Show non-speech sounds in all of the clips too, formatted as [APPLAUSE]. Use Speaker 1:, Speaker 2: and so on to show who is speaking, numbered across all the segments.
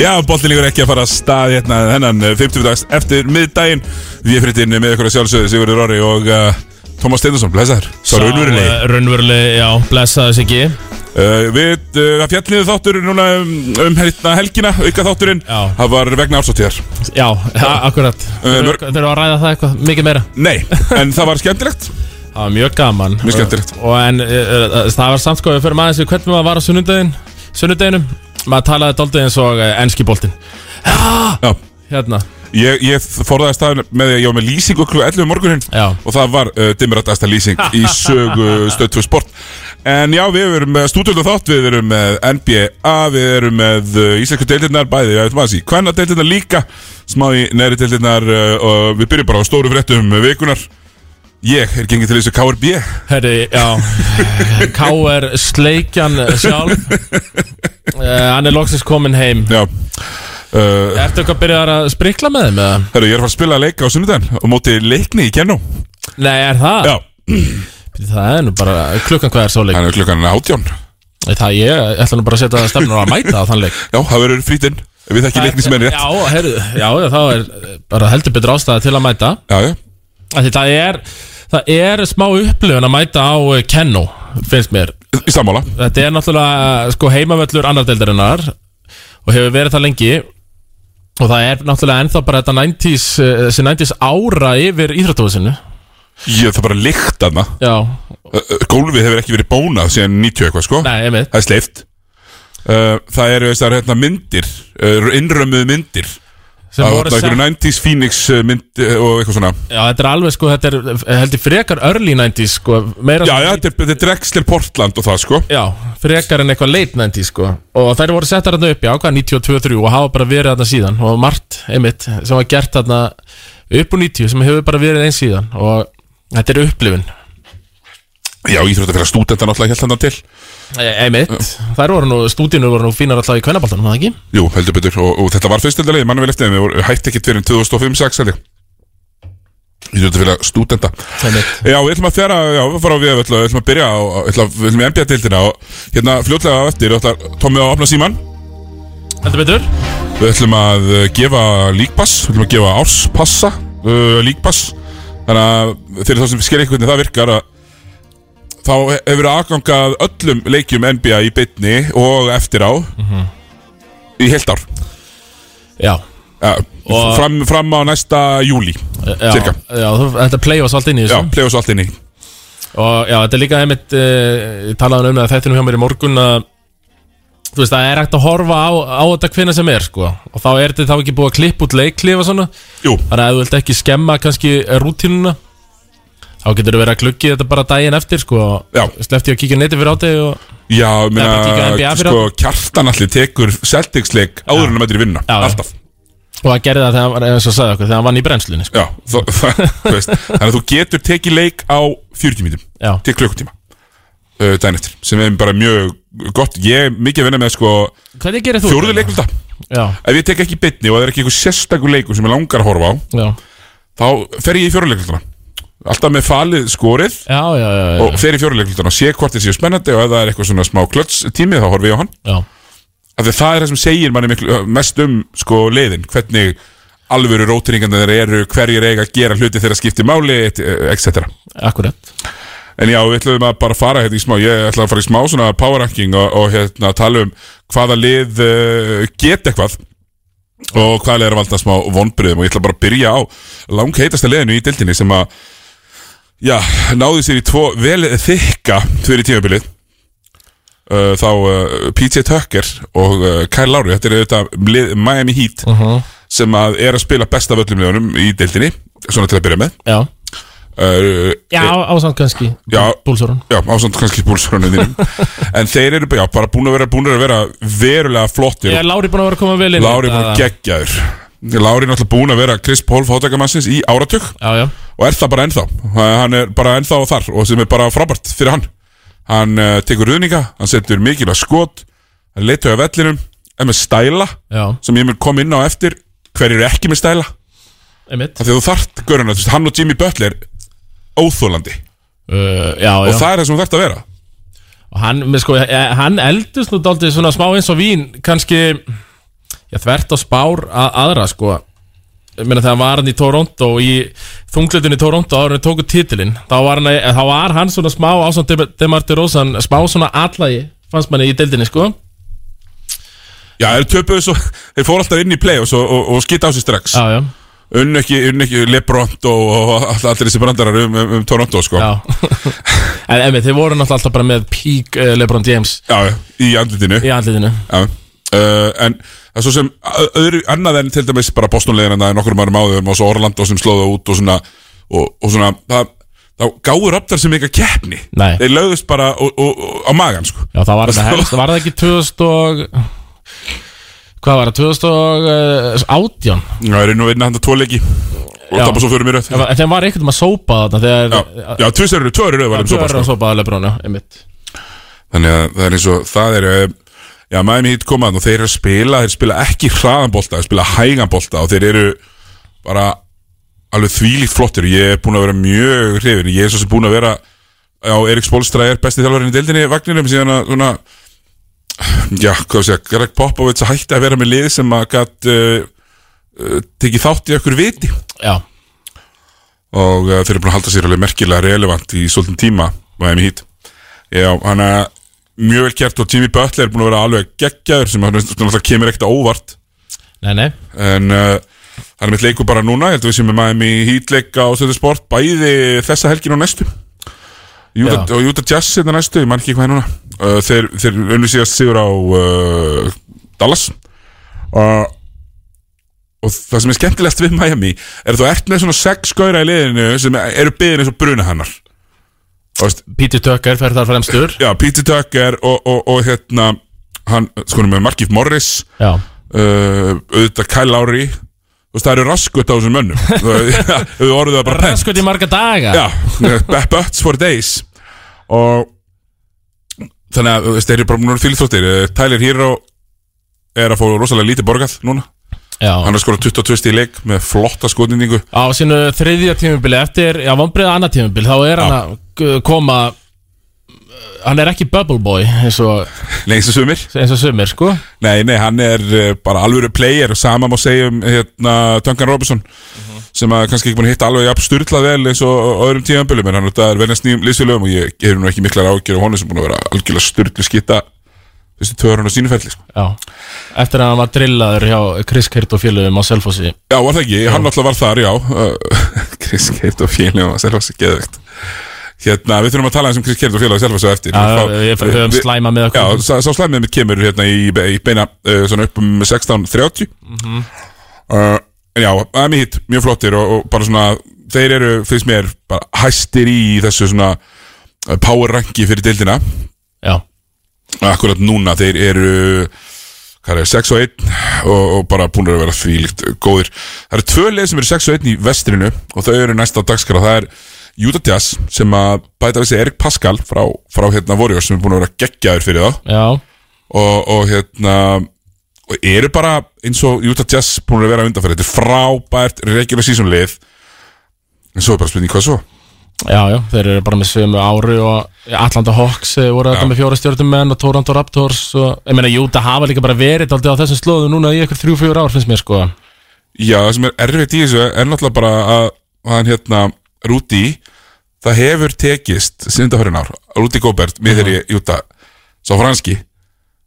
Speaker 1: Já, bollinleikur ekki að fara að stað hérna hennan 50 dags eftir miðdægin Við frittin með ykkur að sjálfsögðu Sigurður Orri og uh, Tómas Steindorsson, blæsaður Sá raunverulegi
Speaker 2: Sá, eh, Raunveruleg, já, blessaðu sig ekki
Speaker 1: uh, Við uh, fjalliðu þáttur núna um, um hérna helgina, auka þátturinn
Speaker 2: Já.
Speaker 1: Það var vegna ársóttíðar
Speaker 2: Já, a- akkurat
Speaker 1: mörg-
Speaker 2: Þurfum við að ræða það eitthvað, mikið meira
Speaker 1: Nei, en það var skemmtilegt
Speaker 2: Það var mjög gaman
Speaker 1: Mjög skemmtilegt.
Speaker 2: Og en eh, eh, það var samt sko, við förum aðeins við hvernig maður var á sunnudegin Sunnudeginum, maður talaði doldið eins og eh, enski boltinn
Speaker 1: Já
Speaker 2: Hérna,
Speaker 1: Ég, ég forðaði staðin með því að ég var með lýsingu kl. 11 um morgunin
Speaker 2: Já.
Speaker 1: og það var uh, dimratasta lýsing [LAUGHS] í sögu stöðtfu sport En já, við erum með stúdjöldu þátt, við erum með NBA, við erum með uh, íslensku deildirnar bæði, já, veitum að sí, hvenna deildirnar líka, smá í neðri deildirnar uh, og við byrjum bara á stóru fréttum vikunar. Ég er gengið til þessu KRB,
Speaker 2: herri, [LAUGHS] já K.R. Sleikjan sjálf uh, Hann er loksins komin heim
Speaker 1: já. Uh,
Speaker 2: Ertu eitthvað að byrja að sprikla með þeim? eða?
Speaker 1: Herru, ég er að fara að spila að leika á sunnudaginn og móti leikni í kennum.
Speaker 2: Nei, er það?
Speaker 1: Já,
Speaker 2: Það er nú bara, klukkan hvað er svo leik?
Speaker 1: hann er klukkan átján.
Speaker 2: Nei, Það ég ætla nú bara að setja stefnur að mæta á þann leik
Speaker 1: Já, það verður frítinn, við þekki leikni sem er rétt.
Speaker 2: Já, heyrðu, já, já, þá er eh, bara heldur betur ástæða til að mæta
Speaker 1: Já, já.
Speaker 2: Af Því það er, það er smá upplifun að mæta á eh, Kenno, finnst mér
Speaker 1: Í sammála
Speaker 2: Þetta er náttúrulega sko heimavöllur annar deildarinnar og hefur verið það lengi og það er náttúrulega ennþá bara þetta 90s, eh, þessi 90s ára yfir íþróttahúsinu
Speaker 1: Ég það bara lykt aðna
Speaker 2: Já,
Speaker 1: Eh, Gólfið hefur ekki verið bónað síðan 90 eitthvað sko
Speaker 2: nei, einmitt
Speaker 1: Það er sleift uh, Það eru þessar hérna myndir uh, Innrömmuð myndir
Speaker 2: Sem
Speaker 1: Það
Speaker 2: voru
Speaker 1: var einhverju
Speaker 2: sett-
Speaker 1: 90s Phoenix uh, mynd uh, og eitthvað svona
Speaker 2: Já, þetta er alveg sko, þetta er eh, heldur frekar early 90s sko, meira
Speaker 1: Já, já, þetta er- þetta er Drexler Portland og það sko
Speaker 2: Já, frekar en eitthvað late 90 sko Og þær voru settar þarna upp, já, hvað, 92-3 Og hafa bara verið þarna síðan Og margt, einmitt, sem var gert þarna Upp úr 90, sem hefur bara verið eins síðan Og þetta er upplifun
Speaker 1: Já, Íþróttafélag stúdenta náttúrulega held hann til
Speaker 2: E- Einmitt, þær voru nú, stúdínu voru nú fínar alltaf í kvennabaltanum, það ekki?
Speaker 1: Jú, heldur betur Og, og þetta var fyrstöldalegið, mann vel eftir þeim, Við voru- hætti ekki fyrir 2005-06 held ég Íþróttafélag stúdenta
Speaker 2: Einmitt
Speaker 1: Já, við ætlum að fjara, já, við fara á við, við ætlum, við ætlum að byrja á, við ætlum, við ætlum í NBA-deildina og hérna fljótlega á eftir, við ætlum Tommi á að opna síman,
Speaker 2: Heldur betur?
Speaker 1: við ætlum að uh, gefa líkpass, við ætlum að gefa árspassa, uh, líkpass, þannig að fyrir þá sem sker ekki hvernig það virkar að þá he- hefur verið aðgangað öllum leikjum NBA í bytni og eftir á
Speaker 2: Mhm.
Speaker 1: í heilt ár,
Speaker 2: Já,
Speaker 1: ja,
Speaker 2: Og-
Speaker 1: fram, fram á næsta júli,
Speaker 2: e- já,
Speaker 1: Cirka.
Speaker 2: já þú- þetta play-offs allt inn í
Speaker 1: já,
Speaker 2: þessu
Speaker 1: plegu svo allt inn í,
Speaker 2: Og já, þetta er líka einmitt uh, talaðan um það þættinum hjá mér í morgun að þú veist, það er hægt að horfa á, á þetta hvenna sem er, sko og þá er þetta þá ekki búið að klippa út leiklif og svona
Speaker 1: jú,
Speaker 2: þannig að ef þú vilt ekki skemma kannski rútínuna þá getur þú verið að gluggi þetta bara daginn eftir, sko
Speaker 1: Já.
Speaker 2: sleppti ég að kíkja á netið fyrir átegi og
Speaker 1: Já, ég
Speaker 2: Það er bara að
Speaker 1: meina,
Speaker 2: kíkja á NBA fyrir
Speaker 1: sko, kjartan allir tekur Celtics-leik áður en að mætir í vinna
Speaker 2: Já, já.
Speaker 1: Alltaf
Speaker 2: og það gerði það þegar hann var, eins og sagði okkur, þegar hann vann í brennslunni, sko
Speaker 1: Já, þó, [LAUGHS] það, þú veist Þannig að þú getur tekið leik á 40 mítum
Speaker 2: Já,
Speaker 1: Til klukkutíma uh, Dæn eftir Sem er bara mjög gott Ég er mikið að vinna með sko
Speaker 2: hvernig gerir þú?
Speaker 1: Fjóruðu leikluta Ef
Speaker 2: Já,
Speaker 1: ég tek ekki bytni og það er ekki einhver sérstakur leikur sem ég langar að horfa á
Speaker 2: já,
Speaker 1: Þá fer ég í fjóruðu leiklutana Alltaf með falið skorið
Speaker 2: já, já, já, já,
Speaker 1: Og fer í fjóruðu leiklutana Sé hvort þeir séu spennandi Og ef það er eitthvað svona smá klöts tími Þá horfi ég á hann
Speaker 2: já.
Speaker 1: af því það er það sem segir manni miklu, mest um sko leiðin, hvernig alvöru rótiringandi þeir eru, hverjir eiga að gera hluti þegar skipti máli, et- etc.
Speaker 2: akkurat
Speaker 1: En já, við ætlum að bara fara hérna í smá, ég ætla að fara í smá svona power ranking og, og hérna tala um hvaða lið uh, get eitthvað og hvaða lið er að valda smá vonbriðum og ég ætla bara að byrja á langheitasta liðinu í dildinni sem að já, náði sér í tvo vel þykka fyrir tímabilið uh, þá uh, PJ Tucker og uh, Kyle Lowry, þetta er þetta lið, Miami Heat sem að er að spila best af öllum liðunum í dildinni svona til að byrja með
Speaker 2: Já,
Speaker 1: uh,
Speaker 2: já ásamt kannski
Speaker 1: Já.
Speaker 2: Búlsórun
Speaker 1: Já, ásamt kannski búlsvörunum
Speaker 2: [LAUGHS]
Speaker 1: þínum En þeir eru já, bara búin að vera, búin að vera verulega flottir
Speaker 2: Ég er Lári búin að vera að koma vel inn í
Speaker 1: Lári er
Speaker 2: þetta,
Speaker 1: búin að geggjaður Lári er náttúrulega búin að vera Chris Paul fátækamassins í áratug
Speaker 2: Já, já,
Speaker 1: og er það bara ennþá Hann er bara ennþá þar og sem er bara frábært fyrir hann Hann uh, tekur ruðninga, hann setur mikilvæg skot hann leitur á vellinum er með stæla
Speaker 2: já,
Speaker 1: sem ég mun koma inn á eftir hver eru ekki með stæla
Speaker 2: einmitt
Speaker 1: af því að þú þart göruna, þú veist, hann og Jimmy Butler óþólandi
Speaker 2: uh, Já, já
Speaker 1: og það er það sem þú þarft að vera
Speaker 2: og hann, með sko, eh, hann eldist nú daldið svona smá eins og vín kannski, já þvert á spár að, aðra sko Ég meina þegar var hann í Toronto í þunglutinu í Toronto áður en þeir tóku titilinn þá var hann, eh, þá var hann svona smá ásand Demar DeRozan, smá svona allagi fannst manni í deildinni sko
Speaker 1: Já, þeir töpuðu svo, þeir fóru alltaf inn í play-offs og, og, og skita á sig strax
Speaker 2: já, já,
Speaker 1: Unnu ekki, unnu ekki Lebront og, og all- allir þessi brandarar um, um, um Toronto sko
Speaker 2: já. [LAUGHS] en emi, þeir voru náttúrulega alltaf bara með peak uh, LeBron James
Speaker 1: Já, í andlitinu
Speaker 2: í andliðinu
Speaker 1: Já, uh, en það er svo sem ö- öðru, annað en til dæmis bara Bostonlegin en það er nokkur maður máður og svo Orlando sem slóða út og svona, og, og svona það, þá gáður optar sem eitthvað keppni
Speaker 2: Nei.
Speaker 1: þeir lögðust bara og, og, og, á magan sko.
Speaker 2: já, það var þetta helst, var það ekki 2000 og hvað var það, eh, 2018
Speaker 1: það er inn og vinna handa tvo leiki og
Speaker 2: Já.
Speaker 1: tappa svo fyrir mér öll
Speaker 2: en þeim var eitthvað um að sópa þarna þegar
Speaker 1: Já, já tvisar eru, tvöru eru var þeim
Speaker 2: svo
Speaker 1: sopa,
Speaker 2: bara
Speaker 1: sko.
Speaker 2: sópaði LeBron, já, emitt
Speaker 1: þannig að það er eins og það er eh, já, maður mýtt komaðan og þeir eru að spila þeir spila ekki hraðanbolta, þeir spila hæganbolta og þeir eru bara alveg þvílíkt flottir ég er búin að vera mjög hrifin ég er svo sem búin að vera já, Erik Spolstra er besti þjálfarinn í deildinni vagninum síðan að svona já, hvað sé, Greg Popovits að hætti að vera með lið sem að gætt uh, uh, tekið þátt í okkur viti
Speaker 2: já,
Speaker 1: og uh, þeir eru búin að halda sér alveg merkilega relevant í svolítum tíma Miami Heat Já, hann að mjög vel kert og Jimmy Butler er búin að vera alveg geggjaður sem hann náttúrulega kemur ekkert á óvart
Speaker 2: nei, nei
Speaker 1: en uh, hann er mitt leikur bara núna ég held að við sem er Miami Heat leika á stöðu sport bæði þessa helgin og næstu Utah,
Speaker 2: Já.
Speaker 1: og Utah Jazz þetta næstu, ég man ekki hvað er núna uh, þeir, þeir unnu síðast sigur á uh, Dallas uh, og það sem er skemmtilegast við Miami er að þú ert með svona sex skóra í liðinu sem eru byggðin eins og bruna hannar og veist,
Speaker 2: Peter Tucker fer þar fremstur
Speaker 1: já, Peter Tucker og, og, og hérna hann, sko, hann er með Markif Morris
Speaker 2: já,
Speaker 1: uh, auðvitað Kyle Lowry þú veist það eru raskut á þessum mönnum þau [LAUGHS] orðuðu það bara pent
Speaker 2: sko til marga daga
Speaker 1: já, b- butts for days og þannig að þú veist, þeir eru bara núna fylgþróttir Eh, Tyler Hero er að fá rosalega lítið borgað núna
Speaker 2: já.
Speaker 1: hann er skorað 22 stíð í leik með flotta skotningu
Speaker 2: á sínu þriðja tímubili eftir, já vonbreiða annað tímubili þá er hann að g- koma uh, hann er ekki bubble boy eins og,
Speaker 1: lengst og sumir
Speaker 2: eins og sumir sko
Speaker 1: Nei, nei, hann er eh, bara alvöru player og sama má segja um hérna, Duncan Robinson sem að kannski ekki búin að hitta alveg jafn styrlað vel eins og á öðrum tíðanbölum en hann er þetta verðast nýjum lýsilögum og ég hefur nú ekki miklar ágjör á honum sem búin að vera algjörlega styrlu skita þessi tvöður hann á sínuferli sko.
Speaker 2: já. eftir að hann var drillaður hjá Chris Kirt og félögum á Selfossi
Speaker 1: Já, var það ekki, hann alltaf var þar, já Uh, [LAUGHS] Chris Keirt og félagum að selva sig geðvegt Hérna, við þurfum að tala eins um Chris Keirt og félagum að selva sig eftir
Speaker 2: Já,
Speaker 1: Þá-
Speaker 2: við- við höfum
Speaker 1: við-
Speaker 2: slæma með okkur.
Speaker 1: Já, sá, sá slæmið mitt kemur hérna í, í beina uh, svona upp um 16.30 uh, En já, það er mjög hitt, mjög flottir og, og bara svona, þeir eru, finnst mér bara hæstir í þessu svona uh, power ranki fyrir deildina
Speaker 2: já,
Speaker 1: Akkurat núna, þeir eru hvað er, 6 og 1 og, og bara búin að vera þvílíkt góðir Það eru tvö leið sem eru 6 og 1 í vestrinu og þau eru næsta dagskrá, það er Utah Jazz sem að bæta við sig Erik Pascal frá, frá hérna Warriors sem er búin að vera geggjaður fyrir þá
Speaker 2: já,
Speaker 1: og, og hérna og eru bara eins og Utah Jazz búin að vera undanfæri, þetta er frábært regular season lið en svo er bara spurning hvað svo
Speaker 2: já, já þeir eru bara með sömu ári og Atlanta Hawks eh, voru þetta með fjóra stjórnum menn og Toronto Raptors og, ég meina, jú, það hafa líka bara verið aldrei á þessum slóðu núna í ykkur 3-4 ár finnst mér sko
Speaker 1: Já, það sem er erfitt í þessu er náttúrulega bara að að hann hérna Rúti það hefur tekist sindahörun ár Rúti Góbert, miður í Utah sá franski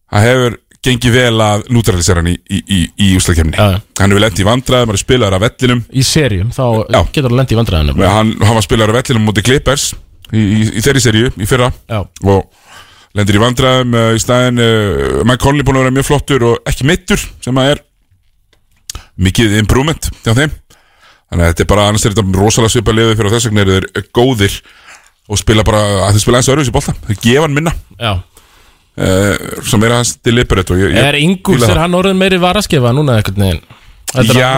Speaker 1: það hefur gengið vel að neutralisera hann í, í, í, í úslagkemni
Speaker 2: Já, já.
Speaker 1: hann hefur lent í vandræðum, hann er spilaður af vellinum
Speaker 2: í serjum, þá
Speaker 1: Já.
Speaker 2: getur það lendi í vandræðinu
Speaker 1: Með hann, hann var spilaður af vellinum mútið Clippers í, í, í þeirri serju, í fyrra
Speaker 2: já,
Speaker 1: og lendir í vandræðum uh, í staðin, uh, Mike Conley búin að vera mjög flottur og ekki mittur sem að er mikið improvement hjá þeim þannig að þetta er bara annars er þetta rosalega svipa liðið fyrir og þess vegna eru þeir góðir og spila bara, að þeir spila eins og öruvísi bolta þeir gefa hann minna
Speaker 2: já
Speaker 1: uh, sem er hans til lippurett og ég, ég
Speaker 2: Er Ingúls,
Speaker 1: fíla
Speaker 2: er
Speaker 1: það.
Speaker 2: hann orðin meiri varaskefa núna eitthvað neginn?
Speaker 1: Já,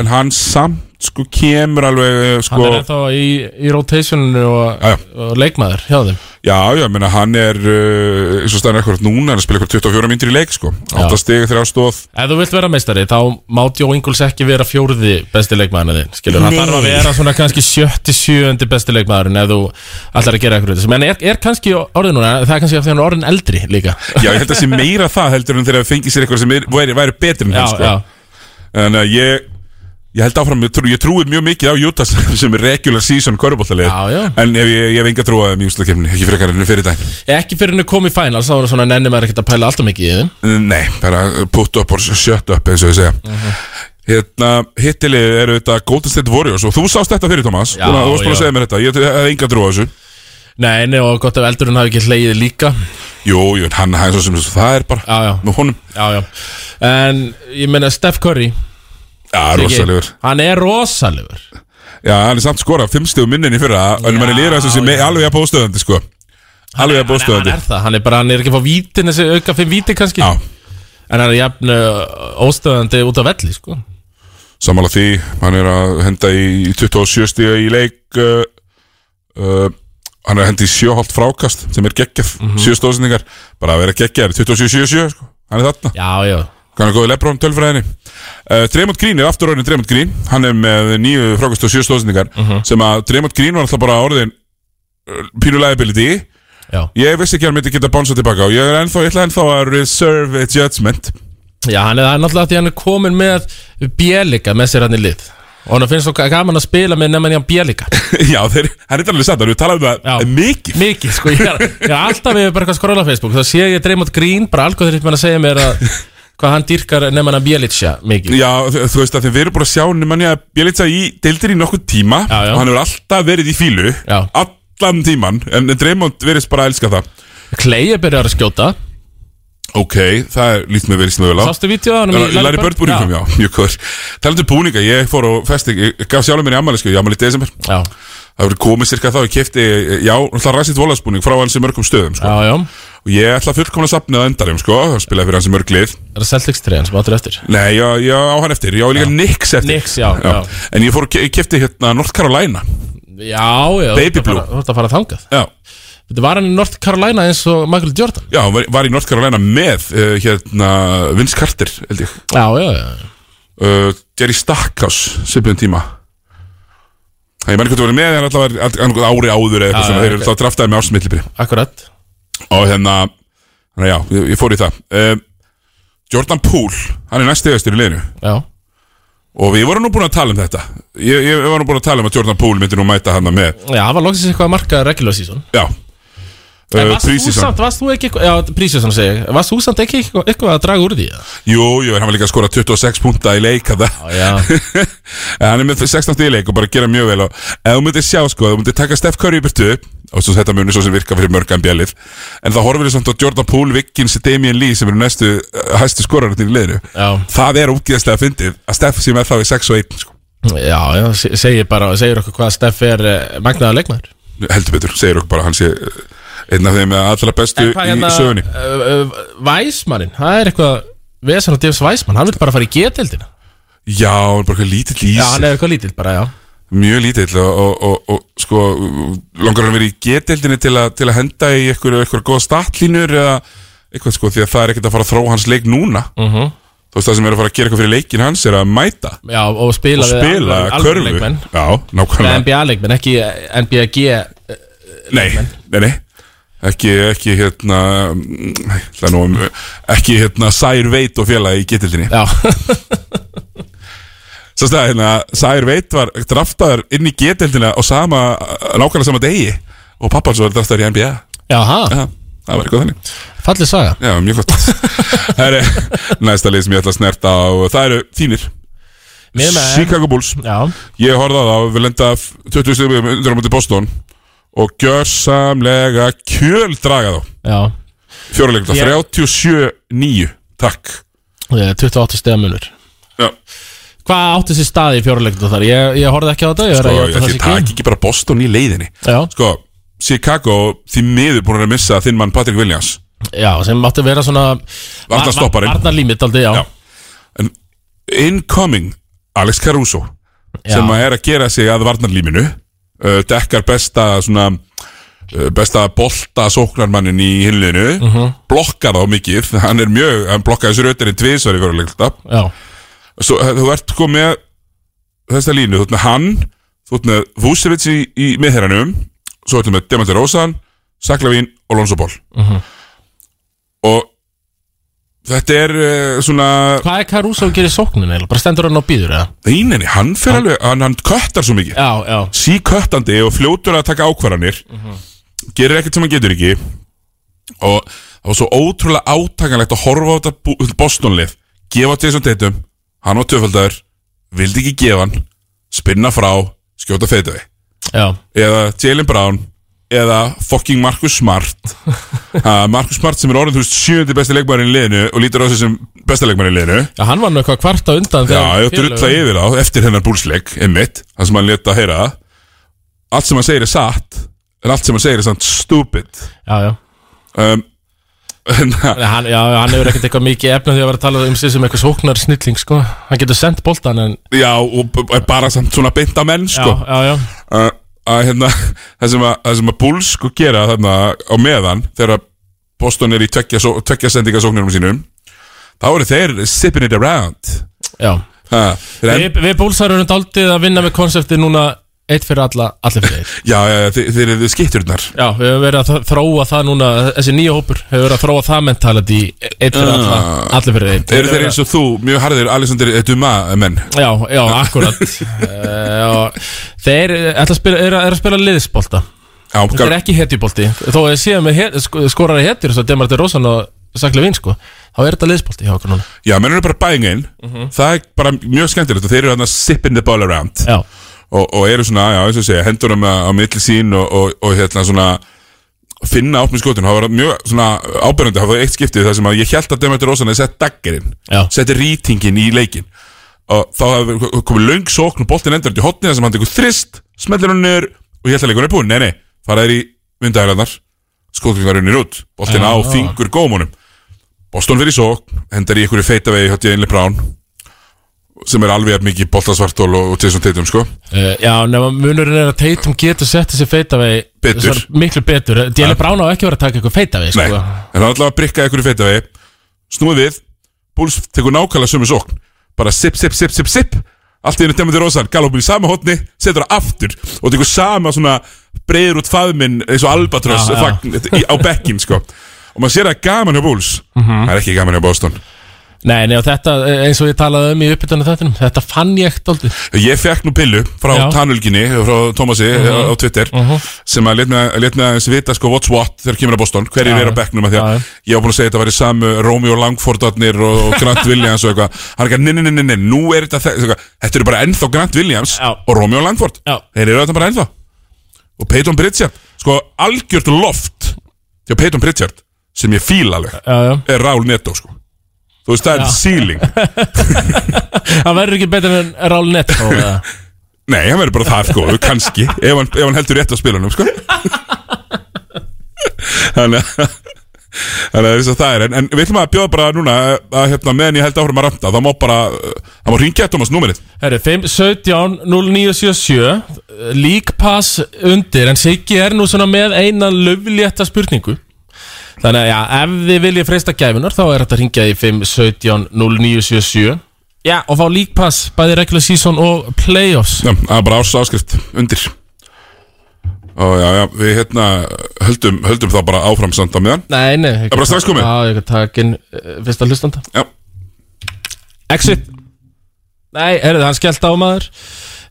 Speaker 1: en hann samt sko kemur alveg eh, sko,
Speaker 2: Hann er ennþá í, í rotationinu og,
Speaker 1: Já, já.
Speaker 2: og leikmaður hjá þeim
Speaker 1: Já, já, ég meina hann er uh, eins og staðan er eitthvað núna, hann er að spila eitthvað 24 myndir í leik sko, 8 stig, 3 stóð
Speaker 2: Ef þú vilt vera meistari, þá má Jó Ingles ekki vera fjórði besti leikmaðurinn þinn Skilur, hann
Speaker 1: Nei.
Speaker 2: þarf að vera svona kannski sjötti, sjöundi besti leikmaðurinn ef þú allar að gera eitthvað þessu Menn er, er kannski orðin núna, það er kannski af því hann er orðin eldri líka
Speaker 1: Já, ég held að sé meira það heldur en þegar það fengið sér eitthvað sem er, væri, væri betur en
Speaker 2: Já,
Speaker 1: hann sko.
Speaker 2: já,
Speaker 1: En uh, ég, ég held áfram, ég, trú, ég trúi mjög mikið á Utah sem- [LAUGHS] sem er regular season körubóltalið
Speaker 2: Já, já.
Speaker 1: En ef ég, ég hef enga trú að þeim í úslakefni, ekki frekar enn fyrir dag
Speaker 2: ekki fyrir henni kom í finals, þá var svona nenni maður ekkert að pæla alltaf mikið í þeim
Speaker 1: Nei, bara put up or shut up eins og ég segja
Speaker 2: Mhm.
Speaker 1: Hérna, hittilið eru þetta Golden State Warriors og þú sást þetta fyrir, Thomas
Speaker 2: Já,
Speaker 1: Þú varst búin
Speaker 2: já.
Speaker 1: að segja mér þetta, ég hef enga trú á þessu
Speaker 2: Nei, nei, og gott ef eldurinn hafi ekki hlegið líka
Speaker 1: Jú, jú, en hann, hann er svo sem það er bara
Speaker 2: Já, já,
Speaker 1: með honum,
Speaker 2: já, já En ég meina Steph Curry
Speaker 1: já, rosalegur
Speaker 2: Hann er rosalegur
Speaker 1: Já, hann er samt skorað, fimmstegu minnin í fyrra en manni líður þessu sem er alveg að bóðstöðandi sko. alveg að
Speaker 2: Hann er, hann
Speaker 1: bóðstöðandi
Speaker 2: er það, hann er bara, hann er ekki að fá vítin þessi auka fimm víti kannski
Speaker 1: Já,
Speaker 2: En hann er jafn uh, óstöðandi út af velli, sko
Speaker 1: sammála því hann er að henda í 27 stíga í leik uh, uh, hann er að henda í sjóholt frákast sem er geggjaf,
Speaker 2: Mhm.
Speaker 1: mm -hmm. sjóstóðsendingar bara að vera geggjar, 27-7 sko. hann er þarna,
Speaker 2: Já, já,
Speaker 1: hann er góði Lebron tölfræðinni uh, Dremont Green er aftur orðin Dremont Green, hann er með nýju frákast og sjóstóðsendingar
Speaker 2: Mhm.
Speaker 1: sem að Dremont Green var alltaf bara orðin uh, pínu liability
Speaker 2: já
Speaker 1: Ég vissi ekki að hann myndi geta bánsað tilbaka og ég er ennþá, ég ætla ennþá að reserve a judgment [LAUGHS]
Speaker 2: Já, hann er, það er náttúrulega því hann er komin með bjælika með sér hann í lið Og hann finnst svo ga- gaman að spila með nefnir hann bjælika
Speaker 1: Já, þeir, hann er alveg satt, hann er talað um það
Speaker 2: Já.
Speaker 1: mikið
Speaker 2: [LAUGHS] Mikið, sko, ég er, ég er alltaf við bara eitthvað að skrolla á Facebook Þá sé ég dreymot grín, bara algóð þeir að segja mér að Hvað hann dýrkar nefnir hann bjælitsja mikið
Speaker 1: Já, þú þú veist að þeir verið búin að sjá Nemanja Bjelica í deildir í nokkuð tíma
Speaker 2: Já, já.
Speaker 1: og hann hefur alltaf verið í fílu
Speaker 2: Já.
Speaker 1: allan tíman, en Dreymond verðist bara að elska það
Speaker 2: Klei er byrjar að skjóta
Speaker 1: Ok, það er lítið með verið snöðulega
Speaker 2: Sástu vítjóða hann
Speaker 1: Ég læri börn búningum, já, mjög góður Talandi um búninga, ég fór og festi Ég gaf sjálfur mér í ammælisku, ég ammæli í desember
Speaker 2: Já,
Speaker 1: Það voru komið cirka þá, ég kefti Já, alltaf ræsitt volaðsbúning frá hans í mörgum stöðum sko.
Speaker 2: já, já
Speaker 1: og ég ætla fullkomlega safnið að endanum sko, að spila fyrir hans í mörg lið
Speaker 2: Það er Celtics 3 sem áttur eftir
Speaker 1: nei, ég, ég á hann eftir, ég á líka Nix eftir
Speaker 2: Knicks, já, já.
Speaker 1: en ég fór og ke- ég kefti hérna North Carolina
Speaker 2: Já, já,
Speaker 1: Baby
Speaker 2: þú ert að fara-
Speaker 1: blue.
Speaker 2: þú ert að fara þangað
Speaker 1: já,
Speaker 2: Þetta var hann í North Carolina eins og Michael Jordan
Speaker 1: já var, var í North Carolina með uh, hérna Vince Carter held ég,
Speaker 2: Já, já, já
Speaker 1: uh, Jerry Stackhouse svipuðum tíma Það, ég menn hvað þú verið með, en alltaf var all- all- ári áður eða eitthvað
Speaker 2: Já,
Speaker 1: svona,
Speaker 2: já,
Speaker 1: þeir eru
Speaker 2: ok.
Speaker 1: alltaf draftaði með ársmillibri
Speaker 2: Akkurat
Speaker 1: og hérna, hérna já, ég, ég fór í það um, Jordan Poole, hann er næstegðastur í liðinu
Speaker 2: Já,
Speaker 1: Og við vorum nú búin að tala um þetta Ég, ég var nú búin að tala um að Jordan Poole myndi nú mæta hann með
Speaker 2: já, hann var loksins eitthvað að marka regular season
Speaker 1: Já
Speaker 2: En
Speaker 1: Uh,
Speaker 2: varst þú
Speaker 1: Prísísson
Speaker 2: samt, varst þú ekki eitthvað Já, prísísson segi ég Varst þú samt ekki eitthvað, eitthvað að draga úr því eða?
Speaker 1: Jú, jú, en hann var líka að skora 26 punta í leik að það
Speaker 2: Já,
Speaker 1: En hann er með 16 stig í leik og bara að gera mjög vel og ef þú myndir sjá sko, ef þú myndir taka Steph Curry í byrtu og svo þetta muni svo sem virka fyrir mörgan bjallið en það horfir samt á Jordan Poole, Wiggins, Damian Lee sem eru næstu uh, hæstu skorarinn í liðinu
Speaker 2: [LAUGHS] Já.
Speaker 1: Það er ógeðslega fyndið að Steph sé með þá í 6 og 1 sko.
Speaker 2: já, já se- segir bara Segir okkur hvað Steff er eh, magnaður leikmaður
Speaker 1: heldur betur, segir okkur bara hann sé uh, einn af þeim eh, allra bestu í
Speaker 2: hérna-
Speaker 1: sögunni
Speaker 2: Væsmannin, Eh, það er eitthvað Vesan og Devs Væsmann, hann vil bara fara í geteldina
Speaker 1: Já, hann er bara eitthvað lítill í
Speaker 2: Já, hann
Speaker 1: sig
Speaker 2: er eitthvað lítill bara, já
Speaker 1: Mjög lítill og, og, og, og sko, langar hann verið í geteldinni til, a, til að henda í eitthvað, eitthvað góða statlínur eða eitthvað sko, því að það er ekkert að fara að þróa hans leik núna
Speaker 2: uh -huh.
Speaker 1: Þú veist það sem er að fara að gera eitthvað fyrir leikin hans er að mæta
Speaker 2: Já, og spila
Speaker 1: og spila körfu
Speaker 2: leikmenn
Speaker 1: Já,
Speaker 2: Með
Speaker 1: nákvæmlega
Speaker 2: NBA leikmenn, ekki NBAG
Speaker 1: Nei, nei, nei Ekki, ekki hérna mm, nei, ætla nú, um, ekki hérna Sær Veit og félagi í geteldinni
Speaker 2: Já, [LAUGHS]
Speaker 1: Svo stæði hérna, Sær Veit var draftaður inn í geteldina og sama, nákvæmlega sama degi og pappan svo var draftaður í NBA
Speaker 2: já, ha,
Speaker 1: Já, það var eitthvað þannig
Speaker 2: fallið saga
Speaker 1: Já, mjög
Speaker 2: [LAUGHS]
Speaker 1: gott Það er eh, næsta lið sem ég ætla að snerta á Það eru þínir,
Speaker 2: Mér með
Speaker 1: Chicago Bulls
Speaker 2: Já,
Speaker 1: Ég horfði á það, við lenda 20 stegum undir á múti Boston og gjörsamlega kjöldraga þá
Speaker 2: já
Speaker 1: Fjóruleikta,
Speaker 2: Ég-
Speaker 1: 37-9 Takk
Speaker 2: eh, 28 stegamunur
Speaker 1: Já,
Speaker 2: Hvað átti sér staði í fjóruleikta þar? Ég, ég horfði ekki á þetta, ég er
Speaker 1: sko, ég
Speaker 2: að ég
Speaker 1: ætli
Speaker 2: átti það
Speaker 1: takk
Speaker 2: ekki
Speaker 1: ekki bara Boston í leiðinni
Speaker 2: Já,
Speaker 1: Sko, Chicago, því miður búin að missa þinn mann Patrick Williams
Speaker 2: já, sem átti að vera svona
Speaker 1: Varnarstopparinn.
Speaker 2: Arnarlímit aldrei, já
Speaker 1: Já. En incoming Alex Caruso sem að er að gera sig að varnarlíminu uh, dekkar besta svona uh, besta bolta sóknarmannin í hinliðinu, blokkar þá mikið hann er mjög, hann blokkaði þessu rautinni tvisvar í fyrirleikta
Speaker 2: já,
Speaker 1: Svo, eh, þú ert sko með þessa línu, þú ert með hann þú ert með Vucevic í, í miðherranum svo ertu með Demantir Rósan Saklavín og Lonzo Ball og þetta er uh, svona
Speaker 2: hvað er Caruso að gera í sókninu eiginlega? bara stendur hann og býður eða?
Speaker 1: eininni, hann fer alveg, hann, hann köttar svo mikið
Speaker 2: já, já,
Speaker 1: síköttandi og fljótur að taka ákvarðanir gerir ekkert sem hann getur ekki og það var svo ótrúlega átakanlegt að horfa á þetta bú- Bostonlið gefa til þessum teitum hann var töfaldar, vildi ekki gefa hann spinna frá, skjóta feitaði
Speaker 2: já,
Speaker 1: eða Jalen Brown eða fucking Marcus Smart ha, Marcus Smart sem er orðin þú veist sjöndi besti leikmærin í liðinu og lítur á þessu sem besta leikmærin í liðinu
Speaker 2: já, hann var nú eitthvað kvarta undan
Speaker 1: Já,
Speaker 2: þegar
Speaker 1: ég
Speaker 2: félögum-
Speaker 1: drulla yfir á eftir hennar búlsleik einmitt, það sem hann leta að heyra það. allt sem hann segir er satt en allt sem hann segir er samt stupid
Speaker 2: já, já
Speaker 1: um, [LAUGHS] en,
Speaker 2: Nei, Hann, já, hann hefur ekkert eitthvað mikið efna því að vera að tala um sig sem eitthvað sóknar snilling sko. hann getur sendt boltan en
Speaker 1: já, og b- er bara samt svona beinta menn sko
Speaker 2: já, já, já,
Speaker 1: uh, að hérna, það sem að, það sem að búls sko gera þarna á meðan þegar Boston er í tvekja, só- tvekja sendingasóknirum sínum þá eru þeir sipping it around
Speaker 2: já.
Speaker 1: ha, þeir en,
Speaker 2: Við, við búlsar erum daldið að vinna með konseptið núna eitt fyrir alla, allir fyrir eitt
Speaker 1: já, já, þeir, þeir eru skitturnar
Speaker 2: Já, við höfum verið að þ- þróa það núna þessi nýja hópur hefur verið að þróa það mentality eitt fyrir alla, allir fyrir eitt
Speaker 1: Ah. eru þeir eins og þú, mjög harðir Alexander Dumas menn
Speaker 2: Já, já, akkurat uh, og Þeir eh, ætla að spila, er, að, er að spila liðsbolta
Speaker 1: Já,
Speaker 2: Þetta er ekki hetjubolti Þó að ég sé með het, sk- skorari hetjur svo Demarti Rósan og Sakli Vín sko þá er þetta liðsbolti hjá okkur núna
Speaker 1: Já, menn eru bara buying in Það er bara mjög skemmtilegt og þeir eru þarna sipping the ball around
Speaker 2: Já,
Speaker 1: og, og eru svona, já, eins og segja, hendunum á, á milli sín og, og, og hérna svona finna átt með skotun, það var mjög svona ábyrjandi, það var eitt skiptið þar sem að ég held að Demeter Rósan að setja daggerinn
Speaker 2: Já.
Speaker 1: setja rýtingin í leikin og þá hafði komið löng sókn og boltin endur til hotnið sem hann tekur þrist smellir hann niður og ég held að leikunum er búinn nei, nei, faraðir í vindahælarnar skotlingarunir út, boltin á
Speaker 2: Já.
Speaker 1: fingur gómunum Boston fyrir sókn, hendar í einhverju feitavegi hjá Jalen Brown sem er alveg jafn mikið boltasvartól og, og Jason Tatum sko
Speaker 2: uh, já nema munurinn er að Tatum getur sett þessi feitavegi
Speaker 1: Betur. Ah.
Speaker 2: þessar Miklu betur, Djeli Brána á ekki verið að taka eitthvað feitavegi
Speaker 1: Nei,
Speaker 2: sko.
Speaker 1: en hann allavega brikkaði einhverju feitavegi Snúið við, Bulls tekur nákvæmlega sömu sókn Bara sip, sip, sip, sip, sip Allt í henni demandi rósan, galopin í sama hotni Setur það aftur og tekur sama svona Breiður út faðminn eins og albatross
Speaker 2: Já, já.
Speaker 1: fagn, í, Á bekkin sko Og maður sér að það er gaman hjá Bulls
Speaker 2: Mhm.
Speaker 1: Það er ekki gaman hjá Boston
Speaker 2: Nei, nei, og þetta, eins og ég talaði um í uppbytunum þettinum, þetta fann ég ekkert aldrei.
Speaker 1: Ég fekk nú pillu frá
Speaker 2: Já. Mhm.
Speaker 1: Tanulginni Frá Thomasi á, á Twitter Sem að let mig- let mig aðeins vita sko what's what Þegar kemur að Boston, hverjir
Speaker 2: Já,
Speaker 1: eru á bekknum af Því
Speaker 2: já, já.
Speaker 1: að ég var búin að segja að þetta væri samu Romeo Langfordarnir og, og Grant Williams og eitthvað Hann er ekki að nei, nei, nei, nei, nei, nú er þetta þe- eitthvað, Þetta eru bara ennþá Grant Williams
Speaker 2: Já.
Speaker 1: Og Romeo Langford,
Speaker 2: Já.
Speaker 1: þeir eru þetta bara ennþá Og Peyton Pritchard Sko algjört loft Því að Peyton Pritchard, sem ég fíla alveg
Speaker 2: Já, já.
Speaker 1: Er Rál Neto sko Þú veist, það er ceiling
Speaker 2: Það verður ekki betur en Rál Netto. [LAUGHS] eða?
Speaker 1: Nei, hann verður bara það góður, kannski ef hann, ef hann heldur rétt á spilunum, sko Þannig að Þannig að þess að það er En, en við ætlum að bjóða bara núna að, hérna, meðan ég held áfram að ranta, þá má bara uh, það má ringja Thomas númerið
Speaker 2: Herru, 5, 17, 0977, líkpass undir, en Siggi er nú svona með eina löflétta spurningu. Þannig að, já, ef þið viljið freista gæfunar, þá er þetta að ringja í 5, 17, 0977. Já, og fá líkpass, bæði regular season og playoffs.
Speaker 1: Já, það er bara ás áskrift undir Og já, já, við hérna höldum, höldum þá bara áfram samt á meðan
Speaker 2: Nei, nei. ég
Speaker 1: Er bara
Speaker 2: get-
Speaker 1: strax komið?
Speaker 2: Já, ég kan taka inn eh, fyrsta hlustanda.
Speaker 1: Já,
Speaker 2: Exit Nei, heyrðu, hann skellt á maður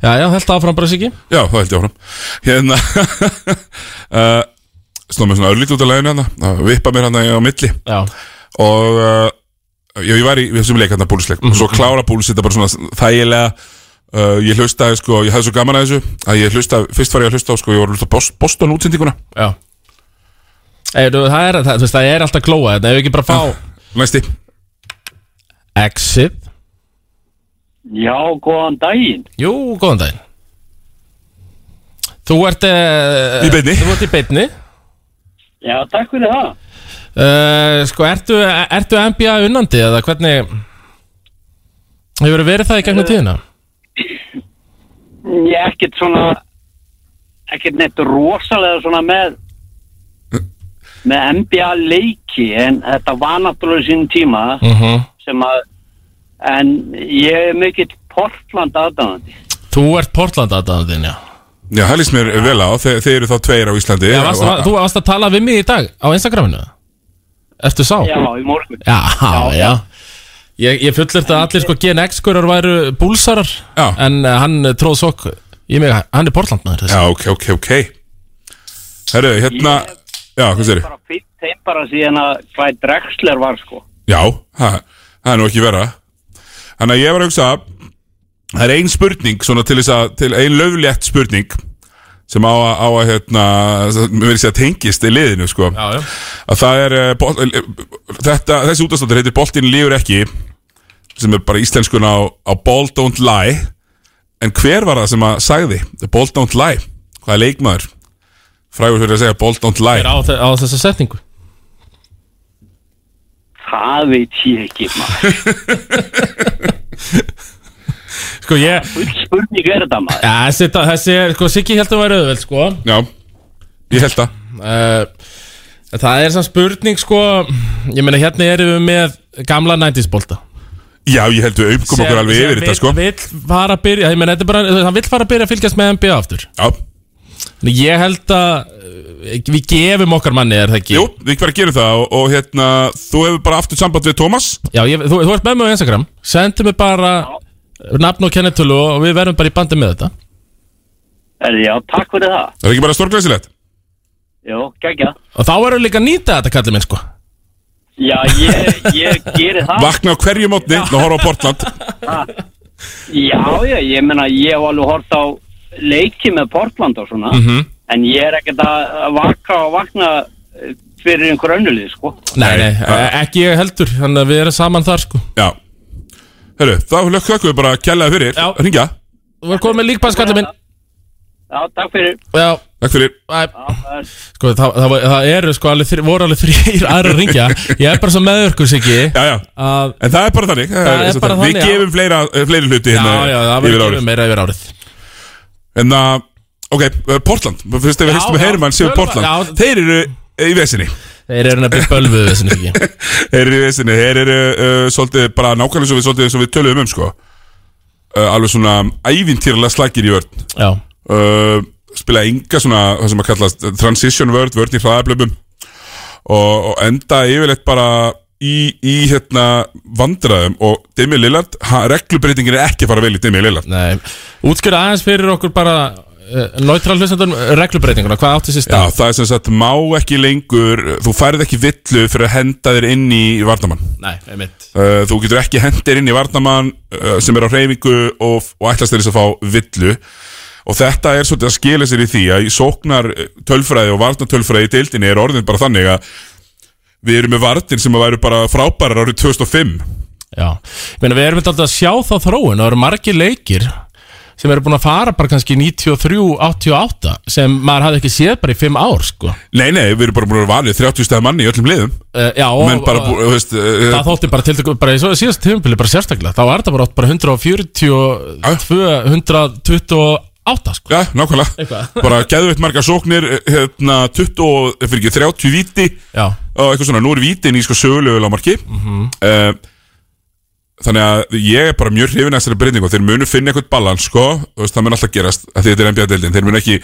Speaker 2: Já, já, held áfram bara sig ekki
Speaker 1: já, það held ég áfram Hérna [LAUGHS] uh, Snóðum við svona örlít út af læginu hérna að Vippa mér hérna á milli
Speaker 2: Já,
Speaker 1: og uh, já, ég var í við þessum leik hérna búlsleik og svo
Speaker 2: Mhm.
Speaker 1: klára búls þetta bara svona þægilega uh, ég hlustaði sko, ég hafði svo gaman að þessu að ég hlustaði, fyrst var ég að hlusta á sko, ég var að hlusta á Bos- Boston útsendinguna
Speaker 2: já Eyrðu, það er, það, þú veist, það er alltaf glóa Þetta hefur ekki bara fá
Speaker 1: næsti,
Speaker 2: Ah. Exit
Speaker 3: Já, góðan daginn.
Speaker 2: Jú, góðan daginn Þú ert uh,
Speaker 1: Í beinni.
Speaker 2: Þú ert í beinni
Speaker 3: Já, takk fyrir það.
Speaker 2: uh, Sko, ertu, ertu NBA unnandi eða hvernig Hefur verið það í gegnum tíðina?
Speaker 3: Ég er ekkert svona, ekkert neitt rosalega svona með, með NBA leiki en þetta var náttúrulega í sínum tíma
Speaker 2: Mhm.
Speaker 3: sem að, en ég er mikill Portland aðdánandi.
Speaker 2: Þú ert Portland aðdáðin, já
Speaker 1: Já, það líst mér vel á, þe þeir eru þá tveir á Íslandi
Speaker 2: Já, varst, var, Þú varst að tala við mig í dag á Instagraminu Ertu sá?
Speaker 3: Já, í morgun.
Speaker 2: Já, já, Ég, ég fullur þetta að allir sko GNX-kurar væru búlsarar
Speaker 1: Já.
Speaker 2: En uh, hann eh, tróð sokk í mig Hann er Portlandmaður þessi
Speaker 1: Já, ok, ok, ok Herru, hérna Já, hvað sér ég?
Speaker 3: Bara fýtt þeim bara síðan að hvað Drexler var sko.
Speaker 1: Já, ha, það er nú ekki vera Þannig að ég var að hugsa Það er ein spurning, svona til þess að til Ein löflétt spurning Sem á að, á að hérna Mér verið sér að tengist í liðinu, sko
Speaker 2: Já, já
Speaker 1: Að það er eh, bol, eh, þetta, Þessi útastáttur heitir Boltinn lífur ekki Sem er bara íslenskun á, á Ball don't lie En hver var það sem að sagði Ball don't lie, hvað er leikmaður Frægur fyrir að segja Ball don't lie
Speaker 2: Er á, þe- á þessa setningu
Speaker 3: Það veit ég ekki maður.
Speaker 2: Sko ég
Speaker 3: Full spurning er þetta maður.
Speaker 2: Já, þessi, þessi er, sko, Siggi held að væri auðveld, sko
Speaker 1: Já, ég held það
Speaker 2: uh, Það er samt spurning, sko Ég meina, hérna erum við með gamla 90s bolta
Speaker 1: Já, ég held við umkom okkur alveg yfir þetta sko
Speaker 2: Sem vill fara að byrja, ég meina, þetta er bara, hann vill fara að byrja að fylgjast með NBA aftur
Speaker 1: Já,
Speaker 2: Þannig Ég held að eh, við gefum okkar manni, er það ekki?
Speaker 1: jú, við ekki verið að gera það og, og hérna, þú hefur bara aftur samband við Thomas
Speaker 2: Já, ég, þú, þú ert með mig á Instagram Sendu mig bara nafn og kennetölu og við verðum bara í bandi með þetta
Speaker 3: Herri, Já, takk fyrir það.
Speaker 1: Það er ekki bara stórglæsilegt
Speaker 3: Jó, geggja.
Speaker 2: Og þá verðum við líka að nýta þetta, kallið minn, sko
Speaker 3: Já, ég, ég geri það.
Speaker 1: Vakna á hverju mótni, ná horfa á Portland
Speaker 3: Já, já, ég meina ég hef alveg hort á leiki með Portland og svona en ég er ekkert að vaka og vakna eh, fyrir einhver önnulið, sko
Speaker 2: Nei,
Speaker 1: Nei,
Speaker 2: nei,
Speaker 1: það-
Speaker 2: eh, ekki ég heldur Þannig að við erum saman þar, sko
Speaker 1: Já Herru, þá lökkum við bara að kjallaði fyrir
Speaker 2: Já.
Speaker 1: Ringja,
Speaker 2: Þú er komið með líkpass, kallið minn
Speaker 3: Já, takk fyrir
Speaker 2: Já,
Speaker 1: takk fyrir
Speaker 2: æ,
Speaker 3: Já, það er-
Speaker 2: sko, það, það, var- það eru sko alveg þrjir, voru alveg [LAUGHS] þrjir aðra að ringja Ég er bara svo meðurkur, Siggi
Speaker 1: Já, já,
Speaker 2: að,
Speaker 1: en það er bara þannig Það
Speaker 2: er
Speaker 1: svo
Speaker 2: bara
Speaker 1: þannig.
Speaker 2: þannig,
Speaker 1: Við
Speaker 2: já.
Speaker 1: gefum fleira, fleiri hluti
Speaker 2: Já,
Speaker 1: hérna
Speaker 2: já,
Speaker 1: yfir
Speaker 2: það verður
Speaker 1: árið
Speaker 2: gefið meira yfir árið
Speaker 1: En að, ok, eh, Portland Fyrst ef við
Speaker 2: Já,
Speaker 1: hristum með
Speaker 2: já,
Speaker 1: Herman séu
Speaker 2: tölum við-
Speaker 1: Portland
Speaker 2: já.
Speaker 1: Þeir eru eh, í vesinni
Speaker 2: Þeir eru nefnilega bölvuð þessu ekki
Speaker 1: Þeir eru í vesinni, þeir eru uh, svolítið bara nákvæmlega svo við, svolítið, eins og við töluðum um sko uh, Alveg svona ævintýrlega slagir í vörn
Speaker 2: Já,
Speaker 1: uh, Spila enga svona, það sem að kallast eh, transition vörn, vörn í hraðablöfum og, og enda yfirleitt bara í, í hérna vandræðum og Demi Lillard, ha- reglubreitingin er ekki að fara vel í Demi Lillard
Speaker 2: nei Útskjöra aðeins fyrir okkur bara uh, Neutral hlustandum reglubreitinguna Hvað átti sér
Speaker 1: Já,
Speaker 2: stað?
Speaker 1: það er sem sagt, má ekki lengur, þú færð ekki villu fyrir að henda þér inn í varnamann
Speaker 2: Nei, einmitt
Speaker 1: Uh, þú getur ekki hendir inn í varnamann uh, sem er á hreyfingu og, og ætlast þeir þess að fá villu og þetta er svolítið að skila sér í því að í sóknar uh, tölfræði og varnatölfræði í deildinni er orðin bara þannig að við erum með varnir sem að væru bara frábærar árið 2005
Speaker 2: Já, ég meina við erum alltaf að sjá þá þróun og það eru margir leikir sem eru búin að fara bara kannski 93-88 sem maður hafði ekki séð bara í 5 ár sko.
Speaker 1: Nei, nei, við erum bara búin að vera vanið 30 stæða manni í öllum liðum
Speaker 2: uh, Já,
Speaker 1: menn
Speaker 2: og,
Speaker 1: bara,
Speaker 2: og
Speaker 1: búin, þú veist uh,
Speaker 2: það þótti bara til bara í svo- síðasta tímpili bara sérstaklega þá var þetta bara, oft bara 142-128 sko.
Speaker 1: Já, nákvæmlega
Speaker 2: Eitthvað.
Speaker 1: Bara geðveitt marga sóknir eh, hérna, 20, og- fyrir ekki 30 víti
Speaker 2: Já,
Speaker 1: og eitthvað svona, nú er vítin í sko sögulegu lámarki mm
Speaker 2: Mhm.
Speaker 1: þannig að ég er bara mjög hrifin að þessari breytingu og þeir munu finna eitthvað balans sko, þú veist, það mun alltaf gerast að því þetta er NBA-deildin, þeir munu ekki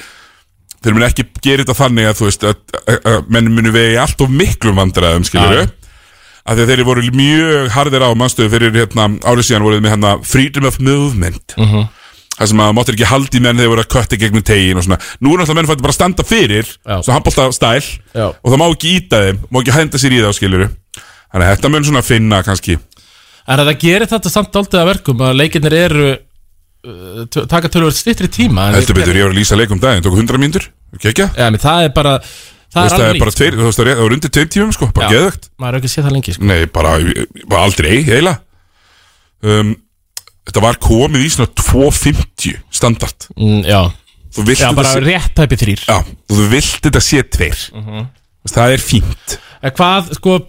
Speaker 1: þeir munu ekki gera þetta þannig að þú veist að, að, að menn munu vegi allt of miklum vandræðum skiljur
Speaker 2: Já.
Speaker 1: að því að þeir voru mjög harðir á mannstöðu fyrir hérna, árið síðan voruð með hérna freedom of movement mm
Speaker 2: Mhm.
Speaker 1: það sem að máttir ekki haldi menn þegar voru að kötti gegnum tegin og svona, nú er alltaf menn fætti bara að standa fyrir,
Speaker 2: Já.
Speaker 1: svo handbólta stæl
Speaker 2: já
Speaker 1: og það má ekki íta þeim, má ekki henda sér í það skiluru þannig að þetta mun svona finna kannski
Speaker 2: En það gerir þetta samt aldrei að verkum að leikirnir eru uh, tö- taka tölvöld stittri tíma en
Speaker 1: heldur betur, ég var að lýsa leikum daginn, tók 100 mínútur kekja,
Speaker 2: Já, menn, það er bara það
Speaker 1: þú veist það er
Speaker 2: alveg
Speaker 1: bara
Speaker 2: nýtt
Speaker 1: tveir þú veist það er- það var undir tveim tímum sko, bara
Speaker 2: Já.
Speaker 1: geðvögt
Speaker 2: Maður er ekki séð það lengi sko.
Speaker 1: nei, bara, bara aldrei, heila um, þetta var komið í svona 2.50 standard
Speaker 2: mm, Já,
Speaker 1: þú vilt
Speaker 2: já
Speaker 1: þetta
Speaker 2: bara
Speaker 1: sé
Speaker 2: rétt tæpi þrýr
Speaker 1: já, þú vilt þetta sé tveir mm
Speaker 2: Mhm.
Speaker 1: það er fínt
Speaker 2: En hvað, sko,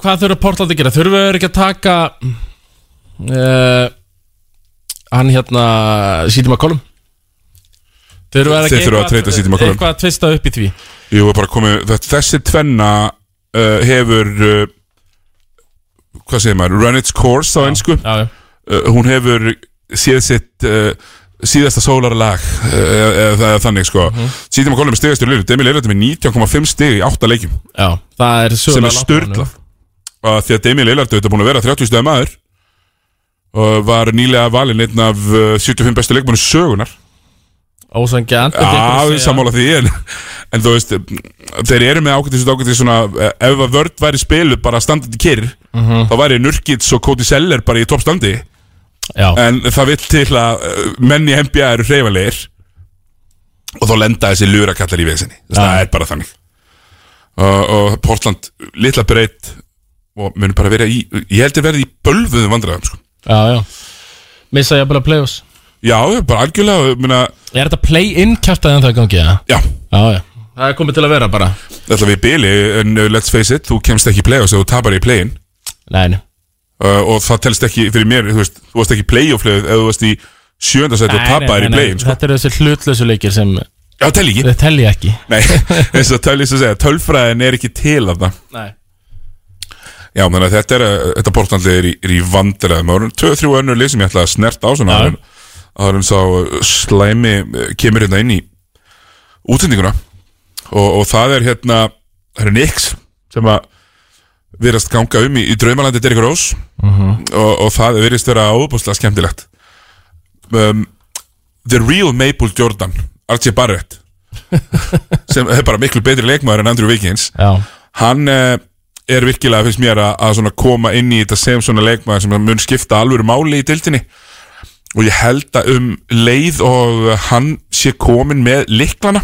Speaker 2: hvað þurfa Portland að gera? Þurfa þau ekki að taka uh, Hann hérna Sýtum að kolum Þeir eru að,
Speaker 1: Þeir þurfa að
Speaker 2: eitthvað-
Speaker 1: treyta sér tíma kolum.
Speaker 2: Eitthvað að tvista upp í því
Speaker 1: Jú, bara komið, þetta, þessi tvenna uh, hefur uh, hvað segir maður, run its course á ennsku, uh,
Speaker 2: Já, já
Speaker 1: hún hefur séð sitt uh, síðasta sólarlag uh, eða eða þannig sko,
Speaker 2: Mhm.
Speaker 1: mm -hmm. síðan maður kolum með stigastur liður, Demi Leilert er með 19,5 stig í 8 leikjum,
Speaker 2: Já, það er
Speaker 1: sem
Speaker 2: sögulega
Speaker 1: er
Speaker 2: langt
Speaker 1: störla
Speaker 2: honum.
Speaker 1: því að Demi Leilert er auðvitað búin að vera 30 stöða maður og var nýlega valinn einn af uh, 75 bestu leikmennu sögunar
Speaker 2: Ósangjant þetta er
Speaker 1: Já,
Speaker 2: einhver að
Speaker 1: við
Speaker 2: segja-
Speaker 1: sammála því en, en þú veist, þeir eru með ágætis og ágætis svona, eh, ef að vörd væri spilu bara standandi kyrr,
Speaker 2: Mhm.
Speaker 1: þá væri Nurkits og Cody Seller bara í toppstandi
Speaker 2: Já,
Speaker 1: en það vill til að eh, menn í NBA eru hreyfanleir og þá lenda þessi lurakallar í vesinni ja. það
Speaker 2: Ah.
Speaker 1: er bara þannig og, og Portland, litla breytt og mun bara vera í ég held að verði í bölvuðum vandræðum sko.
Speaker 2: já, já Missa ég bara play-offs
Speaker 1: Já, bara algjörlega, ég meina,
Speaker 2: Er þetta play-in kjartaði en það gangi, já?
Speaker 1: já
Speaker 2: Já, já Það er komið til að vera bara
Speaker 1: Þetta við bíli, en uh, let's face it, þú kemst ekki í play-offs ef þú tapar í play-in
Speaker 2: Nei, nei.
Speaker 1: uh, og það telst ekki fyrir mér, þú veist, þú varst ekki play-off-leið ef þú varst í sjöndasæti og
Speaker 2: Nei,
Speaker 1: tapar
Speaker 2: nei,
Speaker 1: í
Speaker 2: nei,
Speaker 1: play-in, sko.
Speaker 2: Þetta eru þessi hlutlösu leikir sem
Speaker 1: Já, tel
Speaker 2: [LAUGHS]
Speaker 1: ekki.
Speaker 2: Þið telji ekki
Speaker 1: Nei, [LAUGHS] eins og tölvis að segja, tölfræðin er ekki til af það.
Speaker 2: Nei
Speaker 1: Já, þannig að þetta er, uh, þetta portlandið er í, er í vandræðum. Það voru tvö, þrjú önnur lið sem ég ætlaði að snerta á svona
Speaker 2: Já.
Speaker 1: áður en- áður en sá uh, slæmi uh, kemur hérna inn í útsendinguna og, og það er hérna, það er Nix sem að virðast ganga um í, í draumalandi Derrick Rose og, og það virðist vera óbúslega skemmtilegt um, The Real Maple Jordan Archie Barrett sem er bara miklu betri leikmaður en Andrew Wiggins
Speaker 2: Já,
Speaker 1: hann eh, er virkilega finnst mér að, að svona koma inn í þetta sem svona leikmaður sem mun skipta alvöru máli í dildinni og ég held að um leið og hann sé komin með liklana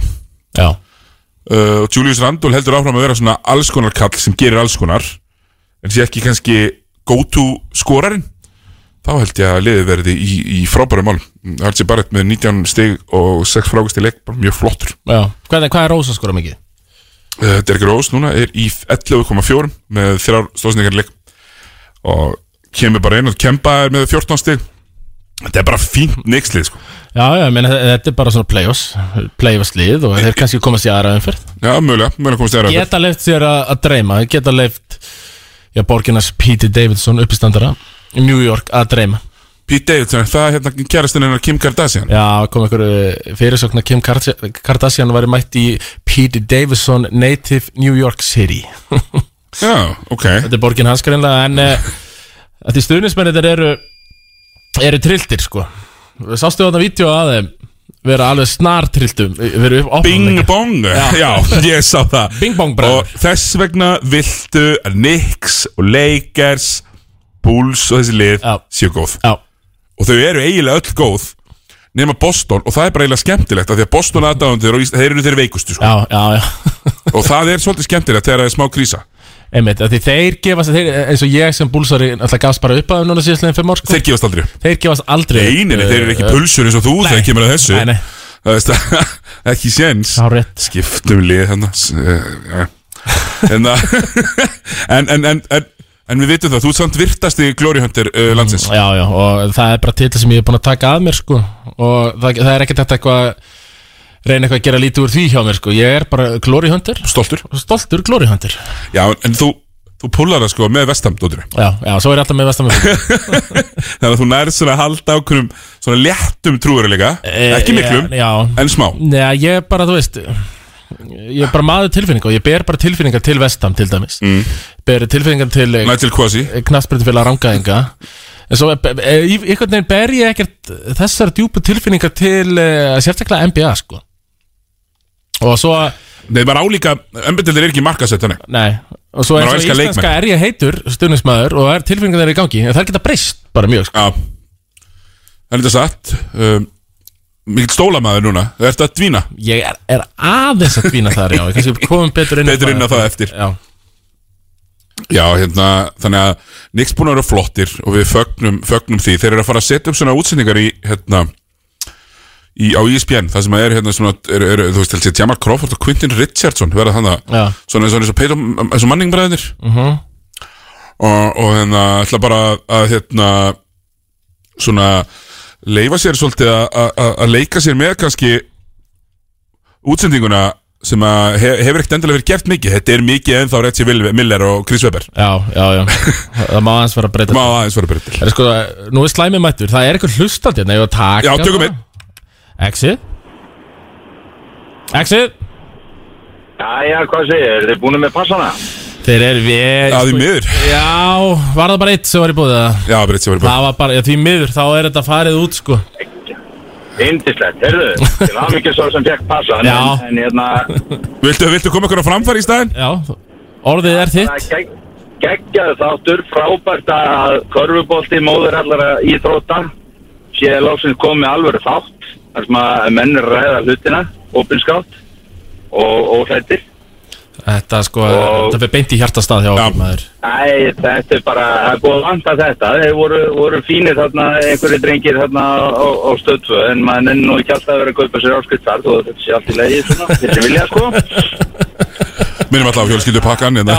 Speaker 2: já,
Speaker 1: uh, og Julius Randall heldur áfram að vera svona alls konar kall sem gerir alls konar en sé ekki kannski go to skorarinn þá held ég að liðið verði í, í frábærum mál Halsi Barrett með 19 stig og 6 frákust í leik, bara mjög flottur
Speaker 2: já Hvað, hvað er Rósa skora mikið?
Speaker 1: uh, Derek Rose núna er í 11,4 með þrjár stóðsningar leik og kemur bara inn og kempa er með 14 stig þetta er bara fínt neikslið sko
Speaker 2: Já, já, ég meina þe- þetta er bara svona play-offs Play-offs lið og þeir kannski komast í aðra umferð
Speaker 1: já, mögulega, mögulega komast þér að
Speaker 2: Geta leift sér að, að dreyma þeir Geta leift Já, borginars P.T. Davidson uppistandara í New York að dreyma
Speaker 1: Pete Davidson, er það er hérna kærastinn hennar Kim Kardashian
Speaker 2: Já, kom einhverju fyrirsögn að Kim Kardas- Kardashian væri mætt í P.D. Davidson Native New York City
Speaker 1: já, ok
Speaker 2: Þetta er borgin hans greinlega en eh, að því stuðnismennir eru eru trilltir sko Sástu þarna vídeo að þeim vera alveg snar trilltum vera upp
Speaker 1: Bing
Speaker 2: opnum
Speaker 1: bong, já. [LAUGHS] ég sá það
Speaker 2: Bing bong bræður.
Speaker 1: Og þess vegna viltu að Knicks og Lakers Bulls og þessi lið
Speaker 2: Já.
Speaker 1: séu góð
Speaker 2: Já,
Speaker 1: Og þau eru eiginlega öll góð nema Boston og það er bara eiginlega skemmtilegt af Því að Boston aðdáðundir og Ís- þeir eru þeir veikustu sko.
Speaker 2: já, já, [LAUGHS] já
Speaker 1: Og það er svolítið skemmtilegt þegar það er smá krísa
Speaker 2: Einmitt, að því þeir gefast þeir, eins og ég sem búlsari alltaf gafst bara upp að þeim núna síðastlega fimm ár sko
Speaker 1: Þeir gefast aldrei upp.
Speaker 2: Þeir gefast aldrei upp,
Speaker 1: Eininni, þeir eru ekki
Speaker 2: eh,
Speaker 1: pulsur eins og þú þegar kemur að þessu
Speaker 2: Nei, nei,
Speaker 1: Það veist að, [LAUGHS] ekki séns
Speaker 2: þá rétt
Speaker 1: skiptum lið hérna s- eh, já. hérna [LAUGHS] en, en, en, en, en við vitum það þú ert samt virtast í Glory Hunter
Speaker 2: Mm.
Speaker 1: uh, landsins
Speaker 2: Já, já, og það er bara titla sem ég er búin að taka að mér sko og það, það er ekkert þetta eitthvað reyna eitthvað að gera lítið úr því hjá mér sko ég er bara glory hunter
Speaker 1: stoltur
Speaker 2: stoltur glory hunter
Speaker 1: já en, en þú þú púlar það sko með vestamdóttir
Speaker 2: Já, já, svo er ég alltaf með vestamöfum
Speaker 1: þannig að þú nærið svona að halda ákveðum svona léttum trúveruleika ekki miklum
Speaker 2: Eh, Já, já.
Speaker 1: en smá
Speaker 2: Nei, ég er bara, þú veist Ég er bara maður tilfinninga og ég ber bara tilfinningar til vestam til dæmis mm. Ber tilfinningar til
Speaker 1: Nigel Quasi
Speaker 2: knastbyrðfélag rangaðinga En svo, e- e- í- einhvern veginn ber ég ekkert þessar djúpu tilfinningar til eh, sérstaklega NBA, sko Og svo,
Speaker 1: nei maður álíka embindildir er ekki markasett þannig
Speaker 2: nei Og svo
Speaker 1: Maður
Speaker 2: eins og
Speaker 1: elskar
Speaker 2: íslenska
Speaker 1: leikmenn.
Speaker 2: er ég heitur stundismæður og það er tilfinningar þeirra í gangi En það er geta breyst bara mjög, sko
Speaker 1: já það er þetta satt um, mikill stólamaður núna það ert að dvína
Speaker 2: Ég er, er aðeins að dvína þar, já Ég kannski komum betur inn á
Speaker 1: Betur inn á það eftir.
Speaker 2: Já
Speaker 1: Já, hérna, þannig að Nix búin að vera flottir og við fögnum, fögnum því Þeir eru að fara að setja upp svona útsendingar í, hérna, í, á E ESPN Það sem að er, hérna, svona, er, er, þú veist, helst ég, Jamal Crawford og Quintin Richardson Verða þannig
Speaker 2: Já.
Speaker 1: að, svona eins og- eins og Peyton, eins og manningbræðinir uh -huh. Og, og hérna, ætla bara að, hérna, svona leifa sér svolítið að- að að- að leika sér með kannski útsendinguna sem að he, hefur ekkert endilega verið gert mikið Þetta er mikið ennþá Retsi Miller og Chris Webber
Speaker 2: Já, já, já Það má aðeins vera að breyta
Speaker 1: Má aðeins vera byrjum
Speaker 2: Það er sko, nú er slæmi mættur Það er eitthvað hlustandi hérna, ég var að taka
Speaker 1: Já, tökum
Speaker 2: bara. Exit Exit
Speaker 4: Jæja, hvað segir, eru þið búin með passana?
Speaker 2: Þeir eru við
Speaker 1: Já, því miður
Speaker 2: Já, var það bara eitt sem var í búið það
Speaker 1: Já, Retsi verið byrjum
Speaker 2: Það var bara, já, því miður, þá er þetta farið út sko
Speaker 4: Indislegt, heyrðu, til aðmikið svo sem fekk passan
Speaker 2: Já.
Speaker 4: En, en hérna,
Speaker 1: Viltu, viltu koma ykkur á framfæri í staðinn?
Speaker 2: Já, orðið er
Speaker 4: það
Speaker 2: þitt
Speaker 4: gegg, geggjaðu þáttur, frábært að körfubolti móður allara íþróta sé lóksins komið alvöru þátt þar sem að menn eru að ræða hlutina, opinskátt og, og hlættir
Speaker 2: Þetta sko,
Speaker 4: Og-
Speaker 2: þetta fyrir beint í hjartastað hjá okkur maður
Speaker 4: Æ, þetta er bara, það er búið að vanta þetta Þeir voru, voru fínir þarna, einhverju drengir þarna á, á stöðfu En maður nenni nú ekki alltaf að vera að kaupa sér áskrift þar Þú þetta sé allt í leiði svona, þeir sem vilja sko
Speaker 1: Minnum alltaf fjölskyldu pakkan hérna.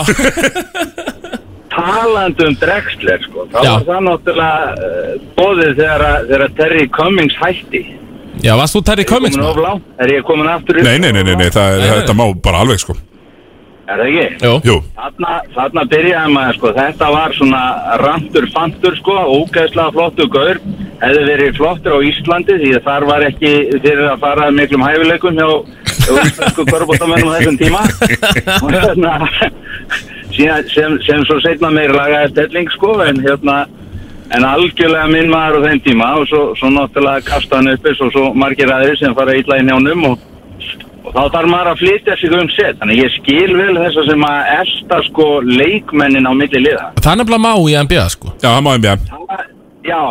Speaker 4: Talandi um dregsler sko Þá
Speaker 2: Já.
Speaker 4: var það náttúrulega uh, bóðið þegar, að- þegar að Terry Cummings hætti
Speaker 2: Já, varst þú Terry Cummings
Speaker 4: Komin of
Speaker 2: maður?
Speaker 4: lág, er ég komin aftur
Speaker 1: [LAUGHS]
Speaker 4: upp?
Speaker 1: Nei, nei, nei, nei, nei, það,
Speaker 2: Nei, nei.
Speaker 1: þetta má bara alveg sko
Speaker 4: Er það ekki?
Speaker 2: Jú,
Speaker 1: Jú,
Speaker 4: Þarna, þarna byrjaði maður sko, þetta var svona randur fantur sko, ógæðslega flottur gaur, hefði verið flottur á Íslandi því að þar var ekki fyrir að fara miklum hæfileikum hjá hjá íslensku körbóttamennum á þessum tíma og hérna síðan- sem, sem svo setna meir lagaði stelling sko, en hérna en algjörlega minn maður á þeim tíma og svo, svo náttúrulega kasta hann upp eins og svo margir aðeins sem fara illa inn hjá honum og og þá þarf maður að flytja sig um set þannig ég skil vel þess að sem að elsta sko leikmennin á milli liða
Speaker 2: það er nefnilega má í NBA sko
Speaker 1: já, það má NBA
Speaker 4: Það- já,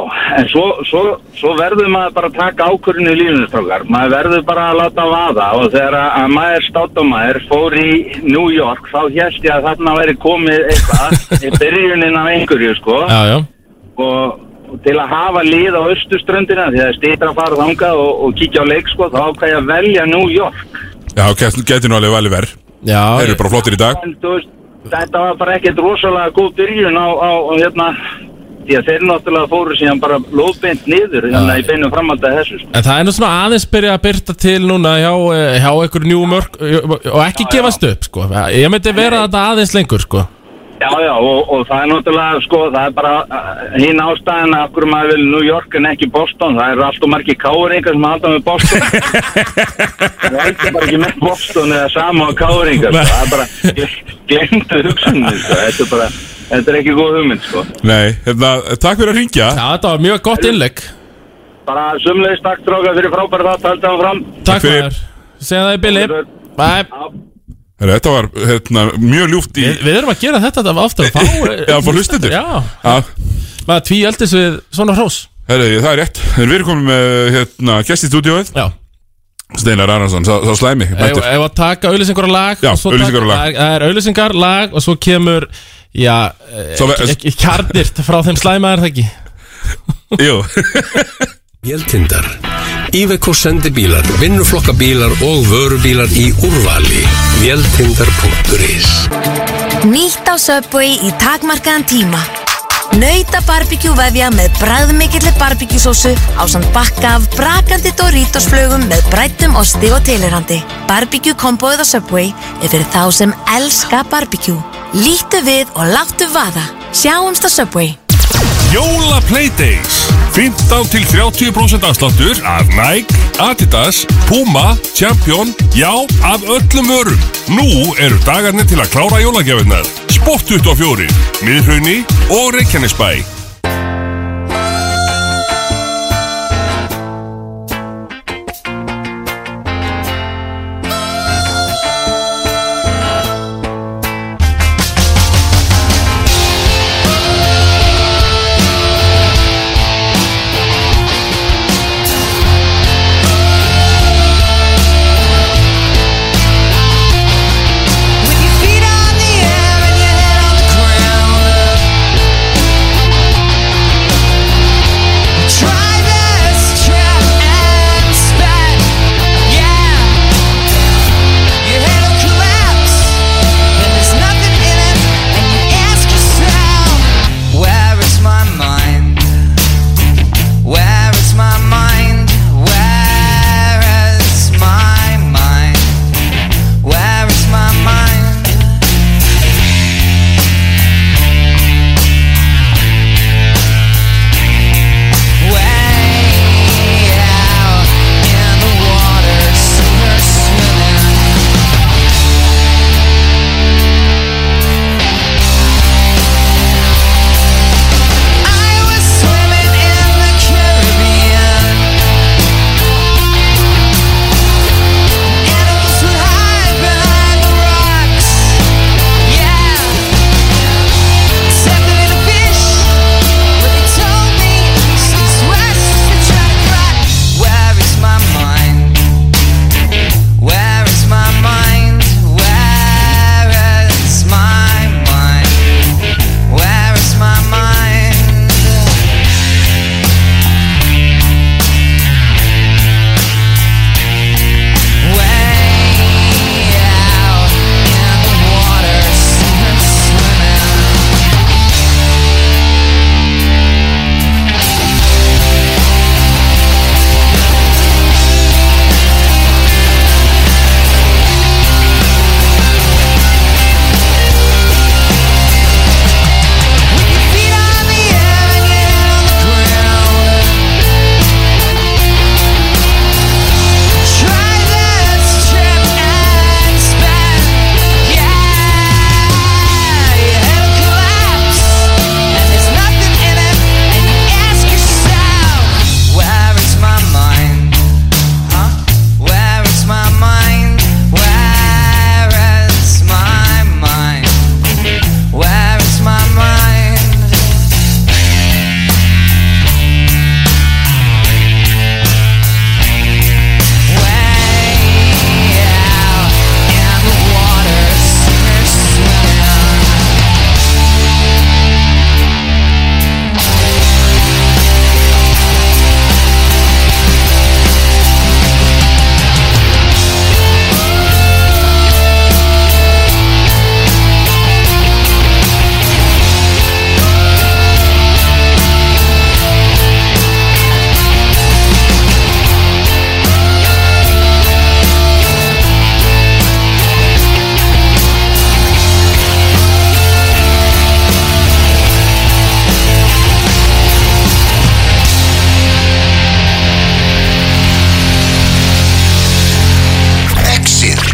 Speaker 4: en svo, svo, svo verður maður bara að taka ákvörðinu í lífinu strókar maður verður bara að láta vaða og þegar að að maður státamæður fór í New York þá hérst ég að þarna væri komið eitthvað í byrjunin af einhverju sko
Speaker 2: Já, já,
Speaker 4: og og til að hafa lið á östuströndina því að það er stýtra að fara þangað og, og kíkja á leik sko þá ákvað ég að velja New York
Speaker 1: Já, gæti gæti nú alveg valið verð
Speaker 2: já
Speaker 1: Þeir eru bara flottir í dag
Speaker 4: en þú veist, þetta var bara ekkert rosalega góð byrjun á, á, á hérna því að þeir náttúrulega fóru síðan bara lóðbeint niður hérna, þannig að ég beinum fram að þessu sko.
Speaker 2: En það er nú svona aðeins byrja að byrta til núna hjá, eh, hjá einhverju njú mörg og ekki gefast upp sko Ég myndi vera þetta aðeins lengur sko
Speaker 4: Já, já, og, og það er náttúrulega, sko, það er bara uh, hinn ástæðan af hverju maður vil New York en ekki Boston, það eru allt og margir káringar sem halda með Boston [LAUGHS] Það er ekki bara ekki með Boston eða sama á káringar, sko, það er bara glemdu hugsunni, sko, þetta er bara, þetta er ekki góð hugmynd, sko
Speaker 1: Nei, hérna, takk fyrir að ringja
Speaker 2: Já, þetta var mjög gott innlegg
Speaker 4: Bara sömulegist takk stráka fyrir frábæra þátt, haldið hann fram
Speaker 2: Takk
Speaker 1: fyrir.
Speaker 2: fyrir Segja það í billi Bæ.
Speaker 1: Herra, Þetta var hérna, mjög ljúft í
Speaker 2: Við við erum að gera þetta þetta aftur og fá eh,
Speaker 1: [LAUGHS] Já, fór hlustendur
Speaker 2: Já,
Speaker 1: Já,
Speaker 2: maður tví eldis við svona hrós
Speaker 1: herri, það er rétt En við erum komin með hérna, gest í stúdíóið
Speaker 2: Já,
Speaker 1: Steinar Arnarsson, sá, sá slæmi
Speaker 2: ef
Speaker 1: mættur.
Speaker 2: ef að taka auðlýsingar og lag
Speaker 1: Já,
Speaker 2: og svo
Speaker 1: auglýsingar og
Speaker 2: taka-
Speaker 1: lag.
Speaker 2: Það er auðlýsingar, lag og svo kemur Já, eh,
Speaker 1: Svo ve-
Speaker 2: ekki kjarnirt frá þeim slæmaðar það ekki
Speaker 1: Jú,
Speaker 5: Véltindar. Íveco sendibílar, vinnuflokkabílar og vörubílar í úrvali. Véltindar.is
Speaker 6: Nýtt á Subway í takmarkaðan tíma. Nauta barbecue vefja með bræðmikillir barbecue-sósu á samt bakka af brakandi Doritos-flögum með brættum osti og tilirandi. Barbecue-komboið á Subway er fyrir þá sem elska barbecue. Lítu við og láttu vaða. Sjáumst á Subway.
Speaker 7: Jóla Playdays 15 til 30% afsláttur af Nike, Adidas, Puma, Champion, já, af öllum vörum. Nú eru dagarnir til að klára jólagjafinnar. Sport 24, Miðhraunni og Reykjanesbæ.
Speaker 8: With your feet on the air and your head on the ground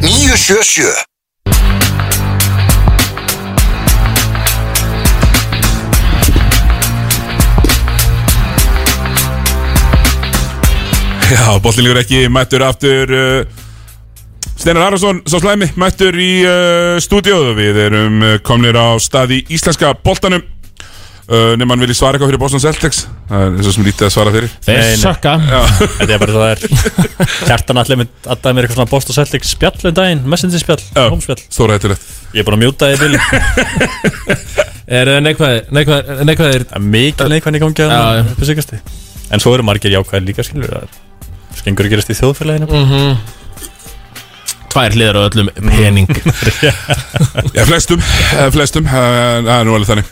Speaker 8: 977
Speaker 1: Já, bollinlegur ekki, mættur aftur uh, Steinar Arason, sá slæmi, mættur í uh, stúdíóðu Við erum uh, komnir á stað í íslenska boltanum uh, Nefn hann vilji svara eitthvað fyrir Boston Celtics Það er eins og sem lítið að svara fyrir
Speaker 2: Þeir
Speaker 9: Nei, nei.
Speaker 2: sökka
Speaker 9: Þetta er bara það er
Speaker 2: [LAUGHS]
Speaker 9: Hjartan allir minn Alltaf mér eitthvað svona Bost og Celtic spjall um daginn Messenger spjall Hómspjall
Speaker 1: Stóra hættilegt
Speaker 9: Ég er búin að mjúta það í bílum
Speaker 2: Er eh, neikvæðir neikvæðir- Neikvæðir
Speaker 9: Það er mikil neikvæðin í gangi
Speaker 2: Já, já.
Speaker 9: að uppi sigasti En svo eru margir jákvæðir líka skilur Það er Skengur að gerast í þjóðfélaginu
Speaker 2: Mm. Tvær hliðar á öllum pening
Speaker 1: Já, flestum, eh, flestum, eh, það er nú alveg þannig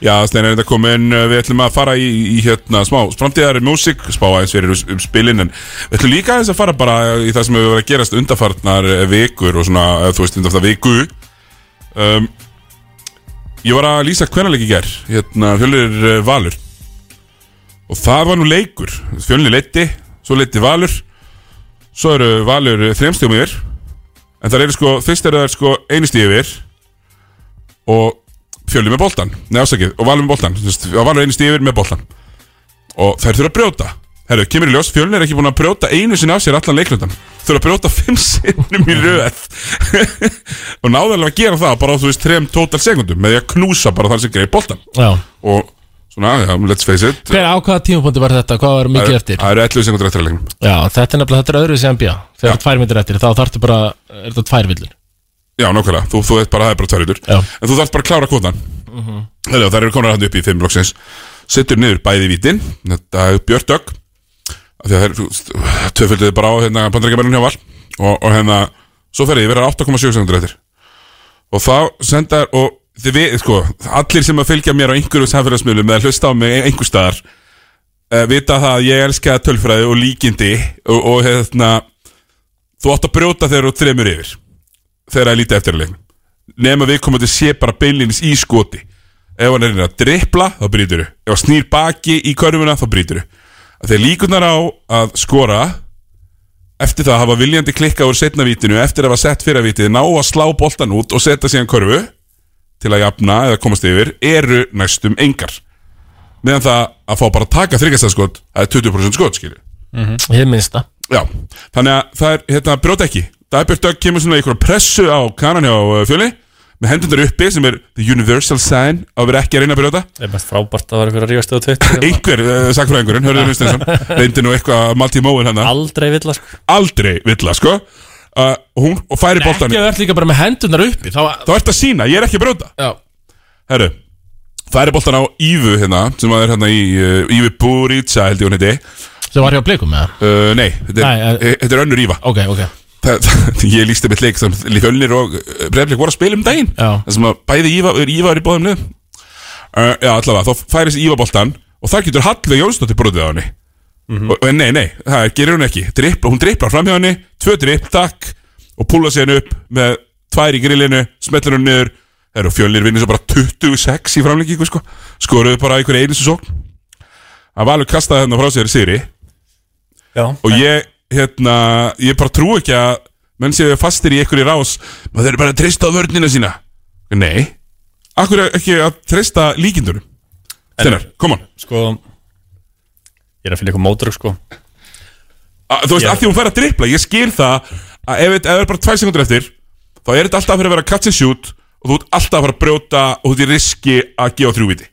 Speaker 1: Já, Steinar er þetta komin, eh, við ætlum að fara í, í hérna smá framtíðar músík, spá aðeins fyrir um, um spilin en við ætlum líka aðeins að fara bara í það sem hefur verið að gerast undarfarnar eh, vikur og svona, eh, þú veist, undarfarnar viku um, Ég var að lýsa hvernalegi ger, hérna fjölur eh, Valur og það var nú leikur, fjölni leiti, svo leiti Valur svo eru Valur þremstjómi yfir En það eru sko, fyrst eru það sko einu stíð yfir Og fjölum með boltan Nei, ásakið, og valum með boltan Þú veist, Og valur einu stíð yfir með boltan Og þær þurfa að brjóta Herru, kemur í ljós, fjölun er ekki búin að brjóta einu sinni af sér allan leiklundan Þurfa að brjóta fimm [LAUGHS] sinnum í röð [LAUGHS] Og náðarlega að gera það bara á, þú veist, þrem total sekundum Með því að knúsa bara þar sem greið boltan
Speaker 2: [LAUGHS] Já
Speaker 1: Og svona, já, let's face it
Speaker 2: Hver ákvaða tímapunkti var þetta? Hvað var mikið eftir?
Speaker 1: Það eru 11 sekundur eftir að leiknum
Speaker 2: Já, þetta er nefnilega, þetta er öðru sem NBA Þegar
Speaker 1: Já.
Speaker 2: það er tvær myndir eftir, þá þarftu bara Er þetta tvær villur?
Speaker 1: Já, nákvæmlega, þú, þú veit bara að það er bara tverjutur
Speaker 2: Já.
Speaker 1: En þú þarft bara að klára kvotan Þegar uh -huh. þær eru konar hann upp í fimm loksins Sittur niður bæði vítin Þetta er Björn Dögg af Því að þær töfölduðu bara á hérna, Bandaríkjabærin hjá Val Og, og hérna, svo ferði ég verið 8,7 sekundur eftir Og þá sendar Og þið við, sko, allir sem að fylgja mér Á einhverjum samfélagsmiðlum eða hlusta á mig Einhver staðar eh, Vita það að ég elska tölfræði og líkindi Og, og hérna Þú átt að brjóta þegar þú ert þremur yfir þegar það er lítið eftir að leiknum nema við komum til sé bara beinlinis í skoti ef hann er inn að drippla þá brýtur þau, ef hann snýr baki í körfuna þá brýtur þau, þegar líkunar á að skora eftir það að hafa viljandi klikkað úr setna vítinu eftir að hafa sett fyrra vítið, ná að slá boltan út og setja síðan körfu til að jafna eða komast yfir, eru næstum engar meðan það að fá bara að taka þryggastæðskot það er 20% skot skilju
Speaker 2: Ég minnst það
Speaker 1: Já, þannig að það er, hérna, brjóta ekki Dagbjörn Dögg kemur svona í einhverja pressu á kanan hjá uh, fjöli með hendundar uppi sem er the universal sign að vera ekki að reyna að brjóta
Speaker 9: Það er bara frábært að vera ykkur að rífast á
Speaker 2: hérna-
Speaker 9: Twitter
Speaker 1: einhver, uh, sagfræðingurinn, Hörður
Speaker 2: [LAUGHS]
Speaker 1: Hustensson reyndi nú eitthvað að Malti Móin hann
Speaker 9: Aldrei vill að sko
Speaker 1: hérna. aldrei villa, sko uh, hún, og færi
Speaker 2: Ekki
Speaker 1: boltan
Speaker 2: að verð líka bara með hendunar uppi Þá
Speaker 1: þá ert að sína, ég er ekki að brjóta
Speaker 2: Já,
Speaker 1: Herru, færi boltan á Ívu hérna, sem að er hérna í uh, Ívu Búrítsa, held ég hún heiti
Speaker 2: sem var hjá blikum með það
Speaker 1: uh, Nei, þetta
Speaker 2: Nei,
Speaker 1: er,
Speaker 2: eh,
Speaker 1: þetta er önnur Íva
Speaker 2: Ok, ok
Speaker 1: Það- það- [LAUGHS] ég lísti mitt leik sem Fjölnir og Breiflik voru að spila um daginn
Speaker 2: Já.
Speaker 1: það sem að bæði Íva, er Íva er í bóðum liðum uh, já allavega, þá færi þessi Íva boltan og þar getur Hallveig Jónsdóttir brotið á henni og, og nei, nei, það gerir hún ekki Dripla, hún dripplar fram hjá henni, tvö dripp, takk og púla sér henni upp með tvær í grillinu, smetlar henni niður Heru, fjölnir vinnir svo bara 26 í framlengingu sko. skoruðu bara einhver einu svo að Valur kastaði henni frá sér Siri
Speaker 9: Já
Speaker 1: og ég, hérna, ég bara trú ekki að menn séu fastir í einhverju rás maður eru bara að treysta á vörnina sína nei, akkur ekki að treysta líkindunum þennar, koma
Speaker 9: Sko Ég er að finna eitthvað mótrug sko
Speaker 1: þú veist,
Speaker 9: Já.
Speaker 1: af því hún fær að drippla, ég skil það að ef þetta ef það er bara tvær sekundur eftir þá er þetta alltaf að fyrir að vera catch and shoot og þú ert alltaf að fara að brjóta og þú ert í riski að gefa þrjúviti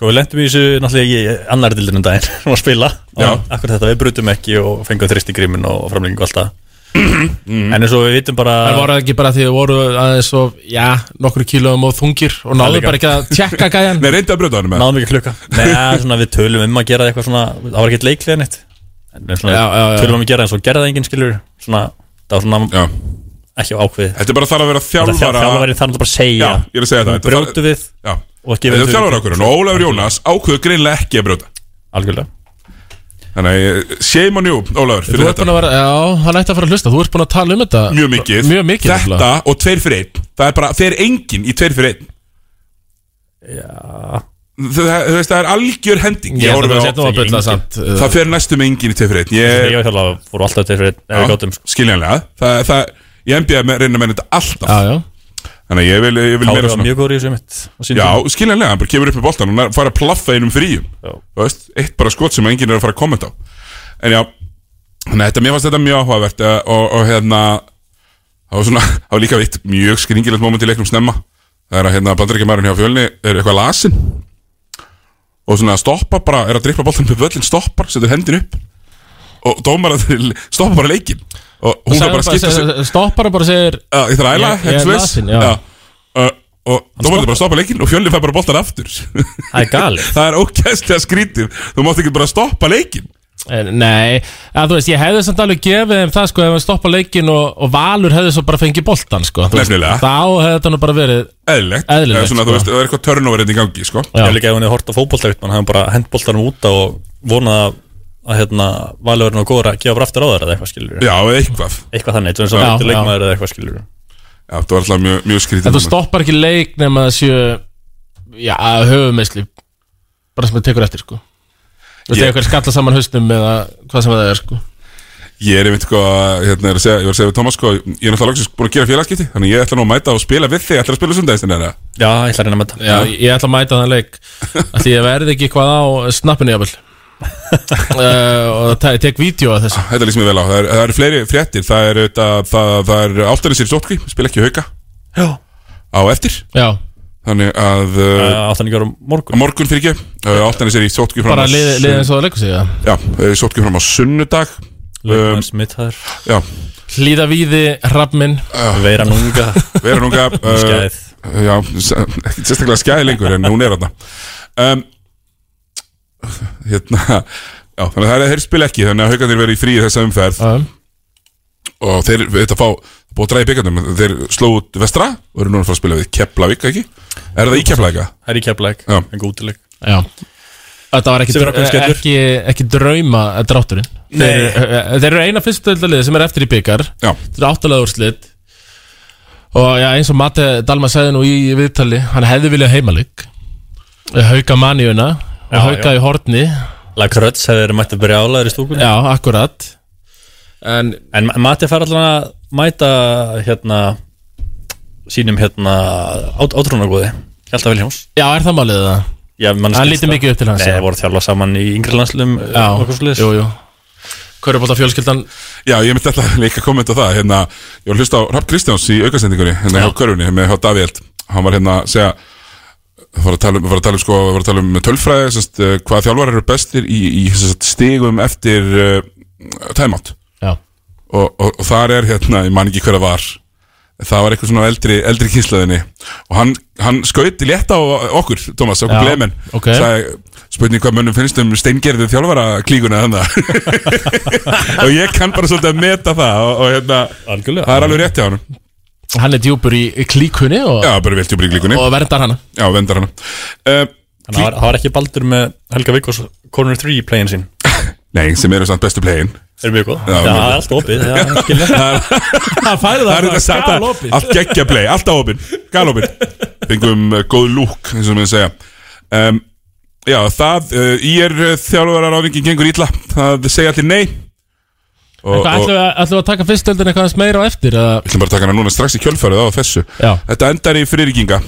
Speaker 9: Sko við lendum í þessu náttúrulega í annar dildinu daginn [LAUGHS] sem var að spila
Speaker 1: Já.
Speaker 9: og akkur þetta við brutum ekki og fengum þrist í grímin og
Speaker 2: [CLEARS THROAT]
Speaker 9: framlengingu alltaf mm. En eins og við vitum bara
Speaker 2: Það voru ekki bara því að voru aðeins og Já, nokkru kílóum og þungir Og náðu
Speaker 9: líka.
Speaker 2: bara ekki að tjekka gæjan
Speaker 1: [LAUGHS] nei, reynda að brjóta hann með
Speaker 9: náðum ekki að klukka Nei, ja, svona við tölum um að gera eitthvað svona það var ekkert leiklega neitt en svona,
Speaker 2: Já, já, já.
Speaker 9: tölum um að gera en svo gerði það enginn skilur svona, það var svona
Speaker 1: já.
Speaker 9: ekki ákveðið
Speaker 1: þetta er bara þar að vera
Speaker 9: Það þjá-
Speaker 1: þjálfara
Speaker 9: þjálfarinn þarf náttúrulega bara
Speaker 1: já,
Speaker 9: að segja
Speaker 1: ég er að segja það Þetta-
Speaker 9: brjótu við
Speaker 1: já.
Speaker 9: og ekki
Speaker 1: þetta er þjálfara ákvörðun og Ólafur Jónas ákvöðu greinlega ekki að brjóta
Speaker 9: algjörlega
Speaker 1: Þannig að ég- shame on you, Ólafur,
Speaker 2: Þú
Speaker 1: fyrir
Speaker 2: ert búin
Speaker 1: þetta
Speaker 2: að vera, já, hann ætti að fara að hlusta Þú ert búin að tala um þetta
Speaker 1: Mjög mikið,
Speaker 2: Mjög mikið
Speaker 1: Þetta
Speaker 2: nefnilega.
Speaker 1: og tveir fyrir einn Það er bara, þeir engin í tveir fyrir einn Já Þú þú veist, það er algjör hending
Speaker 2: Ég
Speaker 1: Ég
Speaker 2: held að
Speaker 1: horfði á
Speaker 2: það setna að
Speaker 9: engin.
Speaker 2: byrla samt uh,
Speaker 1: Það fer næstum engin í tveir fyrir einn
Speaker 9: ég
Speaker 1: Ég,
Speaker 9: og þjálfara voru alltaf til fyrir ef við
Speaker 1: Já,
Speaker 9: gáttum sko.
Speaker 1: skiljanlega Það, það, Í NBA me- reyna menn þetta alltaf
Speaker 2: Já, já
Speaker 1: Þannig að ég vil, ég vil
Speaker 9: Kári
Speaker 1: meira
Speaker 9: var
Speaker 1: svona
Speaker 9: mjög góður í þessu mitt
Speaker 1: Já, skiljanlega, hann bara kemur upp með boltan og hann fara að plaffa einum fríum Þú veist, eitt bara skot sem enginn er að fara að kommenta á En já, þannig að þetta, mér fannst þetta mjög áhugavert eh, og, og hérna það var svona, það var líka veitt mjög skringilegt moment í leiknum snemma það er að hérna bandaríkjamaðurinn hjá fjölni er eitthvað lasin og svona stoppa bara, er að drippa boltan með völlin stoppar, setur hendin upp og dómar að [LAUGHS] stoppa bara leikin og hún
Speaker 2: Sagði
Speaker 1: þarf bara að skipta sig
Speaker 2: bara- Stoppar og bara segir
Speaker 1: Já, ég þarf að æla,
Speaker 2: Ég- ég
Speaker 1: eitthvað
Speaker 2: er
Speaker 1: slags
Speaker 2: lasinn, já.
Speaker 1: Og dómarinn er bara að stoppa leikinn og fjölni fær bara boltan aftur [LAUGHS] Það
Speaker 9: Það er galið
Speaker 1: er ókæslega skrítið Þú mátt ekki bara stoppa leikinn
Speaker 2: Eh, Nei, að þú veist, ég hefði samt alveg gefið þeim það sko ef hann stoppa leikin og, og Valur hefði svo bara fengið boltan sko þú veist.
Speaker 1: Nefnilega.
Speaker 2: Þá hefði þetta nú bara verið
Speaker 1: Eðlilegt
Speaker 2: Eðlilegt,
Speaker 1: Eða svona,
Speaker 2: sko.
Speaker 1: þú veist, Það er eitthvað törnóverinn í gangi, sko
Speaker 2: Já.
Speaker 9: Ég líka ef hún er hort á fótbolta mann hafði bara hent boltanum út og vonað að, að hérna, valurinn og góður að gefa bara aftur á þeirra eða eitthvað skilur
Speaker 1: Já, eða eitthvað Já,
Speaker 9: Eitthvað þannig, eins og hann
Speaker 2: Já,
Speaker 9: hætti
Speaker 2: já.
Speaker 9: leikmaður eða eitthvað skilur
Speaker 1: það var alltaf mjög, mjög skrítið
Speaker 2: En þú
Speaker 1: moment.
Speaker 2: stoppar ekki leik nema það séu Já, höfumeisli Bara sem það tekur eftir sko Þú veist,
Speaker 1: Ég-
Speaker 2: yeah. eitthvað skalla saman haustum eða hvað sem það er sko
Speaker 1: Ég er einmitt, sko, hérna, er að segja, ég var að segja við Thomas, sko Ég er alltaf loksins búin að gera félagskipti Þannig ég ætla nú að mæta og spila við þig Ætlar að spila sundæðistinn eða?
Speaker 9: Já, ég ætla að reyna með
Speaker 2: Já, ég ætla að mæta þann leik af Því ég verði ekki hvað á snappinu
Speaker 9: [LAUGHS]
Speaker 2: jafnvel uh, Og það ég tek vídeo af þessu
Speaker 1: Þetta líst mér vel á, það eru er fleiri fréttir Það er, það, það, það er áltanisir sótkví Spila ekki í hauka á eftir
Speaker 2: Já,
Speaker 1: Þannig að uh,
Speaker 9: það Áttan ekki ára
Speaker 1: á
Speaker 9: morgun
Speaker 1: morgun fyrir ekki uh, Áltanis er í sótkví fram
Speaker 2: bara
Speaker 1: á
Speaker 2: liðið
Speaker 1: sunn-
Speaker 2: lið eins og það leikur sig ja.
Speaker 1: Já, uh, sótkví fram á sunnudag um,
Speaker 9: Leikmaður smittaður
Speaker 1: Já,
Speaker 2: Hlýða víði, hrafminn
Speaker 9: Veira núnga
Speaker 1: vera núna
Speaker 2: [LAUGHS]
Speaker 1: uh,
Speaker 9: Skæð
Speaker 1: Já, s- ekki sérstaklega skæði lengur en hún er þarna um, Hérna Já, þannig að það er þeir spila ekki Þannig að haugarnir verið í frí í þessa umferð
Speaker 2: Já,
Speaker 1: Og þeir, þetta fá, búið að draga í byggandum Þeir slóðu út vestra og eru núna að fara að spila við Keflavík, ekki? Er það í Keflavík? eða?
Speaker 9: Það er í keflæk,
Speaker 1: Já.
Speaker 9: en gótileg
Speaker 2: já Þetta var ekki,
Speaker 9: Sem er ákveðin skellur.
Speaker 2: ekki, ekki drauma drátturinn þeir, eh, þeir eru eina fyrstu deildalið sem er eftir í byggar Þetta
Speaker 1: Já,
Speaker 2: er áttalega úrslit Og já, eins og Mate Dalma sagði nú í viðtali Hann hefði viljað heimalik Hauka manjuna og
Speaker 9: Já,
Speaker 2: hauka
Speaker 9: já.
Speaker 2: í horni
Speaker 9: Lag Röds hefur verið mætt að byrja álæður í stúkunni
Speaker 2: Já, akkurat En
Speaker 9: En Ma- Matti fær allan að mæta hérna sínum hérna át, átrúnagóði Hjalta Viljáms
Speaker 2: já, er það málið það?
Speaker 9: Já, mann
Speaker 2: Hann
Speaker 9: skilst
Speaker 2: lítur
Speaker 9: það.
Speaker 2: mikið upp til hans,
Speaker 9: Nei,
Speaker 2: já.
Speaker 9: voru að þjálfa saman í yngri eh, landslum
Speaker 2: Já, jú, jú Körubólta fjölskyldan
Speaker 1: Já, ég myndi alltaf líka að kommenta á það hérna, Ég var að hlusta á Rapp Kristjáns í aukasendingunni hérna hjá körfunni, með hjá Davíld Hann var hérna að segja var að tala um, var að tala um, sko, var að tala um tölfræði semst, eh, hvaða þjálfarar eru bestir í, í semst, stigum eftir uh, tæmátt
Speaker 2: Já,
Speaker 1: og, og, og þar er hérna, ég man ekki hver að var það var eitthvað svona á eldri, eldri kynslaðinni og hann, hann skauti létt á okkur, Thomas, okkur
Speaker 2: Já,
Speaker 1: blemen
Speaker 2: ok.
Speaker 1: sagði, spurning hvað mönnum finnst um steingerðu þjálfara klíkuna
Speaker 2: [LAUGHS]
Speaker 1: þannig og ég kann bara svolítið að meta það og, og hérna,
Speaker 9: Algjörlega.
Speaker 1: það er alveg rétt hjá hann já,
Speaker 2: hann er djúpur í í klíkunni og,
Speaker 1: bara veltjú bara í klíkunni,
Speaker 2: og verndar hana
Speaker 1: já, vendar hann uh,
Speaker 9: Þannig að það var- það var ekki baldur með Helga Vikkos Corner 3 playin sín
Speaker 1: nei, sem eru samt bestu playin
Speaker 9: Er mjög góð
Speaker 1: Já,
Speaker 9: Já,
Speaker 1: mjög
Speaker 9: það er allt opið [LAUGHS] Það er skilja
Speaker 2: Það færi
Speaker 1: það er þetta sagt að allt geggja play, alltaf opinn, galopinn fengum uh, góð lúk, eins og mér segja um, já, það uh, ég er uh, þjálfararáðingin gengur ítla það segja allir nei og,
Speaker 2: Hvað
Speaker 1: og
Speaker 2: ætlum við, að- ætlum við að taka fyrstöldin eitthvað aðeins meira á eftir eða?
Speaker 1: við ætlum bara að taka hana núna strax í kjölfærið á þessu
Speaker 2: Já.
Speaker 1: þetta endar í friðrikinga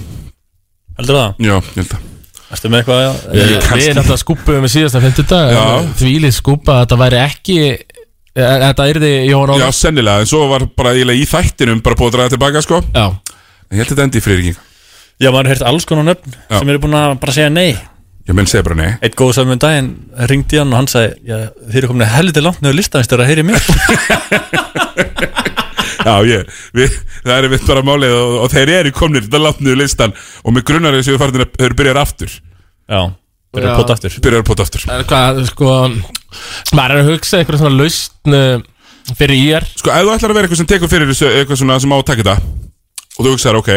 Speaker 9: Heldur það?
Speaker 1: já, ég held að
Speaker 9: Ertu með eitthvað? eh,
Speaker 2: Við
Speaker 1: ég kannski-
Speaker 2: erum alltaf skúpuðum við síðasta fymtudag
Speaker 1: Já.
Speaker 2: Þvílið skúpa að þetta væri ekki að Þetta yrði Jóhann
Speaker 1: já,
Speaker 2: Ólafs
Speaker 1: sennilega, en svo var bara eiginlega í þættinum bara búið að draga tilbaka, sko
Speaker 2: Já,
Speaker 1: en ég held að þetta endi í friðrikinga
Speaker 9: Já, maður hefði alls konar nöfn
Speaker 1: Já.
Speaker 9: sem eru búin að bara segja nei
Speaker 1: ég menn segja bara nei
Speaker 9: Eitt góð saman daginn ringdi hann og hann sagði Já, þeir eru komin að helviti langt nefnir listanist þegar að heyri
Speaker 1: [LAUGHS]
Speaker 9: mér
Speaker 1: Já, ég, við, það er mitt bara málið og, og þeir eru komnir, þetta látt niður listan og með grunnar þessu við farin að þeir byrjar aftur
Speaker 9: Já, þeir eru
Speaker 2: Já.
Speaker 9: pota aftur
Speaker 1: byrjar að pota aftur
Speaker 2: en hvað, sko Maður er að hugsa eitthvað svona lausn uh, Fyrir íjar
Speaker 1: Sko, ef þú ætlar að vera eitthvað sem tekur fyrir þessu eitthvað svona sem á að taka þetta og þú hugsaðar, ok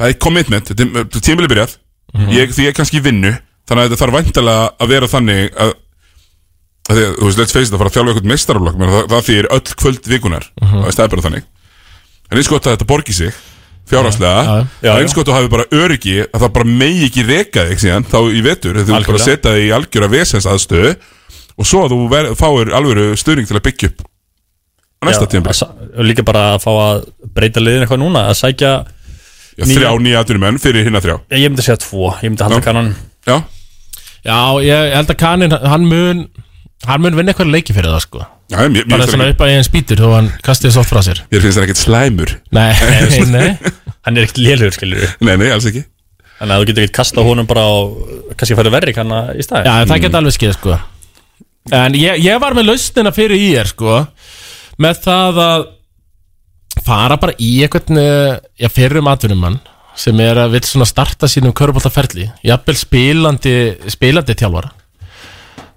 Speaker 1: það er commitment, þetta er tímili byrjað
Speaker 2: Mhm.
Speaker 1: ég, því ég er kannski í vinnu þannig að þetta þarf væntalega að vera þannig að, að því, að, þú veist, let's face it að fara að þjálfa eitthvað meistaraflokk menn það, það þýr öll kvöld vikunar
Speaker 2: Mhm.
Speaker 1: mm -hmm. það er bara þannig en eins gott að þetta borgi sig fjárháslega,
Speaker 2: Já, já.
Speaker 1: en eins gott að þú hafi bara öryggi að það bara megi ekki reka þig síðan þá í vetur, þegar þú ert bara að
Speaker 9: Algjörlega.
Speaker 1: setja þig í algjöra vesens aðstöðu og svo að þú ver, fáir alvöru stuðning til að byggja upp á næsta tíma
Speaker 9: að sa- og líka bara að fá að breyta liðin eitthvað núna að sækja,
Speaker 1: Þrjá nýja aðtunum menn fyrir hinna þrjá
Speaker 9: ég myndi segja tvo ég myndi halda
Speaker 1: Já.
Speaker 9: kannan
Speaker 1: Já,
Speaker 2: Já, ég held að Kanin, hann mun Hann mun vinna eitthvað leiki fyrir það sko
Speaker 1: Já mér, mér,
Speaker 2: Bara
Speaker 1: finnst hann
Speaker 2: svona
Speaker 1: ekki,
Speaker 2: upp að ég en spýtur Þó hann kastið svo oft frá sér
Speaker 1: mér finnst hann ekkert slæmur
Speaker 2: Nei, [LAUGHS] nei, nei
Speaker 9: hann er ekkert lélugur skilur
Speaker 1: Nei, nei, alls ekki
Speaker 9: þannig að þú getur ekkert kasta honum bara og kannski færi verri kanna í Mm. staði
Speaker 2: Já, það geta alveg skeið sko En ég, ég var með lausnina fyrir í er sko Með það að Fara bara í eitthvað Já, fyrir um atvinnumann Sem er að vill svona starta sínum köruboltaferli Jafnvel spilandi, spilandi þjálfara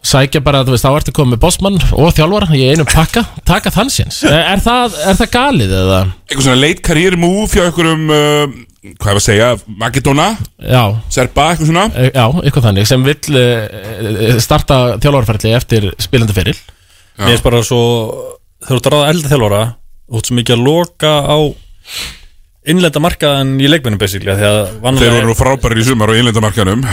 Speaker 2: Sækja bara, þú veist, þá ertu komið með bossmann og þjálfara í einum pakka, taka þann séns er, er, það, er það galið eða?
Speaker 1: Eitthvað svona late career move hjá einhverjum uh, Hvað er að segja, Magidona
Speaker 2: Já,
Speaker 1: Serba, eitthvað svona
Speaker 2: E- Já, eitthvað þannig sem vill uh, starta þjálfarferðli eftir spilandi feril
Speaker 9: Mér finnst bara svo þegar þú ert að ráða elda þjálfara þú ert svo mikið að loka á innlenda markaðan í leikmennum basically af því að
Speaker 1: Þeir voru
Speaker 9: vanlega
Speaker 1: nú frábærir í sumar á innlendamarkanum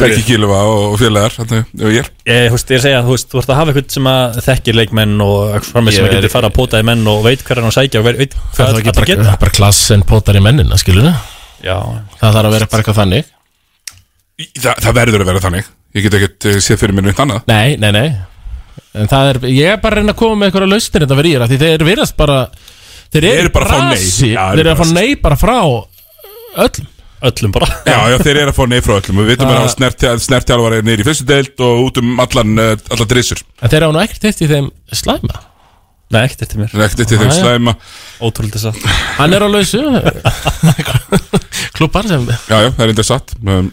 Speaker 1: Bergi Kílva og og félagar Þannig, og ég
Speaker 9: ég, Eh, þú veist, ég segja, þú veist, þú ert að hafa eitthvað sem að þekkir leikmenn og eitthvað framið sem
Speaker 2: Ég
Speaker 9: að
Speaker 2: er-
Speaker 9: getur fara að póta í menn og veit hver er hann að sækja og veit- veit hvað það
Speaker 2: bara,
Speaker 9: að geta
Speaker 2: bara klassen pótar í mennina, skilur
Speaker 9: Já,
Speaker 2: Það þarf að vera bara eitthvað þannig
Speaker 1: Þa, Það verður að vera þannig Ég get ekkert eh, séð fyrir mér neitt annað
Speaker 2: Nei, nei, nei En það er, ég er bara að reyna að koma með eitthvað lausnir þetta verið í þér af því þeir virðast bara Þeir eru
Speaker 1: eru bara að fá nei.
Speaker 2: brasi,
Speaker 1: Já,
Speaker 2: Þeir
Speaker 1: eru
Speaker 2: eru að fá
Speaker 1: brasi.
Speaker 2: nei bara frá öllum
Speaker 9: öllum bara [LAUGHS]
Speaker 1: Já, já, þeir eru að fá nei frá öllum Við vitum bara að snertja- snertjálfari er niður í fyrstu deild og út um allan, eh, allar drissur
Speaker 2: En þeir hafa nú ekkert hitt í þeim slæma
Speaker 9: Nei, ekkert eftir mér,
Speaker 1: Rekti til þeim
Speaker 2: já.
Speaker 1: slæma
Speaker 9: ótrúlega þess að
Speaker 2: Hann er á [LAUGHS] lausu Klubbar sem
Speaker 1: Já, já, það er enda satt um,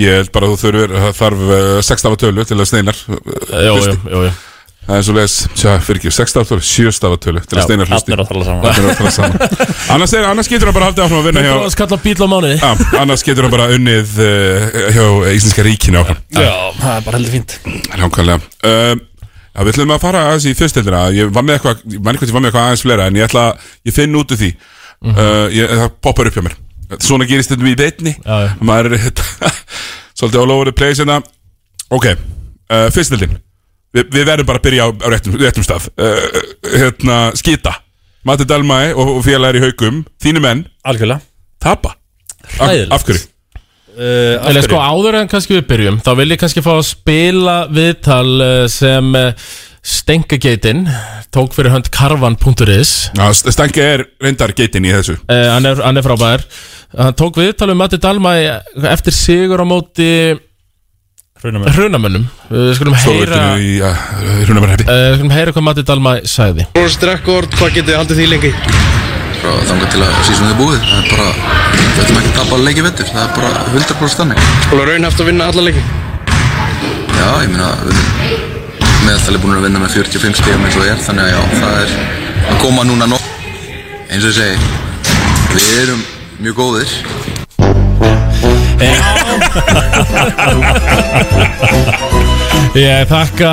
Speaker 1: Ég held bara að þú þurfir, það þarf uh, sextafa tölu til að steinar uh,
Speaker 2: Jú, jú,
Speaker 1: hlusti.
Speaker 2: jú, jú.
Speaker 1: Það er svo leiðis, sjá, fyrir ekki, sextafa tölu, sjöstafa tölu til að steinar hlusti
Speaker 9: Allir að tala saman
Speaker 1: Allir að tala saman. Annars, er, annars getur hann bara haldið áfram að vinna hjá
Speaker 2: Það var skall á bíl á mánuði
Speaker 1: Já, annars getur hann bara unnið uh, hjá Íslenska ríkinu áfram
Speaker 9: Já, það er bara heldur fínt
Speaker 1: Nákvæmlega um, Já, við ætlum að fara aðeins í fyrstildina Ég var með eitthvað, ég mann eitthvað, ég var með eitthvað aðeins fleira En ég ætla, ég finn út úr því
Speaker 2: Mhm.
Speaker 1: uh, ég, Það poppar upp hjá mér Svona gerist þetta í veitni
Speaker 2: Já, já.
Speaker 1: Maður er [LAUGHS] svolítið all over the place hérna Ok, uh, fyrstildin Vi, Við verðum bara að byrja á, á réttum, réttum stað uh, Hérna, skita Matti Dalmæ og, og félagar í haukum Þínu menn,
Speaker 9: Algjörlega
Speaker 1: tapa Af,
Speaker 9: Hræðilegt.
Speaker 1: af hverju?
Speaker 9: uh,
Speaker 2: Eller
Speaker 9: af
Speaker 2: sko
Speaker 9: hverju?
Speaker 2: áður en kannski við byrjum Þá vil ég kannski fá að spila viðtal eh, sem Stengageitin tók fyrir hönd karvan.is
Speaker 1: Já, Stanka er reyndar geitin í þessu
Speaker 2: uh, hann, er, hann er frábær Hann tók viðtal um Matti Dalma eftir sigur á móti
Speaker 9: Hraunum er-
Speaker 2: hrunamönnum Við skulum heyra
Speaker 1: Stórvirkinu
Speaker 2: uh,
Speaker 1: í uh, Rúnamarheppi
Speaker 2: skulum heyra hvað Matti Dalma sagði
Speaker 8: Úrst rekord, hvað getið þið haldið því lengi?
Speaker 10: bara þangað til að sísunni er búið það er bara, við ætlum ekki að tapa leiki vettur það er bara 100% þannig
Speaker 8: Og raunhaft að vinna alla leiki
Speaker 10: já, ég meina, við erum meðaltali búin að vinna með 45 stíðum eins og er þannig að já, það er að koma núna nóg eins og ég segi við erum mjög góðir
Speaker 2: Ég þakka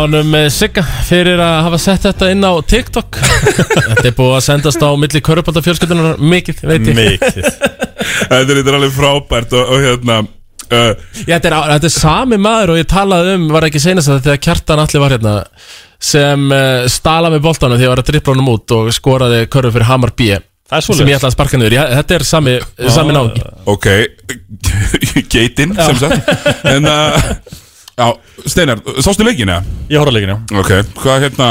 Speaker 2: honum eh, Sigga fyrir að hafa sett þetta inn á TikTok [LAUGHS] Þetta er búið að sendast á milli körupaldafjölskyldunar mikið, veit ég
Speaker 9: Mikið
Speaker 1: [LAUGHS] Þetta er- þetta er alveg frábært og, og hérna uh,
Speaker 2: Já, þetta er, þetta er sami maður og ég talaði um, var ekki senast að þegar kjartan allir var hérna sem uh, stala með boltanum því að var að drippla honum út og skoraði körfu fyrir Hamar B
Speaker 9: Það er
Speaker 2: sem ég
Speaker 9: svolítið
Speaker 2: ætlaði að sparka niður, Já, þetta er sami, sami náðingi
Speaker 1: Ok, [LAUGHS] geitin sem sagt En uh, Já, Steinar, sástu leikina?
Speaker 9: Ég horf að leikinu
Speaker 1: Ok, hvað hérna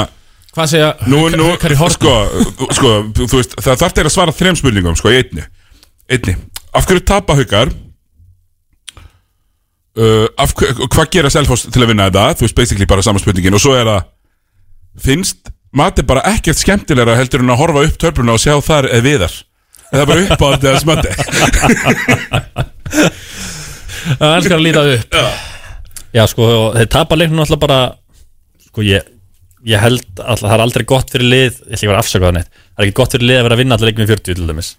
Speaker 2: Hvað segja,
Speaker 1: Nú, nú,
Speaker 2: hver í horku?
Speaker 1: sko, sko, þú veist Það þarf þeir að svara þrem spurningum, sko, í einni Einni, af hverju tapa haukar uh, af, hver- Hvað gera Selfoss til að vinna þetta? Þú veist, basically bara saman spurningin Og svo er það Finnst mati bara ekkert skemmtilegra heldur en að horfa upp töfluna og sjá þar eða viðar Það er bara upp á þetta smöndi
Speaker 2: Það elskar að líta upp
Speaker 9: Já, sko, þeir tapa leiknum alltaf bara Sko, ég, ég held alltaf, það er aldrei gott fyrir lið Ég ætla ekki að vera að afsaka það neitt Það er ekki gott fyrir lið að vera að vinna alltaf leiknum í 40 til dæmis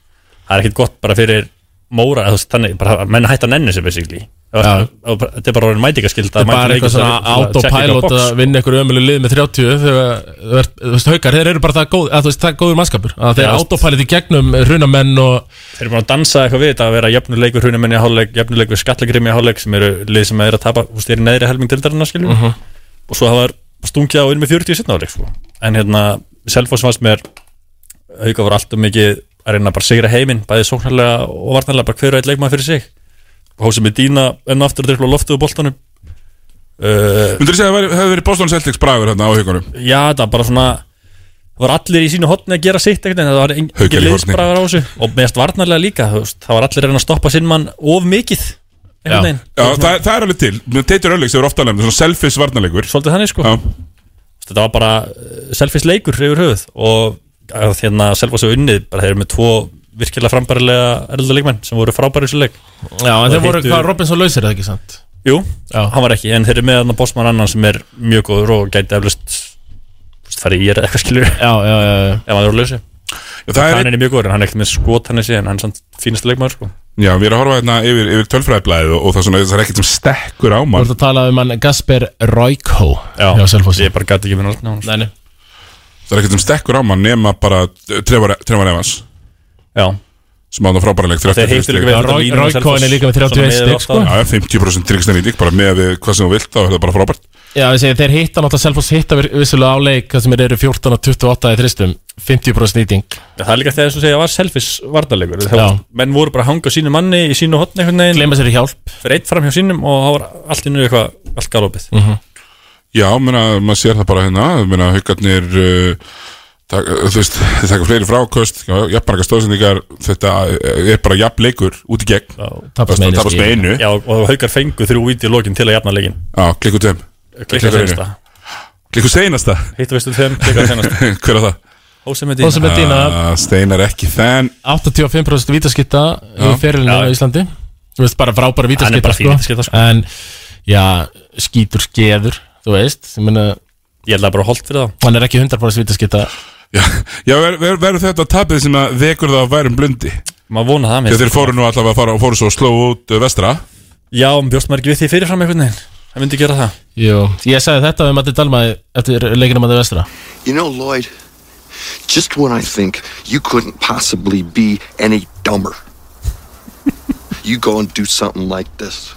Speaker 9: Það er ekki gott bara fyrir móra eða þú veist, Þannig, bara að menn hætta að nenni sig basically
Speaker 2: Já.
Speaker 9: Ef- ef- Þetta er bara orðin mætingaskylda
Speaker 2: Það er
Speaker 9: að mæta
Speaker 2: bara
Speaker 9: leikinn
Speaker 2: eitthvað svona
Speaker 9: til að- til að checka eitthvað
Speaker 2: autopilot
Speaker 9: box.
Speaker 2: að vinna einhverju ömjölu lið með 30 þegar þú ert- þú veist, haukar, þeir eru bara það góð, að þú veist, það er góður mannskapur að þeir
Speaker 9: Já,
Speaker 2: eru
Speaker 9: veist.
Speaker 2: autopilot í gegnum runamenn og
Speaker 9: Þeir eru búin að dansa eitthvað við þetta að vera jafnuleikur hrunumenni háluleik, jafnuleikur skallagrimmi háluleik sem eru lið sem er að tapa, þú veist, þeir eru neðri helming dildarinnar skiljum og svo hafa þeir stungið á inn með 40 setna háluleik sko. en hérna, Selfoss fannst mér auka voru alltaf mikið að reyna bara að sigra heiminn bæði sóknarlega og varnarlega bara hver og eitt leikmaður fyrir sig Hósi með dýna enn og aftur að drifla loftu og boltanum uh,
Speaker 1: Myndur þú segja að það væri- hefði verið Boston Celtics bragur hérna á haugunum?
Speaker 9: Já, það var bara svona það var allir í sínu hotni að gera sitt ekkert en það var en-
Speaker 1: Haukar
Speaker 9: engin
Speaker 1: í horni.
Speaker 9: liðsbragar á þessu og meðast varnarlega líka þú veist, það var allir að reyna að stoppa sinn mann of mikið
Speaker 2: Já.
Speaker 9: einhvern veginn
Speaker 1: Já, það, það er alveg til Mér Teitur Örlíks hefur ofta nefnir svona selfish varnarleikur
Speaker 9: svolítið þannig sko
Speaker 1: Já,
Speaker 9: þetta var bara uh, selfish leikur yfir höfuð og að hérna Selfoss hefur unnið bara þeir eru með tvo virkilega frambærilega erlda leikmenn sem voru frábæri þessu leik
Speaker 2: Já, en
Speaker 9: Og
Speaker 2: þeir voru,
Speaker 9: hittu-
Speaker 2: hvað Robinson lausir er það ekki sant?
Speaker 9: Jú,
Speaker 2: Já.
Speaker 9: hann var ekki, en þeir eru með hann bósmann annan sem er mjög góður og gæti eflust þú veist, farið í er eitthvað skilur ef
Speaker 2: Já, já, já, já.
Speaker 9: hann er á lausi
Speaker 1: það er
Speaker 9: hann er mjög góður, en hann er ekkert með skot hann þessi en hann er samt fínasta leikmaður sko.
Speaker 1: Já, við erum að horfa hérna yfir, yfir tölfræðblæðið og, og það, er svona, það er ekkert sem stekkur á
Speaker 2: Þú
Speaker 1: mann
Speaker 2: ert að tala um hann Gasper Royko Já, Selfossi
Speaker 9: ég bara gæti ekki minna hann
Speaker 2: Nei, nei
Speaker 1: Það er ekkert sem stekkur á mann nema bara eh, Trevor Trevor Evans
Speaker 9: já,
Speaker 1: sem áðan frábærileg
Speaker 9: þeir heitlu líka
Speaker 2: Roy- Roy Cohen er líka með 31 stig, sko.
Speaker 1: Já, 50% tryggstæðin í lík bara með við hvað sem þú vilt þá er það bara frábært
Speaker 2: Já, ég segi, þeir hitta náttúrulega Selfoss hitta vir- vissulega á leik þar sem þeir eru 14 og 28 í þristum 50% nýting
Speaker 9: það er líka þegar þess að segja var selfis varnarleikur
Speaker 2: Já.
Speaker 9: Þegar menn voru bara að hanga á sínu manni í sínu hotni einhvern veginn
Speaker 2: Gleima sér í hjálp
Speaker 9: fyrir eitt fram hjá sínum og það var allt innu eitthvað allt galopið
Speaker 2: Mhm.
Speaker 1: Já, menna, maður sér það bara hérna menna, haugarnir uh, tak, uh, þú veist, þeir taka fleiri frákost jafnmarga stóðsendingar þetta eh, er bara jafn leikur út í gegn
Speaker 2: Tapast með einu
Speaker 1: tapast með
Speaker 2: stigi.
Speaker 1: einu
Speaker 9: já, og haukar fengu þrjú víti í lokin til að jafna leikin
Speaker 1: Já, klikku tveim
Speaker 9: klikka senasta,
Speaker 1: Klikku seinasta
Speaker 9: hittu veistu þeim klikka
Speaker 2: [LAUGHS]
Speaker 9: senasta,
Speaker 1: [LAUGHS] Hver er það?
Speaker 9: hósa með
Speaker 2: Og sem
Speaker 9: dýna
Speaker 2: er dýna
Speaker 1: Ah, Steinar ekki þann
Speaker 2: 85% vítaskitta í fyrirlinu
Speaker 9: Já.
Speaker 2: á Íslandi Þú veist, bara frábæra
Speaker 9: Hann er
Speaker 2: vítaskitta
Speaker 9: bara fín vítaskydda, sko.
Speaker 2: En, já, skítur skeður Þú veist, ég meina
Speaker 9: ég held að bara holdt fyrir þá
Speaker 2: Hann er ekki 100% vítaskitta
Speaker 1: Já, já ver, ver, verður þetta tapið sem að vekur það á værum blundi
Speaker 9: maður vona það
Speaker 1: Þegar
Speaker 9: mér
Speaker 1: þeir fóru nú allavega að fara og fóru svo að sló út uh, vestra
Speaker 9: já, bjóst maður ekki við því fyrirfram einhvern veginn það myndi gera það
Speaker 2: Jú, ég sagði þetta við Matti Dalma eftir leikinum að það vestra
Speaker 11: You know, Lloyd, just when I think you couldn't possibly be any dumber, [LAUGHS] you go and do something like this.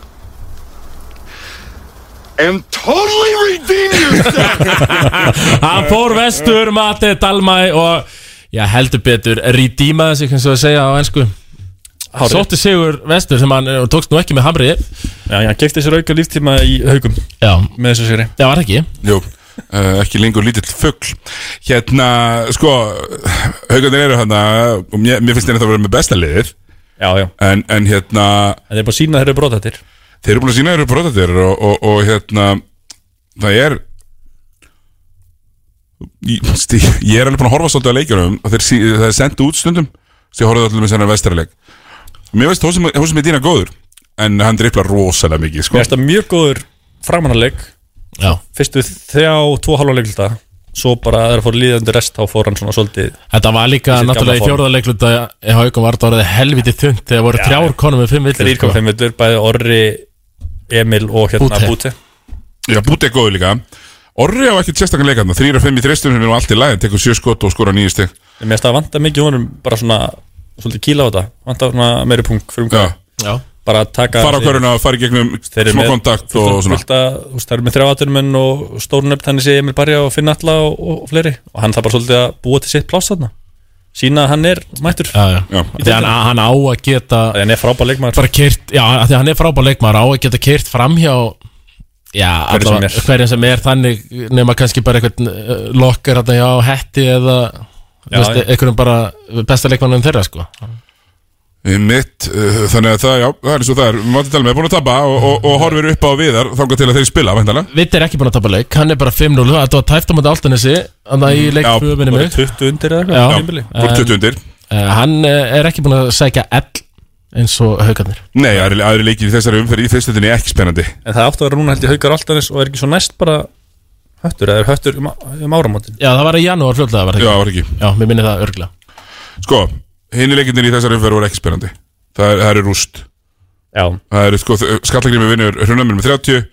Speaker 11: And totally redeem yourself!
Speaker 2: Hann fór vestur, Matti Dalma og, já, heldur betur redeemaði sig, eins og að segja á ennsku
Speaker 9: Hárið.
Speaker 2: Sótti Sigur Vestur sem hann eh, tókst nú ekki með Hamri
Speaker 9: já, hann kefti sér auka líftíma í haugum
Speaker 2: Já,
Speaker 9: með þessu séri
Speaker 2: það var ekki
Speaker 1: Jú, uh, ekki lengur lítill fugl Hérna, sko Haugarnir eru hérna og mér, mér finnst þeir þetta að vera með besta liðir
Speaker 9: já, já, en
Speaker 1: en, en hérna,
Speaker 9: þeir eru bara sína þeir eru brotatir
Speaker 1: þeir eru búin að sína þeir eru brotatir og, og, og hérna það er Ég, stí, ég er alveg búin að horfa svolítið á leikjunum og þeir, sí- það er sendt út stundum sem ég horfði allir með sennan vestrarleik Mér veist, hún sem er dýna góður en hann driplar rosalega mikið sko.
Speaker 9: mér finnst það mjög góður framannarleik
Speaker 2: Já,
Speaker 9: fyrstu þrjá, tvo halva leiklita svo bara þegar fór líðandi rest þá fór hann svona svolítið
Speaker 2: þetta var líka
Speaker 9: Þessi
Speaker 2: náttúrulega í
Speaker 9: gamla form.
Speaker 2: fjórðarleikluta í Haukum var þetta orðið helviti þund þegar voru þrjár konum með fimm sko. villur
Speaker 9: þrýr kom þeim veitur, bæði Orri Emil og hérna
Speaker 2: Búte.
Speaker 9: Búti
Speaker 1: Já, Búti er góður líka Orri á ekkert sérstaklega leikarna Þrýra, fimm í þristunum er nú allt í lagi Tekur sjö skot og skora nýju stig
Speaker 9: Mér finnst það vanta mikið honum bara svona svolítið kíla á þetta vanta svona meiri punkt fyrir umhverjum
Speaker 1: Já,
Speaker 2: Já,
Speaker 9: bara að taka
Speaker 1: fara á köruna og fara í gegnum
Speaker 9: þeir eru
Speaker 1: smá
Speaker 9: með
Speaker 1: kontakt
Speaker 9: fullt-
Speaker 1: og svona
Speaker 9: fullt að- þú veist, það eru með þrjáatunumenn og stórun upp þannig sé Emil Barja og Finn Alla og, og fleiri og hann þarf bara svolítið að búa til sitt pláss þarna sína að hann er mættur
Speaker 2: já, já,
Speaker 1: Já.
Speaker 2: Þegar hann, hann á að geta
Speaker 9: hann er frábær leikmaður
Speaker 2: bara keirt, já, af því að hann er frábær leikmaður á að geta keirt framhjá Já,
Speaker 9: Hverjum sem
Speaker 2: allavega,
Speaker 9: er.
Speaker 2: hverjum sem er þannig nema kannski bara einhvern uh, lokkar hérna hjá hetti eða já,
Speaker 9: Já,
Speaker 2: veist,
Speaker 9: já.
Speaker 2: einhverjum bara besta leikmannum þeirra sko
Speaker 1: Mitt, uh, þannig að það, já, það er eins og það er Mátti tala með, búin að tapa og, og, og horfir upp á viðar Þangar til að þeir spila, væntanlega
Speaker 2: Vitt er ekki búin að tapa leik, hann er bara 5-0 Þetta var tæft á móti áltanessi Þannig að ég leik
Speaker 1: Já,
Speaker 2: tvö minni
Speaker 9: Voru
Speaker 2: mig
Speaker 9: 20 undir eða
Speaker 2: Já.
Speaker 9: eitthvað á tímabili?
Speaker 1: Búin 20 undir
Speaker 2: Eh, Hann eh, er ekki búin að sækja ell eins og haugarnir
Speaker 1: Nei, aðri, aðri leikir í þessari umferð í fyrstutinni ekki spennandi
Speaker 9: en það áttu að vera núna held ég haukar alltaf og er ekki svo næst bara höttur eða er höttur um, um áramótin
Speaker 2: Já, það var í janúar fljóðlega var það
Speaker 1: Já,
Speaker 2: ekki
Speaker 1: var ekki
Speaker 2: Já, mér minni það örgla
Speaker 1: Sko, hinni leikirnir í þessari umferð voru ekki spennandi Það er, það er rúst
Speaker 9: já,
Speaker 1: Það eru sko, skallagrými vinnur Hrunamir með 30,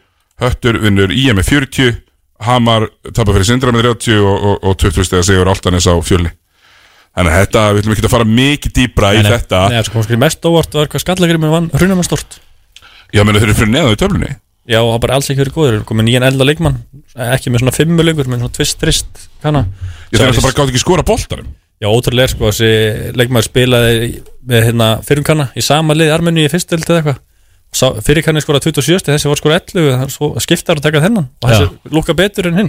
Speaker 1: Höttur vinnur IM með 40, Hamar tapar fyrir Sindra með 30 og, og, og 20 stegar sigur Altanes á fjölni Þannig að þetta, við ætlum ekki að fara mikið dýpra í þetta
Speaker 9: sko, Nei, það sem kom skil mest óvart var hvað skallagrimur vann hruna með stort
Speaker 1: Já, menn þau eru fyrir neðan í töflunni
Speaker 9: Já, það bara alls ekki verið góður, komið nýjan elda leikmann ekki með svona fimmu lengur, með svona tvist, trist hana.
Speaker 1: Ég þarf alltaf bara gátt ekki skora boltarum
Speaker 9: Já, ótrúlega er sko, þessi leikmaður spilaði með hérna fyrrum kanna í sama liði Armeni í fyrst deild eða eitthvað Sá- Fyrri kanni skoraði 27, þessi var skoraði 11 þannig svo skiptar að taka þennan og þessi lúka betur
Speaker 1: [LAUGHS]
Speaker 9: en hinn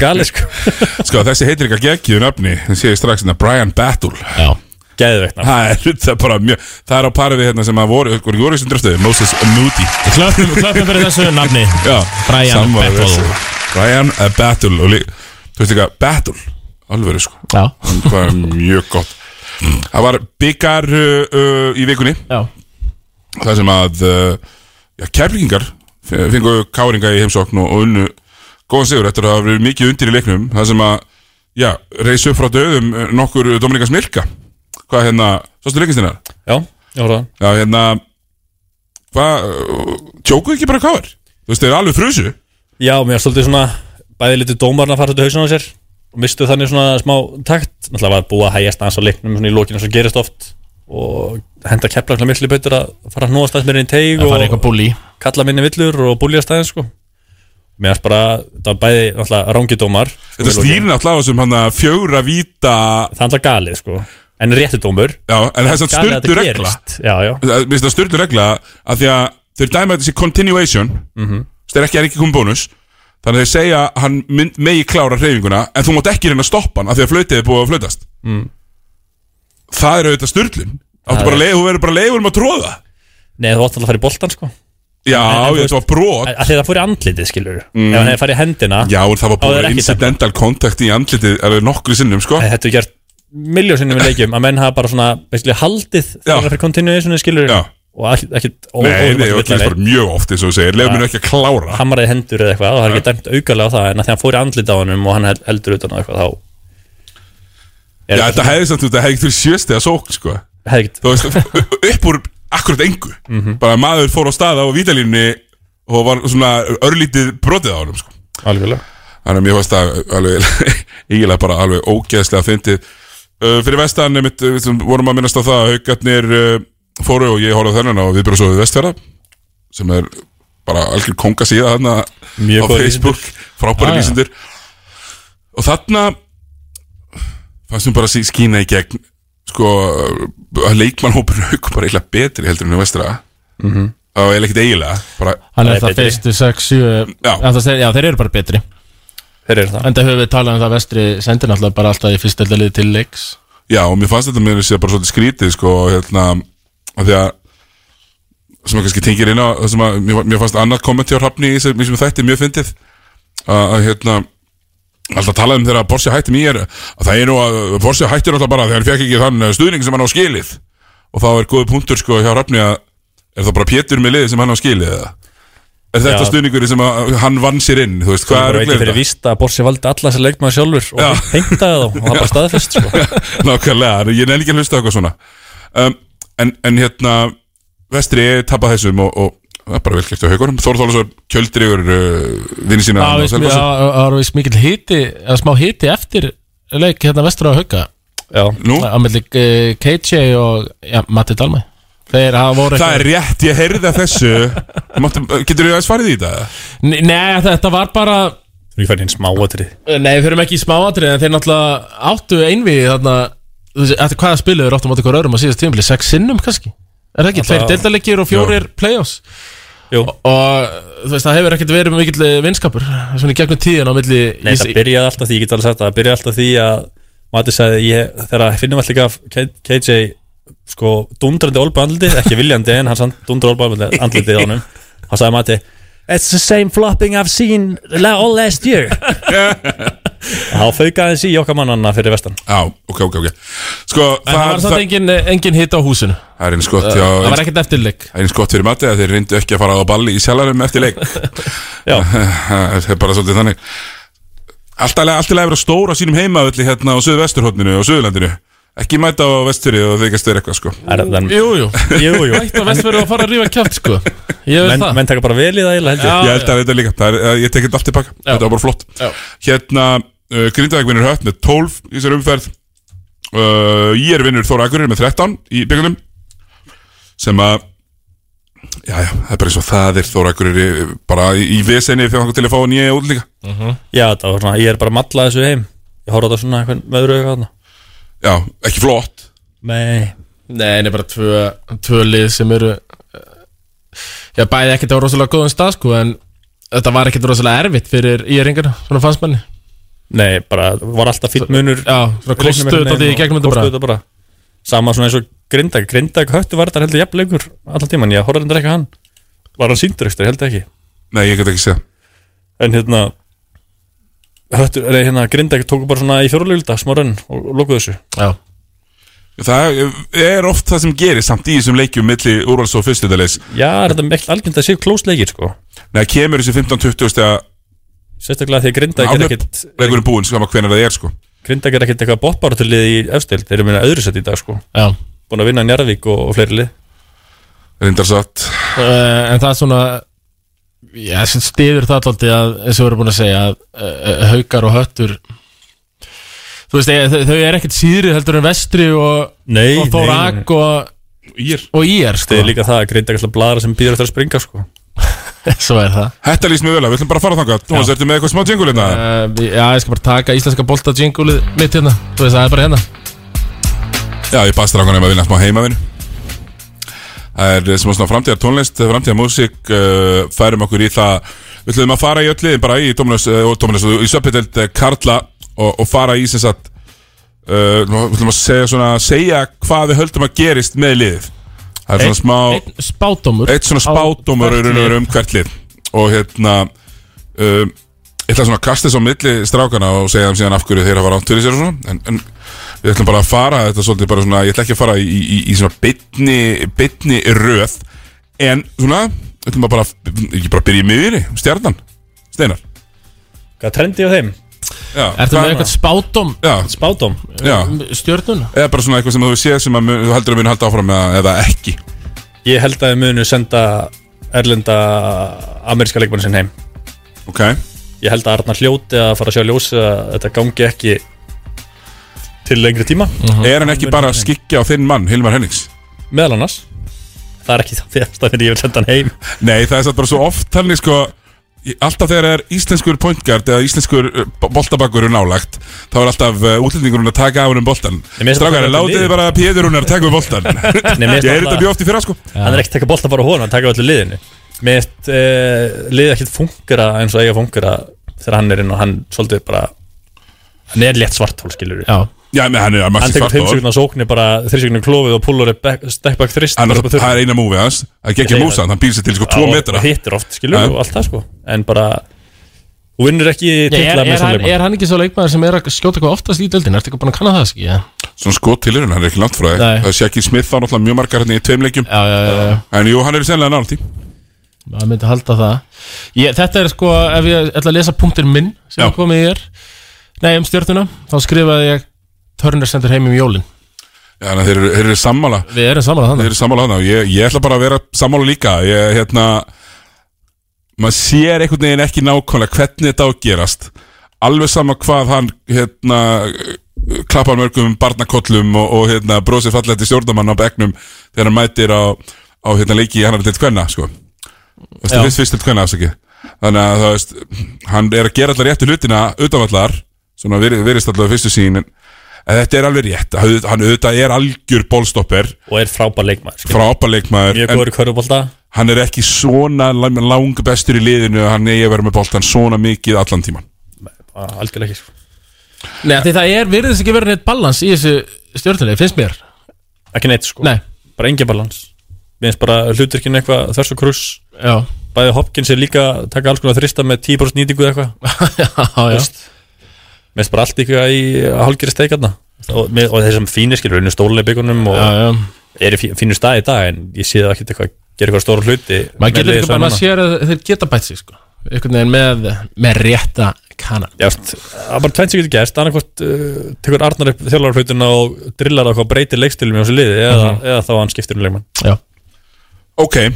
Speaker 9: Gali sko
Speaker 1: Sko þessi heitir ekki að geggiðu nöfni Það sé ég strax hérna Brian Battle Já,
Speaker 9: geðveikt
Speaker 1: Það er það bara mjög Það er á parið við hérna sem að voru Hvor voru þessum dröfstöðu? Moses Moody
Speaker 12: Klöppum- klöppum fyrir þessu nafni.
Speaker 1: Já
Speaker 12: Brian
Speaker 1: sammála
Speaker 12: Battle.
Speaker 1: þessu. Brian uh, Battle og lí- Þú veist ekki að Battle Alvöru sko
Speaker 2: Já
Speaker 1: Það er mjög gott Það var byggar uh, uh, í vikunni
Speaker 2: Já
Speaker 1: Það sem að uh, Já, keflingar Fengu káringa í heimsókn og, og unnu Góðan sigur eftir að það hafa verið mikið undir í leiknum Það sem að Já, reysi upp frá döðum eh, nokkur Dominikas Milka Hvað hérna, sástu leikinstinnar?
Speaker 9: Já, já, ráðan
Speaker 1: Já, hérna Hvað, tjókuð ekki bara káir? Þú veist, þeir eru alveg frusu
Speaker 9: Já, mér var svolítið svona bæði litið dómarna að fara til hausin á sér og mistu þannig svona smá takt náttúrulega var búið að hægjast aðeins á leiknum svona í lókinu sem gerist oft og henda kepla svona miklu betur að fara að hnúa staðs meira inn í teig
Speaker 2: Að
Speaker 9: og
Speaker 2: fara eitthvað búlí.
Speaker 9: kalla minni villur og búlja staðin sko Mér varst bara, það var bæði náttúrulega rangi dómar
Speaker 1: Þetta snýr náttúrulega sem hann að fjögra víta
Speaker 9: Það er náttúrulega galið sko en rétti dómur
Speaker 1: Já, en það er samt
Speaker 9: Galið að
Speaker 1: styrdu
Speaker 9: þetta
Speaker 1: regla
Speaker 9: gerist. Já, já
Speaker 1: Það- Mér finnst það styrdu regla að því að þeir dæma þetta sé continuation mm
Speaker 9: Mhm.
Speaker 1: -hmm. Það er ekki, er ekki komið bónus Þannig að þeir segja að hann mynd, megi klára hreyfinguna En þú mátt ekki reyna að stoppa hann af því að flöytið er búið að flöytast
Speaker 9: Mm.
Speaker 1: Það er auðvitað styrlun
Speaker 9: Það
Speaker 1: Áttu bara
Speaker 9: er-
Speaker 1: að leiða, þú verður bara að leiða um að tróða
Speaker 9: Nei, þú átti alltaf að fara í boltan sko
Speaker 1: Já,
Speaker 9: En- en
Speaker 1: ég,
Speaker 9: þú veist-
Speaker 1: þetta var brot
Speaker 9: Að því það fór í andlitið skilur
Speaker 1: Mm.
Speaker 9: Ef hann hefði farið í hendina
Speaker 1: Já, en það var
Speaker 9: þá
Speaker 1: búið
Speaker 9: er ekki
Speaker 1: incidental contact í andlitið alveg nokkru sinnum, sko
Speaker 9: Nei, Þetta er gert miljósinnum í leikjum að menn hafa bara svona basically, haldið þegar fyrir continuationu skilur Já. og ekki, ekki
Speaker 1: Nei, nei, það er bara mjög oft eins og þú segir Leifum mér ekki að klára
Speaker 9: hamraði hendur eða eitthvað og það er ekki dæmt aukalega á það en að þegar hann fór í andlit á honum og hann hel- heldur utan á eitthvað þá
Speaker 1: Já, þetta hefði samt út, þetta hefði ekki fyrir sjösti að sókn, sko
Speaker 9: Hefði
Speaker 1: Þú veist, [LAUGHS] upp úr akkurat engu Bara maður fór á staða á vítalínni og var svona örlítið brotið á honum, sko
Speaker 9: Algjörlega
Speaker 1: Þannig að mér varst það alveg [LAUGHS] eiginlega bara alveg ógeðslega fyndið uh, Fyrir vestan, mitt, sem vorum að minnast á það haugarnir uh, fóru og ég horfði á þennan á viðbjörnsóðu vestfjara sem er bara algjör konga síða þarna
Speaker 9: Mjög
Speaker 1: á
Speaker 9: góðir
Speaker 1: Facebook,
Speaker 9: Já,
Speaker 1: frábæri
Speaker 9: já.
Speaker 1: lýsindur og þarna fannst mér bara sí- skína í gegn sko, að leikmannhópurinn [LAUGHS] haug bara eiginlega betri heldur en á vestra
Speaker 2: Mhm.
Speaker 1: það var eiginlega ekkert eiginlega bara-
Speaker 2: Hann er það fyrstu 6, 7
Speaker 1: Já.
Speaker 2: já, þeir eru bara betri
Speaker 9: Þeir eru það
Speaker 2: En það höfum við talað um það að vestri sendir náttúrulega bara alltaf í fyrsta liði til leiks
Speaker 1: Já, og mér fannst þetta mér sér bara svolítið skrítið sko, hérna, af því að sem að kannski tengir inn á það sem að mér, mér fannst annað kommenti á hrafni í sem, sem þætti mjög fyndið að, að hérna alltaf talaði um þegar Borsi hætti mér að það er nú að Borsi hættir alltaf bara þegar hann fekk ekki þann eh, stuðning sem hann á skilið og þá er góði punktur sko hjá hrafni að er það bara Pétur með liðið sem hann á skilið eða? Er þetta
Speaker 9: Já. Sko,
Speaker 1: stuðningur sem að, hann vann sér inn, þú veist, hvað
Speaker 9: Það
Speaker 1: er
Speaker 9: er ekki fyrir víst að Borsi valdi alla þessar leikmaður sjálfur og hengtaði þá og
Speaker 1: [LAUGHS]
Speaker 9: það bara staðfest sko.
Speaker 1: Nákvæmlega, ég nefn ekki að hlusta á eitthvað svona um, en, en hérna Vestri tapað þessum og, og það er bara vel gert á haugunum Þór Þólasar kjöldir yfir uh, vinni sína
Speaker 2: Það
Speaker 1: á
Speaker 2: var-
Speaker 1: Selfossi.
Speaker 2: það var vist mikill hiti eða smá hiti eftir leik hérna vestra á Hauka
Speaker 9: Já,
Speaker 1: nú
Speaker 2: Á melli eh, KJ og já, Matti Dalmæ Þeir hafa voru
Speaker 1: Það er rétt, ég heyrði að
Speaker 2: [LAUGHS]
Speaker 1: þessu Máttu, Getur þú aðeins farið í þetta?
Speaker 2: N- Nei, þetta var bara
Speaker 9: Þú ekki færið inn smáatrið
Speaker 2: Nei, við fyrir ekki í smáatrið en þeir náttúrulega áttu einvið þarna þú veist, eftir hvaða spilu þeir áttu móti hver öðrum á síðast tímabili sex sinnum kannski Er það ekki? Tveir
Speaker 9: Alltaf-
Speaker 2: deildalegir og fjórir playoffs
Speaker 9: Jú.
Speaker 2: Og þú veist, það hefur ekkert verið mikill eh, vinskapur Svona í gegnum tíðan á milli
Speaker 9: Nei, það byrjaði alltaf því, ég get alveg sagt það, það byrjaði alltaf því að Mati sagði, ég, þegar finnum alltaf gaf K- KJ sko dundrandi olbu andlitið, ekki viljandi en hann samt dundrandi olbu andlitið á hann hann sagði Mati It's the same flopping I've seen la- all last [LAUGHS] year Þá fauk aðeins í okkar mannanna fyrir vestan
Speaker 1: Já, ok, ok, ok Sko,
Speaker 2: En það var samt engin, eh, engin hit á húsinu
Speaker 1: Það er eins gott
Speaker 2: Það-
Speaker 1: hjá
Speaker 2: það var ekkert eftirleik
Speaker 1: Það er eins gott fyrir matið að þeir reyndu ekki að fara á balli í sjálfarum eftir leik
Speaker 9: Já
Speaker 1: [LAUGHS] Það er bara svolítið þannig Allt í lagi- allt í lagi að vera stóra sínum heimavölli hérna á Suðvesturhóttinu og Suðurlandinu Ekki mæta á Vestfyrir og þeir kannski er eitthvað sko
Speaker 2: Jú, jú
Speaker 9: Jú, jú
Speaker 2: Ættu að vestfyrir að fara að rífa kjátt sko Ég veit
Speaker 9: menn,
Speaker 2: það
Speaker 9: menn taka bara vel í það eiginlega, held
Speaker 1: Ég
Speaker 9: ég
Speaker 1: held að þetta líka, það er, eh, ég tekið allt tilbaka Þetta var bara flott
Speaker 2: Já.
Speaker 1: Hérna, uh, Grindavík vinnur hött með 12 í þessari umferð Eh, uh, Ég er vinnur Þóra Akurir með 13 í byggandum Sem að já, já, það er bara eins og það er Þóra Akureyri eh, bara í, í vesenni þegar hann til að fá nýja útlíka
Speaker 9: Mhm. Já, þetta var svona, ég er bara að matla þessu heim Ég horfði á þetta svona einhvern með öðru auðvitað
Speaker 1: Já, ekki flott
Speaker 9: Nei
Speaker 2: Nei, en er bara tvö, tvö lið sem eru eh, Já, bæði ekkert á rosalega góðum stað sko, En þetta var ekkert rosalega erfitt fyrir íringar Svona fannst manni
Speaker 9: Nei, bara var alltaf fýtt munur
Speaker 2: Já, svona kostuðu þetta í gegnum þetta bara.
Speaker 9: Kostuðu þetta bara Sama svona eins og Grindag Grindag höttu var þetta heldur jafn leikur Alltaf tíman, ég horfði þetta ekki á hann Var hann síndur ekstra, ég held ekki
Speaker 1: Nei, ég get ekki séð
Speaker 9: En hérna höttu, nei, hérna, Grindag tóku bara svona í fjórulegulda Smá rönn og lokuðu þessu
Speaker 2: Já
Speaker 1: Það er oft það sem gerir samt í þessum leikjum milli úrvals og fyrstundalegs
Speaker 9: Já, er þetta mell algjönd að séu klósleikir sko
Speaker 1: Nei, kemur þessi 15-20 stega
Speaker 9: Sérstaklega því að Grindag er ekkit
Speaker 1: Leikurinn búinn, skama hvernig það er sko
Speaker 9: Grindag er ekkit eitthvað bóttbáratulið í efstild Þeir eru minna öðru sett í dag sko
Speaker 2: Já.
Speaker 9: Búin að vinna Njarðvík og, og fleiri lið
Speaker 1: Rindar satt
Speaker 2: uh, En það er svona Já, sem stiður það alltaf að eins og við erum búin að segja að uh, haukar og höttur Þú veist, eh, þau, þau er ekkert síðri heldur en vestri og,
Speaker 9: Nei,
Speaker 2: og
Speaker 9: nei, nei.
Speaker 2: Þórak og, og ír sko.
Speaker 9: Það er líka það að Grindag er alltaf bladra sem býður eftir að springa sko
Speaker 2: [LAUGHS] Svo er það
Speaker 1: Þetta líst mjög vel að við ætlum bara að fara þangað Þú veist, ertu með eitthvað smá jingle hérna?
Speaker 2: uh, Já, ég skal bara taka íslenska bolta jingulið mitt hérna Þú veist, það er bara hérna
Speaker 1: Já, ég baðst rákunum að vinna smá heimavinu Það er eh, smá svona framtíðar tónlist, eh, framtíðar músík uh, Færum okkur í það Við ætlum að fara í öll liðin bara í Dominus, uh, Dominus Í söpindelt uh, Karla og, og fara í sem sagt uh, Við ætlum að segja, svona, segja hvað við höldum að gerist með liðið Það er svona smá
Speaker 2: Einn spátdómur
Speaker 1: Eitt svona spátdómur raun
Speaker 2: Á hvert
Speaker 1: og veru
Speaker 2: lið.
Speaker 1: um hvert lið Og hérna um, Ég ætla svona að kasta þess á milli strákana Og segja þeim síðan af hverju þeir hafa rátt fyrir sér og svona en, en við ætlum bara að fara Þetta svolítið bara svona Ég ætla ekki að fara í, í, í svona bytni Bytni röð En svona Við ætlum að bara Ekki bara byrja í miðjunni Stjarnan Steinar
Speaker 9: Hvað trendi á þeim?
Speaker 1: Já,
Speaker 2: Ertu með eitthvað Mm. spátdóm?
Speaker 1: Já
Speaker 9: Spátdóm?
Speaker 1: Já
Speaker 2: Stjörnuna?
Speaker 1: Eða bara svona eitthvað sem þú séð Sem að mun- þú heldur að muni halda áfram eða, eða ekki
Speaker 9: Ég held að þið munu senda erlenda ameríska leikmann sinn heim
Speaker 1: Ok
Speaker 9: Ég held að Arnar hljóti að fara að sjá ljósi að þetta gangi ekki til lengri tíma
Speaker 1: Er hann ekki bara að skikja á þinn mann Hilmar Hennings
Speaker 9: Meðal annars Það er ekki það fyrsta fyrir ég vil senda hann heim
Speaker 1: Nei, það er satt bara svo oft þannig sko í- Alltaf þegar er íslenskur pointgard eða íslenskur eh, boltabakkur nálægt þá er alltaf uh, útlendingurinn að taka af hennum boltan
Speaker 9: Nei, mér finnst
Speaker 1: Strákar,
Speaker 9: það
Speaker 1: látið
Speaker 9: liðið.
Speaker 1: þið bara Péðurunnar taka við boltan
Speaker 9: Nei,
Speaker 1: [LAUGHS] Ég
Speaker 9: mér finnst
Speaker 1: er
Speaker 9: alltaf-
Speaker 1: þetta mjög oft í fyrra sko
Speaker 9: Hann er ekki að taka bolta bara á honum, hann taka á öllu liðinu Mér finnst uh, liðið ekkert fungera eins og eiga fungera þegar hann er inn og hann svolítið bara hann er létt svartól skilur við
Speaker 2: Já,
Speaker 1: Já, menn hann er að
Speaker 9: Hann
Speaker 1: maxi
Speaker 9: tekur
Speaker 1: svartól
Speaker 9: þeimsugna sóknir bara þeimsugna klófið og púlur stekkbæk þrist
Speaker 1: Hann er alltaf- það er eina múfið hans að gegja músan, hann býr sér til sko 2 metra
Speaker 9: Hittir oft skilur
Speaker 1: Já.
Speaker 9: við og allt það sko En bara Hún vinnur ekki
Speaker 2: Ég, er,
Speaker 9: titla
Speaker 2: er,
Speaker 9: með
Speaker 2: hann,
Speaker 9: sannleikmann
Speaker 2: er hann ekki svo leikmaður sem er að skjóta eitthvað oftast í deildin? Ertu eitthvað búin að kanna það, skilja?
Speaker 1: Svona skot til hann er ekki langt frá
Speaker 2: Nei.
Speaker 1: þig Það sé ekki smið þá náttúrulega mjög margar hérna í tveim leikjum
Speaker 2: Já, já, já, já.
Speaker 1: En jú, hann er sennilega nátt í
Speaker 2: maður myndi halda það ég, þetta er sko, ef ég ætla að lesa punktir minn sem
Speaker 1: Já.
Speaker 2: er komið í er nei, um stjórnuna, þá skrifaði ég Turner sendur heim um jólin
Speaker 1: Já, þannig að þeir eru- þeir eru sammála
Speaker 2: við erum saman að
Speaker 1: Þeir
Speaker 2: þannig
Speaker 1: eru sammála þannig ég, ég ætla bara að vera sammála líka Ég, hérna Maður sér einhvern veginn ekki nákvæmlega Hvernig þetta á að gerast Alveg sama hvað hann hérna, Klappar mörgum barnakollum Og, og hérna, brósir fallega til stjórnamann á bekknum Þegar hann mætir á, á hérna, leiki í hann er til kvenna sko. Þú veist,
Speaker 2: Já.
Speaker 1: fyrst, fyrst til kvenna afsakið. Þannig að það veist Hann er að gera allar réttu hlutina utanvallar Svona veri- virðist allar fyrstu sín en, en þetta er alveg rétt Hann hann auðvitað er algjör bólstopper
Speaker 9: Og er frábær leikmaður skilur við.
Speaker 1: frábær leikmaður
Speaker 9: Mjög
Speaker 1: en
Speaker 9: góður í körfubólta
Speaker 1: hann er ekki svona lang lang bestur í liðinu að hann eigi að vera með boltan svona mikið allan tíman
Speaker 9: Algjörlega ekki sko
Speaker 2: nei, því það er, virðist ekki verið neitt balans í þessu stjórnulegi, finnst mér
Speaker 9: Ekki neitt sko
Speaker 2: nei,
Speaker 9: Bara engin balans Við finnst bara hluturkinn eitthvað þvers og krus
Speaker 2: já,
Speaker 9: Bæði Hopkins er líka að taka alls konar þrista með 10% nýtingu eða eitthvað
Speaker 2: [LAUGHS] já, já.
Speaker 9: Veist, Mér finnst bara allt eitthvað í hálgeri steikarna og, með- og þessum fínir skilur unni stólulega byggunum og
Speaker 2: já, já.
Speaker 9: eru fí- fínur stað í dag en ég sé það ekkert eitthvað gera eitthvað stóra hluti
Speaker 2: maður
Speaker 9: með
Speaker 2: getur
Speaker 9: liðið
Speaker 2: ekki bara
Speaker 9: saman.
Speaker 2: maður sér að þeir geta bætt sig sko. einhvern veginn með, með rétta kanan
Speaker 9: Já, veist, það er bara tvennt sem getur gerst annarkvort uh, tekur Arnar upp þjólar hlutuna og drillar á hvað breytir leikstilum í þessu liði eða, eða þá hann skiptir um leikmann
Speaker 2: já,
Speaker 1: ok, uh,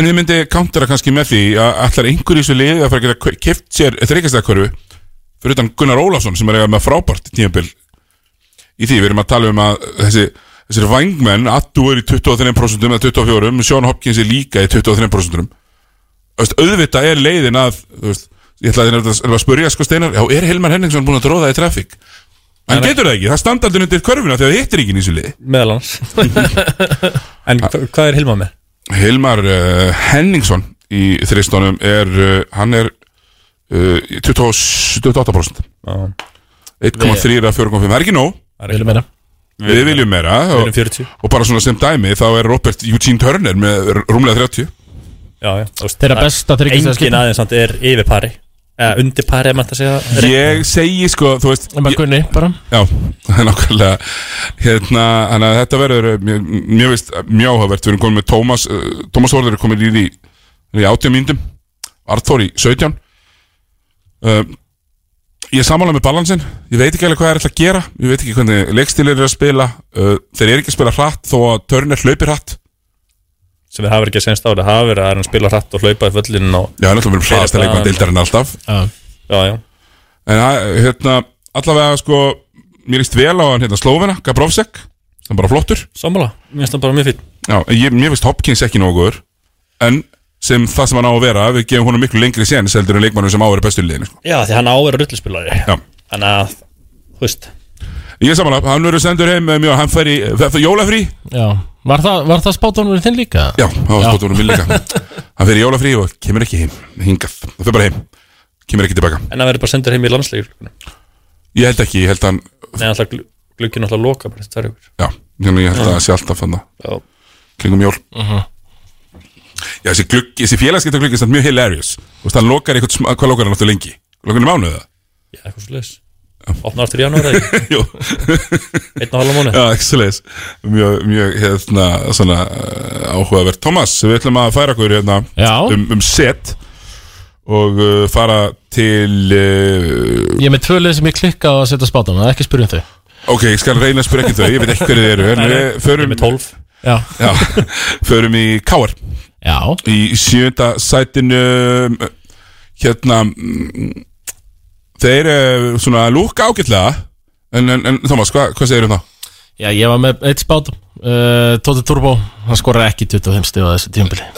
Speaker 1: en ég myndi countera kannski með því að allar einhver í þessu liði að fara að geta kift sér þreikastæðakörfu fyrir utan Gunnar Ólafsson sem er eiga með frábært tímabil í því, við erum að tala um að þessi Þessir vangmenn, Attu er í 23% eða 24%, Sean Hopkins er líka í 23% Þú veist, Auðvitað er leiðin að þú veist, Ég ætlaði nefnilega að- nefnilega að spurja sko steinar Já, er Hilmar Henningsson búin að dróða í traffic? Hann getur það ekki, það standa aldrei undir körfuna þegar það hittir ekki í þessu liði
Speaker 9: meðal hans En hva- hvað er Hilma með?
Speaker 1: Hilmar uh, Henningsson í þristónum er, uh, hann er uh, í 20 28% 1,3 að 4,5, það er ekki nóg
Speaker 2: Viljum meira
Speaker 1: Við viljum meira
Speaker 9: Við
Speaker 1: og,
Speaker 9: erum 40
Speaker 1: og bara svona sem dæmi þá er Robert Eugene Turner með r- rúmlega 30
Speaker 9: Já, já þú veist,
Speaker 2: Þeirra
Speaker 9: það-
Speaker 2: besta þriggja
Speaker 9: Engin aðeins samt er yfir pari Eða undir pari, ef maður það segja
Speaker 1: Ég segi sko, þú veist
Speaker 2: Bara
Speaker 1: ég,
Speaker 2: Gunni, bara
Speaker 1: Já, nákvæmlega hérna, hann að þetta verður eh, mjög, mjög veist, mjög áhugavert, við erum komin með Tómas uh, Tómas Þórður er komin í því í 80 mínútum, Arthur í 17 uh, Ég er sammála með balansin Ég veit ekki alveg hvað það er alltaf að gera Ég veit ekki hvernig leikstílir er að spila uh, Þeir eru ekki að spila hratt þó að Turner hlaupir hratt
Speaker 9: Sem við hafa ekki að senst á Það hafa verið að hann spila hratt og hlaupa í föllin og
Speaker 1: Já, náttúrulega verðum hraðast að leikmann
Speaker 9: Hraðan.
Speaker 1: deildarinn alltaf
Speaker 9: Já, já
Speaker 1: En að, hérna, allavega sko Mér líst vel á hann hérna Slóvena, Gabrovsek Sem bara flottur
Speaker 9: Sammála, mér finnst það bara mjög fín
Speaker 1: Já, en ég, mér finnst Hopkins ekki nógur En sem það sem hann á að vera Við gefum honum miklu lengri séns heldur en leikmannum sem á að vera bestu í liðinu sko.
Speaker 9: Já, því hann á að vera rullispilari
Speaker 1: Já.
Speaker 9: Þannig að, þú veist
Speaker 1: Ég er samanlega, hann verður sendur heim eh, mjög, Hann fær í fer- fer jólafrí
Speaker 2: Já Var það, var það spátunum þinn líka?
Speaker 1: Já, það var spátunum minn [LAUGHS] líka Hann fer í jólafrí og kemur ekki heim Hingað, það fer bara heim Kemur ekki tilbaka
Speaker 9: En hann verður bara sendur heim í landsleikur
Speaker 1: Ég held ekki, ég held hann
Speaker 9: Nei, alltaf glukkinn alltaf loka bara þetta er ykkur
Speaker 1: Já, Mhm. þannig ég held að það sé alltaf þannig
Speaker 9: Já.
Speaker 1: Kringum jól Já, þessi, glugg, þessi félagskipta gluggi er samt mjög hilarious Þú veist, hann lokar eitthvað, sm- hvað lokar hann áttu lengi? Lokar hann í mánuðið
Speaker 9: Já, eitthvað svo leis Opna aftur í janúar eða ekki?
Speaker 1: [LAUGHS] Jú
Speaker 9: Einn og halva mánu
Speaker 1: Já, ekki svoleiðis Mjög, mjög, hérna, svona uh, áhugavert Thomas, við ætlum að færa okkur hérna
Speaker 2: Já.
Speaker 1: um, um set og uh, fara til uh,
Speaker 2: Ég er með tvö lið sem ég klikka á að setja spátunum Það er ekki spyrjum þau
Speaker 1: ok, ég skal reyna að spyrja ekki um þau ég veit ekki hverju þið eru en við förum,
Speaker 9: Með 12
Speaker 2: Já
Speaker 1: já, förum í Káar
Speaker 2: Já
Speaker 1: í sjönda sætinu um, hérna mm, þeir uh, svona lúka ágætlega en, en, en Thomas, hva, hvað segir um það?
Speaker 2: Já, ég var með eitt spátum uh, Tóti Turbo, hann skorar ekki 25 stíð á þessu tímpili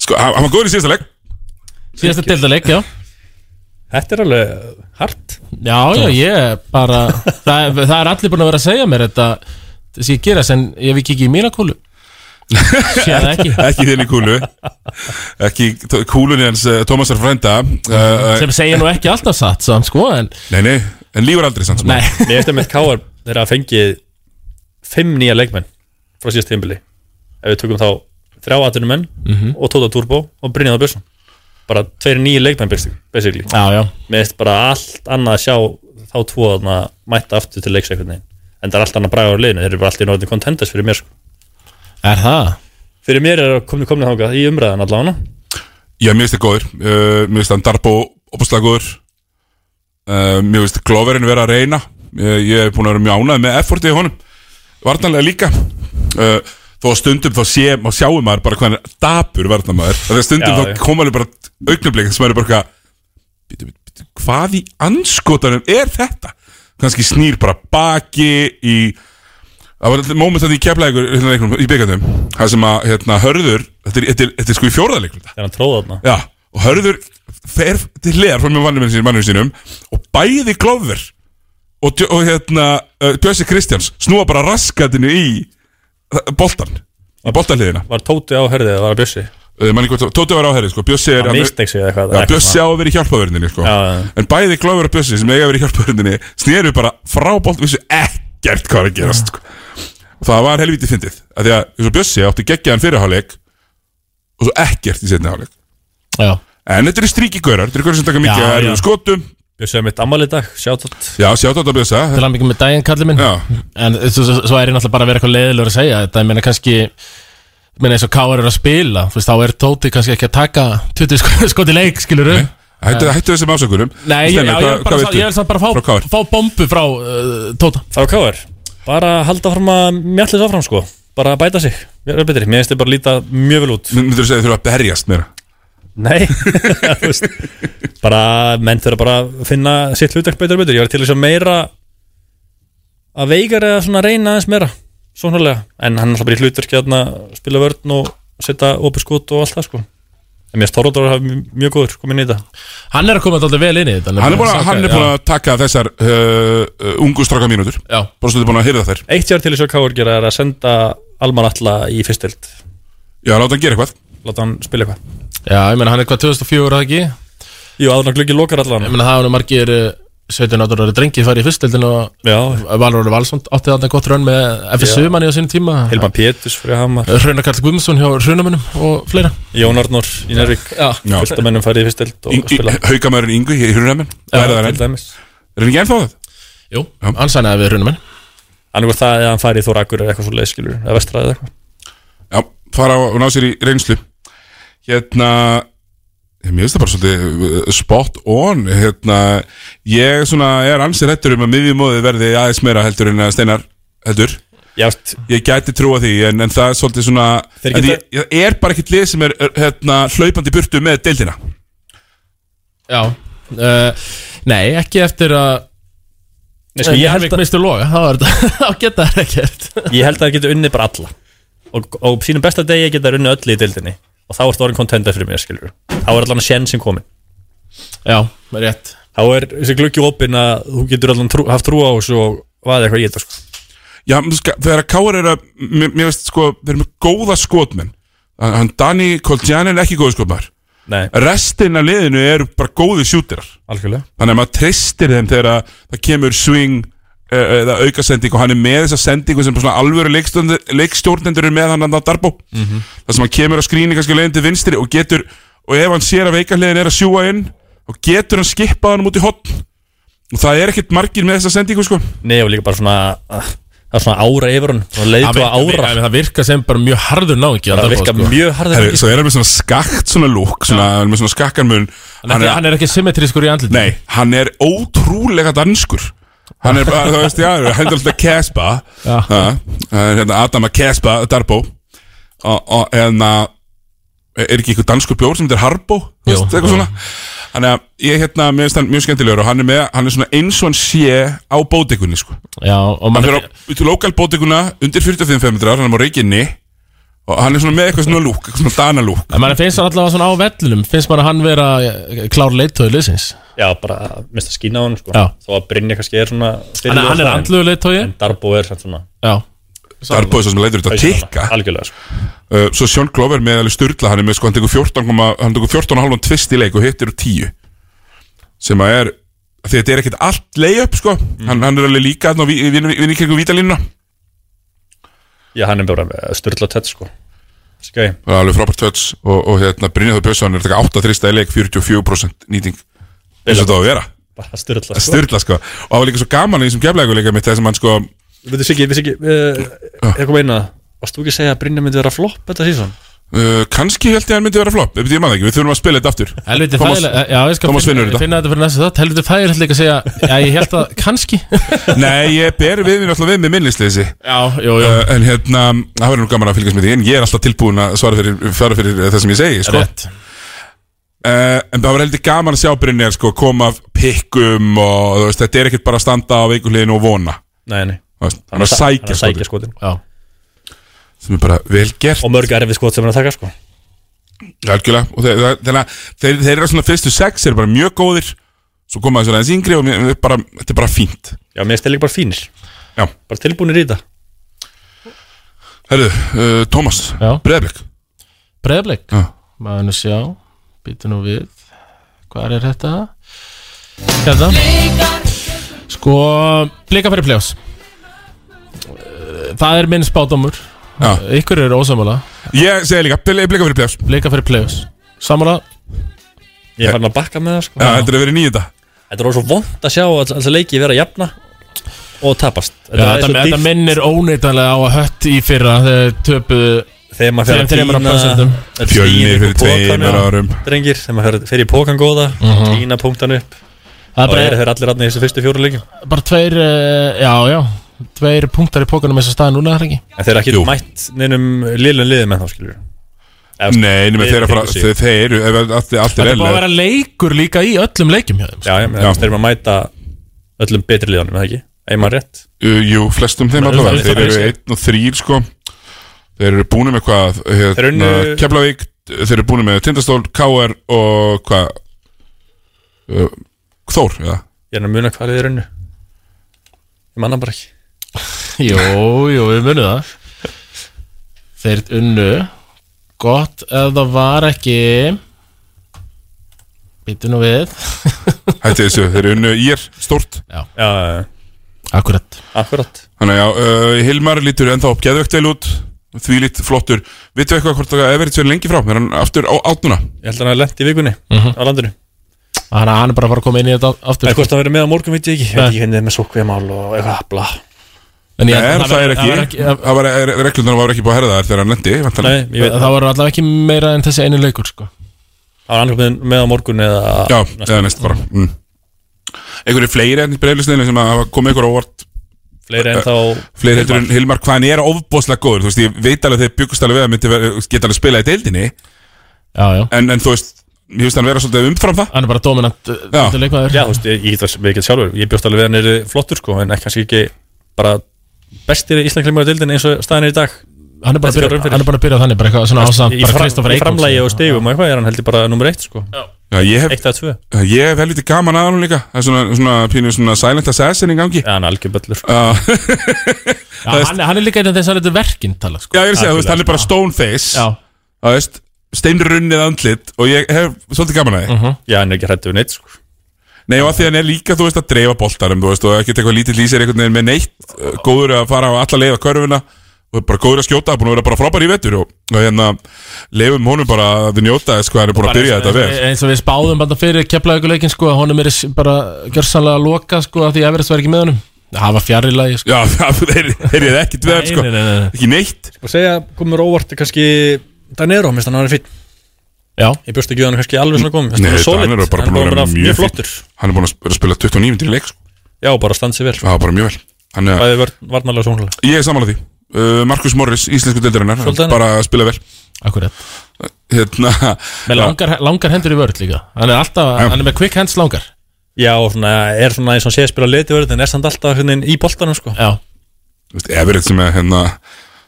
Speaker 1: Sko, hann hann var góður í síðasta leik
Speaker 2: Síðasta deildaleik, já
Speaker 9: Þetta er alveg hart
Speaker 2: Já, já, ég er bara það, er- það er allir búin að vera að segja mér þetta þess ég gera, en ég við kikið í mína [LAUGHS] kúlu Sér það ekki
Speaker 1: ekki þinn í kúlu ekki t- kúlunni hans uh, Tómasar frænda uh, uh,
Speaker 2: sem segja nú ekki alltaf satt samt, sko, en
Speaker 1: nei, nei, en lífur aldrei samt sko. sem
Speaker 2: nei,
Speaker 1: áður.
Speaker 9: Mér eftir með K.R. þeirra að fengið fimm nýja leikmenn frá síðast tímbili ef við tökum þá þrjá aðtunum menn og Tóta Turbo og Brynjaður Björnsson bara tveir nýja leikmenn basi- basically
Speaker 2: Já, já,
Speaker 9: mér eftir bara allt annað að sjá þá tvo að mæta aftur til leiks einhvern veginn en það er allt annað bræður á liðinu þeir eru bara allt í norðin contenders fyrir mér sko.
Speaker 2: er það
Speaker 9: fyrir mér er það komni komni þáka í umræðan allavega
Speaker 1: já, mér finnst það góður uh, mér finnst það Darbo opaslega góður uh, mér finnst Gloverinn vera að reyna uh, ég hef búin að vera mjög ánægð með effortið í honum vartanlega líka uh, þó að stundum þá sé, má sjáum maður bara hvað hann er dapur varnamaður þegar stundum
Speaker 9: Já,
Speaker 1: þá
Speaker 9: já.
Speaker 1: koma alveg bara augnablik sem er bara eitthvað "Bíddu, bíddu, bíddu, hvað í anskotanum er þetta kannski snýr bara baki í það var alltaf moment að því keflaðið ykkur leiknum, hérna í byggandum það sem að hérna, hörður þetta er, þetta, er, þetta er sko í fjórðarleikum
Speaker 9: þegar hann tróða þarna
Speaker 1: Já, og hörður fer til hliðar frá mjög mannum sínum, mannum sínum og bæði glóður og, Djö- og hérna uh, Bjössi Kristjáns snúa bara raskatinu í uh, boltan, í boltanliðina
Speaker 9: var Tóti á hörðið eða var það Bjössi
Speaker 1: uh, manni hvort, Tóti var á herri, sko, Bjössi er
Speaker 9: hann
Speaker 1: hann-
Speaker 9: misteg sig eða eitthvað
Speaker 1: Já,
Speaker 9: eitthvað
Speaker 1: Bjössi
Speaker 9: svona.
Speaker 1: á að vera í hjálpaverðinni, sko
Speaker 9: Já, já.
Speaker 1: En bæði glóður og Bjössi sem eiga að vera í hjálpaverðinni sneru bara frá boltan, vissu ekkert hvað er að gerast, sko Það var helvítið fyndið, að því að eins og Bjössi átti geggjaðan fyrirháleik og svo ekkert í setni háleik
Speaker 2: Já,
Speaker 1: En þetta eru stríkigaurar, þetta eru gaurar sem taka mikið
Speaker 2: Já,
Speaker 1: að
Speaker 2: já.
Speaker 1: erfum skotum
Speaker 9: Bjössi er mitt ammali dag sjátt
Speaker 1: Já, sjátt átt að bjösa
Speaker 2: til hann mikið með daginn kallið minn
Speaker 1: Já,
Speaker 2: en þú- svo, svo er ég náttúrulega bara að vera eitthvað leiðilegur að segja þetta, ég meina kannski ég meina eins og K.R. er að spila þú veist, þá er Tóti kannski ekki að taka 20 sko- [LAUGHS] skot í leik, skilur
Speaker 1: Nei. hættu, hættu þessum ásökunum
Speaker 2: Nei, ég, já, ég, vil bara, sá, ég vil samt bara
Speaker 1: Frá
Speaker 2: fá,
Speaker 1: KR?
Speaker 2: fá bombu frá uh, Tóta
Speaker 9: Frá K.R. Bara halda fram að mjallis áfram sko Bara að bæta sig Mér er betri Mér finnst þið bara líta mjög vel út
Speaker 1: Myndur þú segja þurfa að berjast meira
Speaker 9: Nei [LAUGHS] Þú veist, Bara menn þurfa bara að finna sitt hlutverk betur og betur Ég var til þess að meira Að veikar eða svona reyna aðeins meira sóknarlega en hann er alltaf bara í hlutverki að spila vörn og setja opið skot og allt það sko en mér stórhóttur að hafa mjög góður komin í þetta
Speaker 2: Hann er að koma alltaf vel inn í þetta
Speaker 1: Hann er búin að,
Speaker 2: Saka,
Speaker 1: hann er
Speaker 2: já.
Speaker 1: búin að taka þessar uh, uh, ungu stráka mínútur
Speaker 2: Já
Speaker 1: Bara svolítið búin að hyrða þær
Speaker 9: Eitt hjár til þess að Káur gera er að senda Alman Alla í fyrstild
Speaker 1: Já, láta hann gera eitthvað
Speaker 9: Láta hann spila eitthvað
Speaker 2: Já, ég meina hann er hvað 2004 eða ekki
Speaker 9: Jú, áður en gluggi lokar allan
Speaker 2: Ég meina það hann margir eh, 17 ára ára drengið farið í fyrstildin og
Speaker 9: Já.
Speaker 2: Valur Óli Valsson átti þarna gott raun með FSU
Speaker 9: Já.
Speaker 2: manni á sinni tíma
Speaker 9: Hilman Pétus fyrir Hamar
Speaker 2: Hraunar Karl Guðmundsson hjá Hraunamönnum og fleira
Speaker 9: Jón Arnór í Nervík fullt af mennum farið í fyrstild og spila
Speaker 1: Haukamæðurinn Ingu í Hurunamenn
Speaker 9: Já,
Speaker 1: Það er það
Speaker 9: til
Speaker 1: enn
Speaker 9: dæmis.
Speaker 1: Er hann ekki ennþá það?
Speaker 2: Jú, hann sænaði við Hraunamenn
Speaker 9: Annarkur það eða hann farið í Þóra Akur eða eitthvað svo leiðskilur eða vestraði eða eitthvað
Speaker 1: Já, fara og ná sér í reynslu Hérna Mér finnst það bara svolítið uh, spot on Hérna Ég svona er ansið hættur um að miðjumóðið verði aðeins meira heldur en að steinar heldur
Speaker 9: Já,
Speaker 1: Ég gæti trúa því en, en það er svolítið svona
Speaker 9: Þeir
Speaker 1: en
Speaker 9: geta-
Speaker 1: ég, ég er bara ekkert lið sem er er, hérna, hlaupandi í burtu með deildina
Speaker 2: Já uh, Nei, ekki eftir að
Speaker 9: Nei, sko, ég held
Speaker 2: Helvík
Speaker 9: að-
Speaker 2: mistur loga, þá er þetta [LAUGHS] þá geta það ekkert
Speaker 9: Ég held að það getur unnið bara alla og og á sínum besta degi geta þær unnið öll í dildinni og þá ertu orðin kontenda fyrir mér skilur þá er allan að sjenn sem komin
Speaker 2: Já, rétt
Speaker 9: þá er þessi gluggi opinn að þú getur allan trú, haft trú á þessu og vaðið eitthvað í þetta sko.
Speaker 1: Já, þú veist, þegar að Káar er að Mér, mér veist sko, þeir eru með góða skotmenn Hann hann Dani Koltjan er ekki góð skotmar
Speaker 9: Nei.
Speaker 1: Restin af liðinu eru bara góði sjútirar
Speaker 9: Algjörlega
Speaker 1: Þannig að maður treystir þeim þegar að það kemur swing eh, eða aukasending og hann er með þessa sendingu sem svona alvöru leikstjórnendur- leikstjórnendur er með hann að Darbo
Speaker 7: Mhm.
Speaker 1: þar sem hann kemur að skrýni kannski leiðin til vinstri og getur og ef hann sér að veikahliðin er að sjúa inn og getur hann skipað hann út í hotn og það er ekkert margir með þessa sendingu sko
Speaker 9: Nei og líka bara svona ah, það er svona ára yfir hún og leiðtóa
Speaker 2: Það virkar-
Speaker 9: ára
Speaker 2: Það virka sem bara mjög harður sko. náðingi
Speaker 9: Það virkar mjög harður
Speaker 1: Herri, Svo er hann með svona skakt svona lúk svona, hann er með svona skakkanmun
Speaker 2: Hann er- hann er ekki symmetriskur í andlitinu
Speaker 1: Nei, hann er ótrúlega danskur Hann er bara, þú veist, já, hendur alltaf Kespa
Speaker 2: Já.
Speaker 1: Það er hérna Adam að Kespa, Darbo Og, og hérna Er ekki eitthvað danskur bjór sem þetta er Harbo þú
Speaker 2: Jú,
Speaker 1: veist, Eitthvað
Speaker 2: jú.
Speaker 1: svona Þannig að ég hérna, mér finnst hann mjög skemmtilegur Og hann er með, hann er svona eins og hann sé Á bótekunni, sko
Speaker 2: Já, og
Speaker 1: Hann
Speaker 2: maður
Speaker 1: er á, út í lokal bótekuna Undir 45-5 metrar, hann er á reikinni Og hann er svona með eitthvað svona lúk Eitthvað svona danalúk
Speaker 2: En mann finnst hann allavega svona á vellunum Finnst mann að hann vera eh, klár leittói liðsins
Speaker 9: Já, bara mista skína á hún sko.
Speaker 2: Já.
Speaker 9: þó að Brynja kannski er svona
Speaker 2: Hann er- hann er andlugur leiðtogi.
Speaker 9: En Darbo er samt svona
Speaker 2: Já
Speaker 1: Darbo er svo sem leitur út að tikka
Speaker 9: Algjörlega sko.
Speaker 1: Uh, Svo Sjón Glover með alveg styrla hann er með sko, hann tekur 14, koma- hann tekur 14 hálfum tvist í leik og hittir úr 10 sem að er, því þetta er ekkert allt layup sko,
Speaker 2: Mm.
Speaker 1: hann, hann er alveg líka hann vinni kringum vítalínuna
Speaker 9: Já, hann er bara styrla tett sko. Skæði
Speaker 1: það er alveg frábært töts og, og hérna Brynjaður Björnsson er að taka 8 þrista í leik 44% nýting eins og þetta á að vera
Speaker 9: bara styrla
Speaker 1: sko. styrla sko, og það var líka svo gaman í þessum gefleikuleika mitt þessum hann sko
Speaker 9: Við veitum ekki, við veitum ekki, uh, ég kom eina Varst þú ekki að segja að Brynja myndi vera flopp þetta síðan?
Speaker 1: Uh, kannski held ég að hann myndi vera flop Ég maður það ekki, við þurfum að spila þetta aftur
Speaker 2: Helviti
Speaker 1: Thomas-
Speaker 2: þægilega Já, ég skal
Speaker 1: Thomas
Speaker 2: finna,
Speaker 1: finnur þetta
Speaker 2: finna þetta fyrir næsta þátt Helviti þægilegt líka að segja Já, ég held að kannski
Speaker 1: Nei, ég ber við mér alltaf við með minnisleysi
Speaker 2: [LAUGHS] Já, jú, jú
Speaker 1: uh, En hérna, það verður nú gaman að fylgjast með því En ég er alltaf tilbúin að svara fyrir, svara fyrir eh, það sem ég segi sko.
Speaker 2: Rétt.
Speaker 1: uh, En það var heldur gaman að sjá Brynjar sko, koma af pikkum og þú veist, þetta er ekkert bara að standa á veikuleginu og vona
Speaker 9: Nei, nei
Speaker 1: Þú veist, Hann er að sækja
Speaker 9: Hann
Speaker 1: sko,
Speaker 9: er að sækja skotin
Speaker 2: Já
Speaker 1: sem er bara vel gert
Speaker 9: Og mörg erfið skot sem hann er að taka sko
Speaker 1: Algjörlega, og þeir, þeir, þeir, þeir, þeir eru svona fyrstu sex eru bara mjög góðir Svo koma þessu aðeins yngri og mér, mér bara, þetta er bara fínt
Speaker 9: Já, mér stil ekki bara fínir
Speaker 1: Já.
Speaker 9: Bara tilbúinir í þetta
Speaker 1: Herðu, uh, Tómas,
Speaker 2: Já.
Speaker 1: Breiðablik
Speaker 2: Breiðblik
Speaker 1: Já.
Speaker 2: Maður nú sjá Býtu nú við Hvað er þetta? Hérna Sko Blika fyrir pljós Það er minn spátumur
Speaker 1: Já.
Speaker 2: Ykkur eru ósamála
Speaker 1: Ég segi líka, blika fyrir pljás
Speaker 2: Blika fyrir pljós Samála
Speaker 9: Ég er farin að bakka með það sko
Speaker 1: Já, þetta er að vera nýjönda
Speaker 9: Þetta er orðið svo vond að sjá að alltaf leiki vera jafna Og tapast
Speaker 2: Já, þetta, þetta minnir óneitanlega á að hött í fyrra þegar þau töpuðu
Speaker 9: Þegar maður fer að
Speaker 2: Þegar- þegar maður
Speaker 9: tína-
Speaker 2: prosentum.
Speaker 9: þetta
Speaker 1: Fjölnir
Speaker 9: tína upp
Speaker 1: fyrir
Speaker 9: úr pokanum,
Speaker 1: tveimur
Speaker 9: já,
Speaker 1: árum.
Speaker 9: Drengir, þegar maður fer- fer í pókan góða
Speaker 2: Mhm.
Speaker 9: Tína punktan upp
Speaker 2: Það er
Speaker 9: Og
Speaker 2: bara-
Speaker 9: eru þeir allir allir í þessu fyrstu fjóru leikum
Speaker 2: bara tveir, eh, já, já tveir punktar í pókanum þess að staða núna er það ekki
Speaker 9: En þeir eru ekki mætt neinum liðlum liðum en þá skilur
Speaker 1: Nei, nema þeir, að fara, þeir, þeir eru ef allt, allt
Speaker 2: Þetta
Speaker 1: er
Speaker 2: er bara að vera leikur líka í öllum leikjum hjá þeim sko.
Speaker 9: Já, já, menn, þeir eru að mæta öllum betri liðanum, eða ekki? Ef maður rétt
Speaker 1: Uh, jú, flestum þeim
Speaker 9: Maður
Speaker 1: allavega
Speaker 9: auðvitað
Speaker 1: Þeir eru
Speaker 9: auðvitað.
Speaker 1: einn og þrýr sko Þeir eru búinu með hvað
Speaker 9: Þeir
Speaker 1: hérna,
Speaker 9: unnu-
Speaker 1: Keflavík Þeir eru búinu með Tindastól, KR og hvað uh, Þór, já
Speaker 9: Ég er að muna hvað liðir unnu Ég manna bara ekki
Speaker 2: Jó, jú, við munum það Þeir unnu Gott ef það var ekki Býtu nú við
Speaker 1: Hætti þessu, þeir eru unnu ír, stórt
Speaker 2: Já,
Speaker 9: já, já.
Speaker 2: Akkurat
Speaker 9: Akkurat
Speaker 1: Þannig að já, uh, Hilmar lítur ennþá geðvögt vel út Því lít flottur Vittu eitthvað hvort að Everett er lengi frá Er hann aftur á átnuna?
Speaker 9: Ég held að hann hafi lent í vikunni
Speaker 1: Mhm.
Speaker 9: á landinu
Speaker 2: Þannig að hann er bara að fara að koma inn í þetta aftur
Speaker 9: Það er hvort að vera með á morgun, veit ég ekki Ég
Speaker 2: Nei.
Speaker 9: veit ekki henni með sókveðmál og eitthvað bla
Speaker 2: En
Speaker 1: Nei,
Speaker 2: ég held að
Speaker 1: það,
Speaker 2: það
Speaker 1: er
Speaker 2: verður-
Speaker 1: ekki,
Speaker 2: það verður ekki-
Speaker 1: það var reglunar var ekki búið að herða þær þegar hann lendi væntanlega.
Speaker 2: Það voru allavega ekki meira en þessi einu leikur sko.
Speaker 9: Það var annað með á morgun eða
Speaker 1: Já, eða næst bara mm. Einhverju fleiri enn í breyflisniðinu sem að hafa komið ykkur á óvart
Speaker 9: Fleiri en
Speaker 1: Eh,
Speaker 9: þá-
Speaker 1: Fleiri heldur en Hilmar, hvað hann er ofbóðslega góður Þú veist, ég veit alveg þegar byggust alveg við að myndi vera- geta alveg spilað í deildinni
Speaker 2: Já, já
Speaker 1: En, en þú veist, ég veist hann vera svolítið umfram það
Speaker 2: Hann er bara dominant uh,
Speaker 1: Ah. Já,
Speaker 2: leikmaður
Speaker 9: Já, þú veist, ég, ég, það við getum sjálfur Ég bjóst alveg við að hann er flottur sko En ekki kannski ekki bara bestir íslensklingmaður dildin eins og staðan er í dag
Speaker 2: Hann er bara að byrja- hann er bara að byrja þannig bara eitthvað svona ásamt
Speaker 9: Í,
Speaker 2: bara
Speaker 9: fram,
Speaker 2: Kristoffer
Speaker 9: í
Speaker 2: Eikholm,
Speaker 9: framlægi
Speaker 2: sko.
Speaker 9: og stegum og eitthvað er hann heldur bara nummer eitt sko
Speaker 1: Já, ég hef,
Speaker 9: Eitt að tvö
Speaker 1: ég hef helviti gaman að hann líka Það er svona, svona pínu svona silent assassin í gangi
Speaker 9: Já, hann er algjörböllur
Speaker 1: Já,
Speaker 2: Já, hann, er- hann er líka einn af þess að þetta verkinn tala sko.
Speaker 1: Já, ég er að segja, þú veist, hann er bara stone face
Speaker 2: Já.
Speaker 1: Þú veist, steinrunnið andlit Og ég hef svolítið gaman að því
Speaker 9: Já, hann er ekki hrættu við neitt sko
Speaker 1: Nei og að því hann er líka, þú veist, að dreifa boltarum Þú veist, og ekkert eitthvað lítill í sér einhvern veginn með neitt uh, Góður að fara á alla leiða körfuna Og bara góður að skjóta, búin að vera bara frábær í vetur Og, og hérna, leifum honum bara að njóta þess hvað hann er búin að byrja þetta vel
Speaker 2: Eh, eins og við spáðum bara fyrir keflaðuguleikin sko, að honum er s- bara gjörsanlega að loka sko, að því Everest var ekki með honum það var fjarri lagi sko.
Speaker 1: Já, [LAUGHS] það er, er ég ekki dveð, sko
Speaker 2: Nei, nei, nei, nei.
Speaker 1: Ekki neitt
Speaker 9: Sko segja, komur óvart kannski Danero, minnst hann að hann er fýtt
Speaker 2: Já.
Speaker 9: Ég bjóst ekki við hann kannski alveg svona kom
Speaker 1: Nei, þetta hann er bara búin að vera mjög
Speaker 9: flottur
Speaker 1: fín Hann er búin að vera að spila 29 mínútur í leik, sko
Speaker 9: Já, bara standi sig vel sko.
Speaker 1: Já, bara mjög vel Hann er,
Speaker 9: Bæði vörn- varnarlega og sóknarlega
Speaker 1: ég er samanlega því uh, Markus Morris, íslensku deildarinnar
Speaker 9: Svolítið hann.
Speaker 1: Bara að spila vel
Speaker 2: Akkurat.
Speaker 1: Hérna
Speaker 2: með
Speaker 1: já.
Speaker 2: langar, langar hendur í vörð líka hann er, alltaf, hann er með quick hands langar
Speaker 9: Já, og svona, er svona eins og hann sé að spila leti verið en er samt alltaf hvernig í boltanum sko
Speaker 2: Já.
Speaker 1: Þú veist, Everett sem er hérna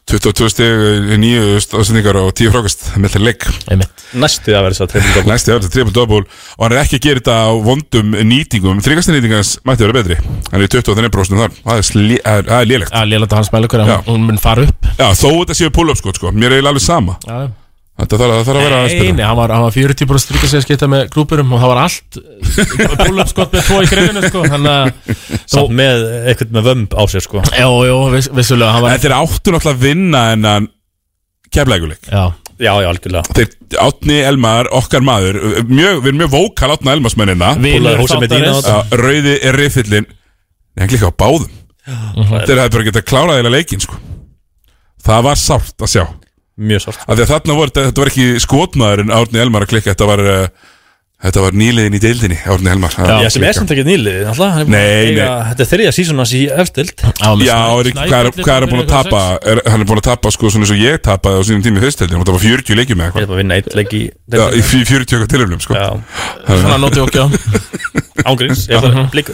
Speaker 1: 22 stig, eh, 9 ásendingar og 10 frákast með það leik
Speaker 2: Einmitt.
Speaker 9: Næstu að vera þess að trefnum
Speaker 1: Næsti er þetta triple double og hann er ekki að gera þetta á vondum nýtingum þryggastin nýtingans mætti vera betri hann er í 23% þar, um það er, slí, það er, það er lélegt
Speaker 2: að lélæta hans mælukur
Speaker 1: Já.
Speaker 2: hann, hún mun fara upp
Speaker 1: Já, þó þetta séu pull-up skot sko, mér er eiginlega alveg sama
Speaker 2: Já.
Speaker 1: Þetta þarf, að- það þarf að vera aðeins
Speaker 2: Nei,
Speaker 1: betra
Speaker 2: nei, hann var, hann var 40 bara stríka sig að skipta með grúpurum og það var allt búlum skott með tvo í greifinu sko, hann að
Speaker 9: Samt með eitthvað með vömb á sér sko
Speaker 2: Jó, jó, viss, vissulega hann var,
Speaker 1: En þeir áttu náttúrulega að vinna en keflæguleik
Speaker 2: já,
Speaker 9: Já, já, algjörlega
Speaker 1: Þeir átni Elmar, okkar maður mjög, Við erum mjög vókal átna Elmarsmennina
Speaker 2: vinur
Speaker 9: hósið með dýna á
Speaker 2: þáttarins
Speaker 9: þetta.
Speaker 1: Rauði er riffillin Nei, hann líka á báðum Þeir hefði bara getað klárað eða leikinn sko. Það var sárt að sjá að
Speaker 9: Mjög sárt
Speaker 1: Því að þarna voru, þetta var ekki skotmaðurinn Árni Elmar að klikka, þetta var uh, Þetta var nýliðin í deildinni, Árni Elmar að
Speaker 9: Já, sem
Speaker 1: klikka.
Speaker 9: er samt ekki nýlið Nei,
Speaker 1: Nei,
Speaker 9: Þetta er þriðja sísón hans í efstild
Speaker 2: Hann var með
Speaker 1: Já,
Speaker 2: Snæ-
Speaker 1: er ekki- hvað er-
Speaker 2: Snæfelli
Speaker 1: hvað er hann búin að
Speaker 2: fyrir
Speaker 1: tapa er, Hann er búin að tapa sko svona eins og ég tapaði á sínum tími í höstdeildinni, þetta var 40 leikjum eða
Speaker 9: Ég er
Speaker 1: eitthvað
Speaker 9: bara að vinna eitt leik í
Speaker 1: Já, í fj- 40 eitthvað tilöfnum sko
Speaker 9: Já,
Speaker 2: Svona nóti okkja
Speaker 9: ángríns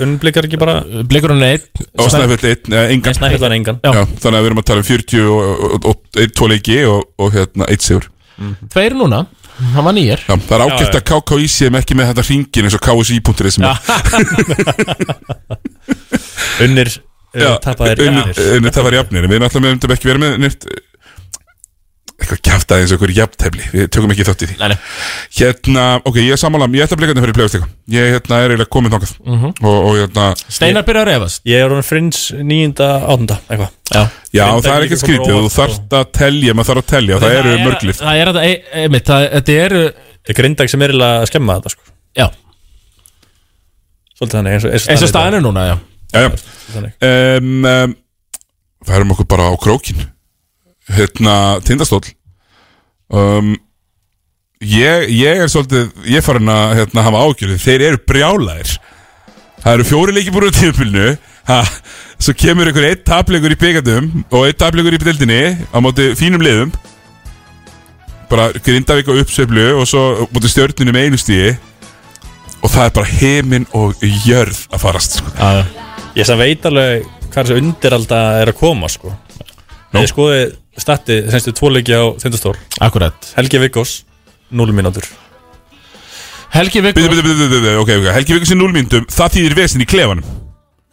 Speaker 9: Unnblikar ekki bara
Speaker 2: Blikur hann eitt
Speaker 1: Og snæfell einn, eh, engan
Speaker 9: Snæfjallan engan
Speaker 1: Já, þannig að við erum að tala um 40 og, og, og, og 2 leiki og, og hérna 1 sigur
Speaker 2: Tveir núna, hann var nýjar
Speaker 1: Já, það er ágæft
Speaker 9: já.
Speaker 1: að KKÍ séum ekki með þetta hringin eins og KSI.is sem er
Speaker 9: [LAUGHS] Unnir uh,
Speaker 1: Já, uh,
Speaker 9: tapaðir
Speaker 1: unnið- unnið tapar jafnir Við náttúrulega myndum ekki vera með nýtt eitthvað kjaftaði eins og okkur jafntefli Við tökum ekki þátt í því
Speaker 2: Nei, nei.
Speaker 1: Hérna, ok, ég er sammála Ég ætla að blikarnir fyrir play-off-stika Ég hérna, er eiginlega komin þangað
Speaker 9: Mhm.
Speaker 1: og, og hérna,
Speaker 2: Steinar byrja að refast
Speaker 9: Ég er honum frins nýjunda átunda Eitthvað
Speaker 2: Já
Speaker 1: já,
Speaker 9: Þeim
Speaker 1: það
Speaker 9: dæmi
Speaker 1: er
Speaker 9: líka
Speaker 1: ekki
Speaker 9: komið
Speaker 1: skrítið
Speaker 9: á
Speaker 1: Þú
Speaker 9: óvart,
Speaker 1: þarft að telja, maður þarf að telja Það eru
Speaker 2: er-
Speaker 1: mörglið
Speaker 2: Það er að, e- einmitt, það- þetta eru
Speaker 9: Það er grindag sem er eiginlega að skemma þetta sko
Speaker 2: Já,
Speaker 9: Svolítið þannig eins og-
Speaker 2: eins og
Speaker 9: staðan
Speaker 2: staðan er núna, já
Speaker 1: Já, já
Speaker 9: í dag. Þannig.
Speaker 1: um, um, Færum okkur bara á krókin Hérna, tindastóll um, ég, ég er svolítið Ég er farin að hérna, hafa ágjörði Þeir eru brjálæðir Það eru fjóri leiki búin á tíðupilnu ha, Svo kemur ykkur eitt tapleikur í byggandum Og eitt tapleikur í deildinni Á móti fínum liðum Bara grindavík á uppsveiflu Og svo á móti stjörnunum einu stíði Og það er bara heiminn og jörð að farast sko.
Speaker 2: Já, já.
Speaker 9: Ég sem veit alveg hvað þessi undiralda er að koma sko no. ég skoði stati semstu tvo leiki á Þindastór
Speaker 2: Akkurat
Speaker 9: Helgi Viggós 0 mínútur
Speaker 2: Helgi
Speaker 1: Vikus byrju, byrju, byrju, byrju, okay, okay. Helgi Vikus er 0 mínútum Það þýðir vesin í klefanum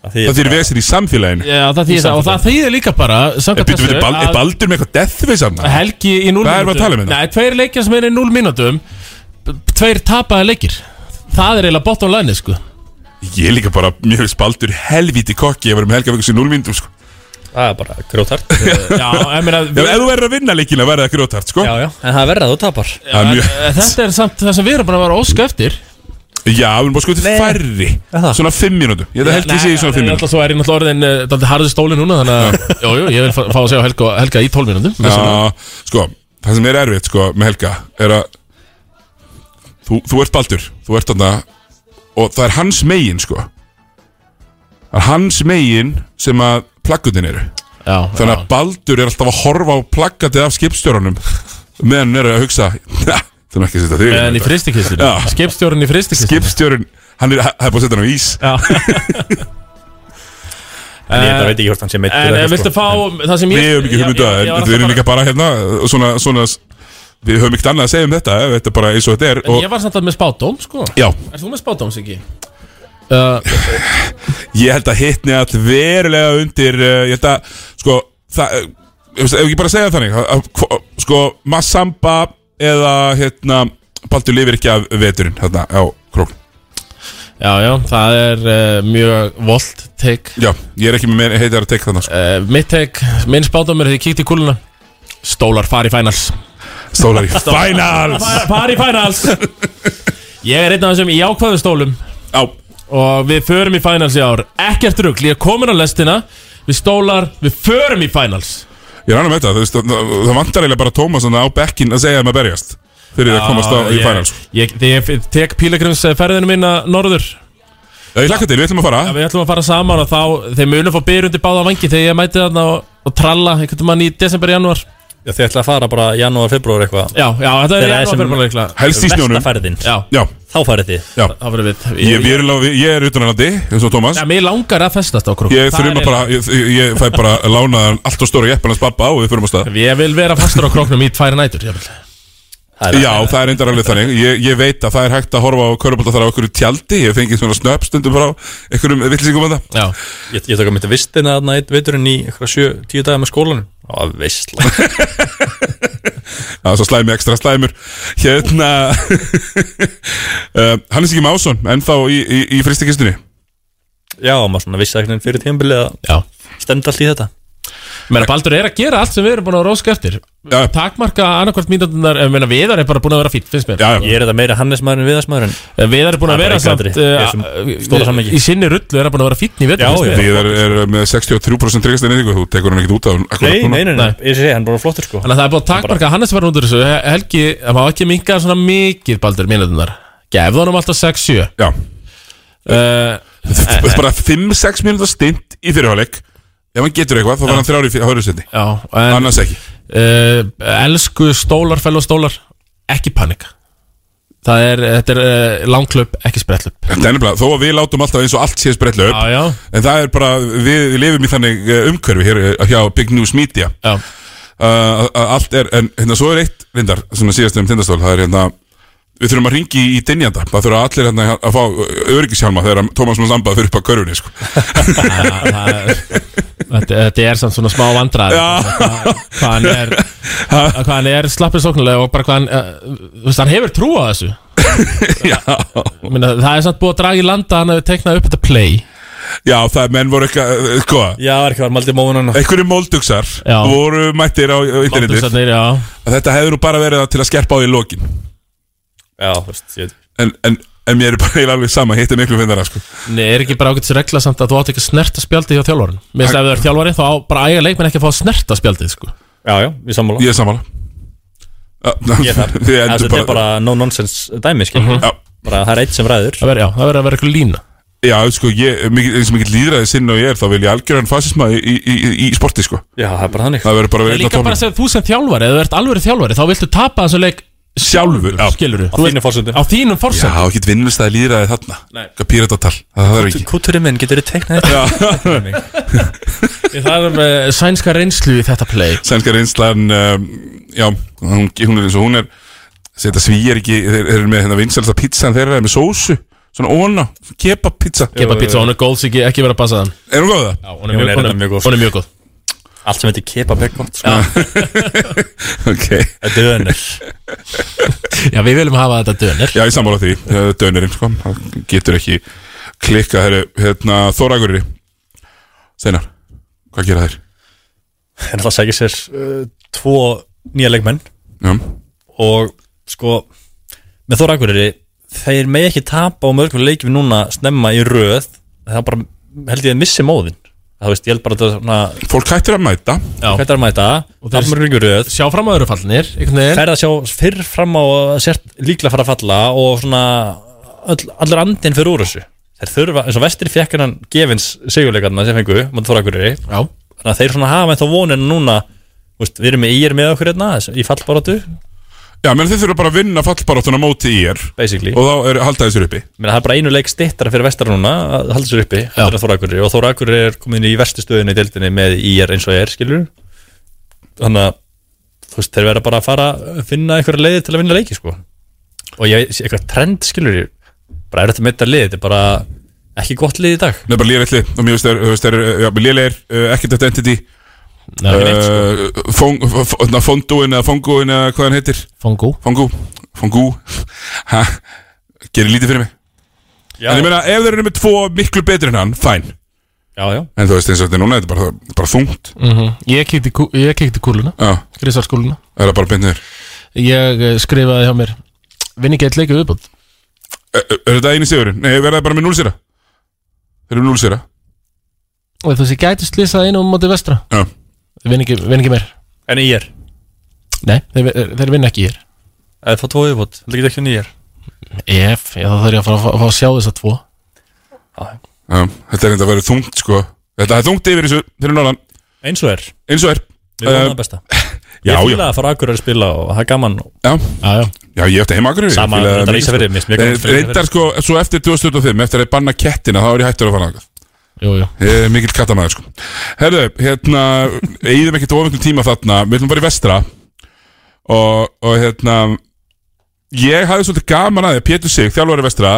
Speaker 1: Það þýðir, vesin í samfélaginu
Speaker 2: Já, það þýðir það og það þýðir líka bara samkvæmt
Speaker 1: Býtu, býtu,
Speaker 2: þessu,
Speaker 1: bal, er
Speaker 2: að-
Speaker 1: Baldur með eitthvað deathface hann?
Speaker 2: Helgi í 0 mínútum
Speaker 1: Hvað erum við að tala um hérna?
Speaker 2: Nei, tveir leikjar sem er í 0 mínútum b- Tveir tapaði leikir Það er eiginlega bottom line sko
Speaker 1: Ég er líka bara mjög spaldur helvíti kokki Ég verður með Helgi Vikus í 0 mínútum sko
Speaker 9: Það er bara grótart
Speaker 2: Já, ég meina
Speaker 1: [LAUGHS] Ef ef þú verður að vinna leikina verður það grótart sko Já,
Speaker 9: já, en það verður að þú tapar
Speaker 1: Það er mjög
Speaker 2: En Þetta er samt það sem við erum bara að vera að óska eftir
Speaker 1: Já, við erum bara skoðið
Speaker 2: Nei.
Speaker 1: færri
Speaker 2: Er það?
Speaker 1: Svona 5 mínútum Ég held að Helgi sé í svona 5 mínútum
Speaker 2: Svo er ég náttúrulega orðin uh, Daldi harði stóli núna Þannig [LAUGHS] að Jú, jú, ég vil fá fá að segja Helga, Helga í 12 mínútum
Speaker 1: Já, sko, það sem er erfitt sko með Helga er að þú, þú ert baldur, þú ert þarna og það er hans megin sko það er hans megin sem að plaggutin eru
Speaker 2: já,
Speaker 1: þannig að baldur er alltaf að horfa á plaggatið af skipstjórunum meðan hann er að hugsa það er ekki að setja þig
Speaker 2: En í
Speaker 1: þetta."
Speaker 2: fristikistunni
Speaker 1: Já.
Speaker 2: Skipstjórun í fristikistunni
Speaker 1: skipstjórun, hann er, hann er búin að setja hann á ís
Speaker 9: En ég þetta veit ekki hvort hann sé meiddur
Speaker 2: En
Speaker 9: eða
Speaker 2: eh,
Speaker 9: eitthvað,
Speaker 2: viltu
Speaker 9: sko.
Speaker 2: fá það sem ég
Speaker 1: Við höfum ekki hugmyndu að
Speaker 2: ég var
Speaker 1: Við
Speaker 2: alltaf
Speaker 1: erum
Speaker 2: bara-
Speaker 1: líka bara hérna svona, svona, Við höfum ekkert annað að segja um þetta eh, Þetta er bara eins og þetta er
Speaker 2: En
Speaker 1: og,
Speaker 2: ég var samt að með spátóm sko
Speaker 1: Já.
Speaker 2: Er þú með spátóm, Siggi? Eh,
Speaker 1: Ég held að hitni all verulega undir uh, Ég held að sko það, eh, Ef ef ekki bara segja þannig að, að, hvo- Sko Massamba eða hérna Baldur lifir ekki af veturinn hérna á krókn
Speaker 2: Já, já, það er uh, mjög volt take
Speaker 1: Já, ég er ekki með meira heitar að teka þannig sko.
Speaker 2: uh, Mitt take, minn spátóm er því kíkt í kúluna Stólar fari í finals
Speaker 1: Stólar í finals
Speaker 2: Fari í finals [LAUGHS] Ég er einn af þessum í ákvaðu stólum
Speaker 1: Já
Speaker 2: Og við förum í finals í ár Ekkert rugl, ég er komin á lestina Við stólar, við förum í finals
Speaker 1: Ég er annað með þetta þú veist, Það, það vantar eiginlega bara Tómas þarna á bekkin að segja þeim að berjast Fyrir að komast á í
Speaker 2: Ah, ég-
Speaker 1: finals
Speaker 2: ég, Þegar ég tek pílagrins ferðinu mína norður
Speaker 1: Já, ég hlakka til, við ætlum að fara
Speaker 2: Við ætlum að fara saman og þá Þeir munum fá byrjur undir báða vangi Þegar ég mæti þarna og, og tralla Einhvern mann í desember, janúar
Speaker 9: Já, þið ætla að fara bara janúar, februar eitthvað
Speaker 2: Já, já, þetta er
Speaker 9: Þegar það
Speaker 2: janúar,
Speaker 9: sem
Speaker 2: februar líklega.
Speaker 1: Helst í snjónum.
Speaker 9: Vestafærðin
Speaker 2: Já,
Speaker 1: Já,
Speaker 9: Þá farið þið
Speaker 1: já
Speaker 2: það verður við
Speaker 1: Ég, ég, er, alveg- ég er utanarlandi, eins og Tómas
Speaker 2: Já, mér langar að festast á krúk
Speaker 1: Ég
Speaker 2: Það
Speaker 1: þurfum
Speaker 2: er
Speaker 1: að bara, ég, ég- ég fæ bara lánaðan allt og stóra jeppan hans pappa og við fyrir á stað
Speaker 2: eiginlega- Ég vil vera fastur á króknum í tvær nætur jafnvel.
Speaker 1: Já, það er reyndar alveg þannig ég, ég veit að það er hægt að horfa á körubólta þar á okkur tjaldi Ég hef fengið svona snöpp stundum frá einhverjum vittlýsingum að það
Speaker 2: Já,
Speaker 9: Ég, ég tók að mynda vistina þarna eitt veiturinn í eitthvað sjö, tíu dagar með skólanum Á, [LAUGHS] veistla
Speaker 1: Það er svo slæmi, ekstra slæmur Hérna [LAUGHS] uh, Hannes ekki Másson, ennþá í, í, í fristikistunni
Speaker 9: Já, maður svona vissi ekkert fyrir tímabilið að
Speaker 2: já
Speaker 9: stemd allt í þetta
Speaker 2: Menna Baldur er að gera allt sem við erum búin að róska eftir
Speaker 9: Mm.
Speaker 1: Já.
Speaker 2: Takmarka annarkvært mínútunar Menna Viðar er bara búin að vera fýtt, finnst mér
Speaker 1: Já, já,
Speaker 9: Ég er þetta meira Hannesmaður en Viðarsmaður en
Speaker 2: Eh, Viðar er búin að
Speaker 9: Það er
Speaker 2: vera
Speaker 9: bara
Speaker 2: samt
Speaker 9: ekki atriði.
Speaker 2: eh,
Speaker 9: Þessum
Speaker 2: eh,
Speaker 9: stóra samhengi.
Speaker 2: Í sinni rullu er hann búin að vera fýtt í vetur
Speaker 9: Já,
Speaker 2: finnst mér.
Speaker 9: já.
Speaker 1: Viðar er með 63% tryggast einnig Þú tekur hann ekkert út af hann akkúrat
Speaker 9: Nei,
Speaker 1: núna.
Speaker 9: nei, nei, nei, ég sé, hann er bara flottur sko
Speaker 2: Þannig að það er búin að takmarka Hannes var núndur þessu Hel- Helgi, það má ekki minka svona mikið Baldur mínútunar Gefðu honum alltaf 6-7
Speaker 1: Já,
Speaker 2: uh,
Speaker 9: Eh,
Speaker 1: bara 5-6 mínúta stint í fyrirháleik Ef hann getur eitthvað, þá var hann þrjári í hörðustendi
Speaker 2: Já, en
Speaker 1: Annars ekki
Speaker 2: uh, elsku stólar, fellow stólar ekki panika það er, þetta er uh, langklöp, ekki sprettlöp
Speaker 1: Þetta er nefnilega, þó að við látum alltaf eins og allt sé sprettla upp
Speaker 2: já,
Speaker 1: En það er bara, við, við lifum í þannig eh, umhverfi hér eh, hjá Big News Media
Speaker 2: já,
Speaker 1: uh, að að Allt er, en hérna svo er eitt reyndar, svona síðast um tindastól Það er hérna, við þurfum að ringi í dynjanda Það þurfa allir hérna að fá öryggishjálma Þegar Tómas Mons Ambað fyrir upp á körfunni sko. [LAUGHS]
Speaker 2: það, það er, þetta, þetta er samt svona smá vandræð hvað hann er hvað hann er slappur sóknulega og bara hvað hann uh, þú veist, hann hefur trú á þessu
Speaker 1: já,
Speaker 2: Minna, það er samt búið að draga í landa að hann hefur teiknað upp þetta play
Speaker 1: já, það er menn voru eitthvað, eh, sko
Speaker 9: Já, er ekki var maldi móðunan
Speaker 1: Einhverju móldugsar
Speaker 2: Já.
Speaker 1: voru mættir á á internetið
Speaker 2: Baldursarnir, já.
Speaker 1: að Þetta hefur nú bara verið til að skerpa á í lokin
Speaker 9: Já, þú veist, ég
Speaker 1: En, en, en mér er bara eiginlega alveg sama Hitt er miklu finnara, sko
Speaker 2: Nei, er ekki bara ágætis regla samt að þú átt ekki að snerta spjaldið hjá þjálfarin Mér finnst að ef það er þjálfarin þá á bara að eiga leikmenn ekki að fá að snerta spjaldið sko.
Speaker 9: Já, já, við sammála
Speaker 1: Ég er sammála
Speaker 9: Ég þar
Speaker 1: Þið
Speaker 9: Það
Speaker 1: endur
Speaker 9: þetta er
Speaker 1: bara
Speaker 9: bara no-nonsense dæmi, skil
Speaker 1: Já.
Speaker 9: Bara það er eitt sem ræður
Speaker 2: Það verður já, það verður að vera eitthvað lína
Speaker 1: Já, sko, ég, mikið, eins og mikill líðræði sinn og ég er þá vil ég algjörðan fasisma í, í, í, í sporti, sko
Speaker 9: Já, það er bara þannig
Speaker 1: Það verður bara
Speaker 2: En
Speaker 1: verið
Speaker 2: líka bara sem þú sem þjálfari, eða þú ert alveg þjálfari þá viltu tapa þessu leik
Speaker 1: Sjálfur, já
Speaker 2: Skilur
Speaker 9: Á þínu fórsöndu
Speaker 2: Á þínum
Speaker 1: Já,
Speaker 2: forsendum
Speaker 1: ekki vinnustæði lýðræði þarna
Speaker 9: Nei.
Speaker 1: Hvað píratatal, það þarf ekki
Speaker 9: Kúturinn minn, getur þið teiknað þetta?
Speaker 2: Ég þarf uh, sænska reynslu í þetta play
Speaker 1: Sænska reynslan, um, já, hún, hún er eins og hún er Þetta svíjar ekki, þeir þeir eru með hérna vinsalasta pizzan þeirra er með sósu Svona óna, kebab pizza
Speaker 2: Kepa pizza, hún er góð, ekki, ekki vera að passa þann
Speaker 1: Er hún góð það?
Speaker 2: Já, hún er mjög, hún er,
Speaker 9: mjög góð.
Speaker 2: hún er mjög góð sko.
Speaker 9: Allt sem heitir kebab er gott sko.
Speaker 1: [LAUGHS] Ok,
Speaker 9: Þetta er önnur
Speaker 2: Já, við viljum hafa þetta dönir
Speaker 1: já, ég sammála því, eh, dönurinn, sko Það getur ekki klikkað, herru, hérna, Þóragurri Steinar, hvað gera þeir?
Speaker 9: En alltaf sækir sér uh, tvo nýja leikmenn
Speaker 1: Já,
Speaker 9: og sko með Þóra Akureyri þeir með ekki tapa á mörgum leikjum núna snemma í röð það bara held ég að missi móðin það veist ég held bara að það er svona
Speaker 1: fólk hættir að mæta
Speaker 9: hvernig er að mæta
Speaker 2: þeir-
Speaker 9: tapa mörgum leikjum í röð
Speaker 2: Sjá fram á öðru fallnir einhvern veginn.
Speaker 9: fer að sjá fyrr fram á að sért líklega fara að falla og svona öll, allur andinn fyrir úr þessu þeir þurfa eins og vestri fekk hennan gefins sigurleikarna sem fengu mot Þóra Akureyri
Speaker 2: Já,
Speaker 9: þannig að þeir svona hafa ennþá vonin núna þú veist, við erum með ír með okkur hérna í fallbaróttu
Speaker 1: Já, menn þeir þurfa bara að vinna fallbaráttuna á móti í er
Speaker 9: basically
Speaker 1: Og þá er, halda þessir uppi
Speaker 9: Ég meina, það er bara einu leik stittara fyrir vestar núna að halda sér uppi eftir að Þóra Akurri og Þóra Akurri er komin í verstu stöðunni í deildinni með IR eins og er skilur þannig að þú veist þeir verða bara að fara að finna einhverja leiði til að vinna leiki sko og ég sé eitthvað trend skilur bara er þetta með þetta leiði, þetta er bara ekki gott leiði í dag
Speaker 1: Nei, bara léleitli og mér finnst þeir, þú veist, þeir, já, léleir, uh, ekkert eftir entity
Speaker 2: það er neitt
Speaker 1: uh, fong, fong, Fondúin eða Fongúin eða hvað hann heitir
Speaker 2: Fongú
Speaker 1: Fongú, Fongú Ha, gerir lítið fyrir mig
Speaker 9: Já,
Speaker 1: En ég meina, ef þeir eru með tvo miklu betri en hann, fæn
Speaker 9: já, já,
Speaker 1: En þú veist eins og þetta er núna, þetta er bara, bara þungt
Speaker 2: mm Ég kíkti kú- ég kíkti kúluna,
Speaker 1: Já,
Speaker 2: grísarskúluna
Speaker 1: það er bara beintir
Speaker 2: Ég eh, skrifaði hjá mér Vinn ekki eitt leiku viðbútt
Speaker 1: Er, er þetta eini sigurinn? Nei, verða það bara með núlsýra? Þeir eru núlsýra?
Speaker 2: Og þessi gæti slýsað einu á móti vestra
Speaker 1: Já,
Speaker 2: Vinn ekki, vinn ekki meir
Speaker 9: en IR
Speaker 2: Nei, þeir, eh, þeir vinn ekki hér
Speaker 9: eða það tóðu viðbútt, það getur ekki en IR
Speaker 2: Ef, já, þá þarf ég að fara að fá- fá að sjá þessa tvo
Speaker 1: já, þetta er enda að vera þungt, sko Þetta er þungt yfir þessu, fyrir norðan
Speaker 9: eins og er,
Speaker 1: Eins og er
Speaker 9: við
Speaker 1: Eh,
Speaker 9: vonum það besta
Speaker 1: já,
Speaker 9: Ég
Speaker 1: já.
Speaker 9: fýla að fara Akurri að spila og það er gaman
Speaker 1: Já,
Speaker 2: Já, já
Speaker 1: Já, ég eftir heima akkur
Speaker 9: Sama, reyndar Ísafirði, mér finnst mjög gaman fyrir
Speaker 1: Reyndar sko, svo eftir 2025 Eftir að ég banna kettina, þá er ég hættur að fara þangað.
Speaker 2: Jú, jú
Speaker 1: Ég er Mikill kattamæður sko Herðu, hérna Eðum ekki tófumiklu tíma þarna Við ætlum bara í vestra Og, og hérna Ég hafði svolítið gaman að því að Pétur Sig, þjálfari vestra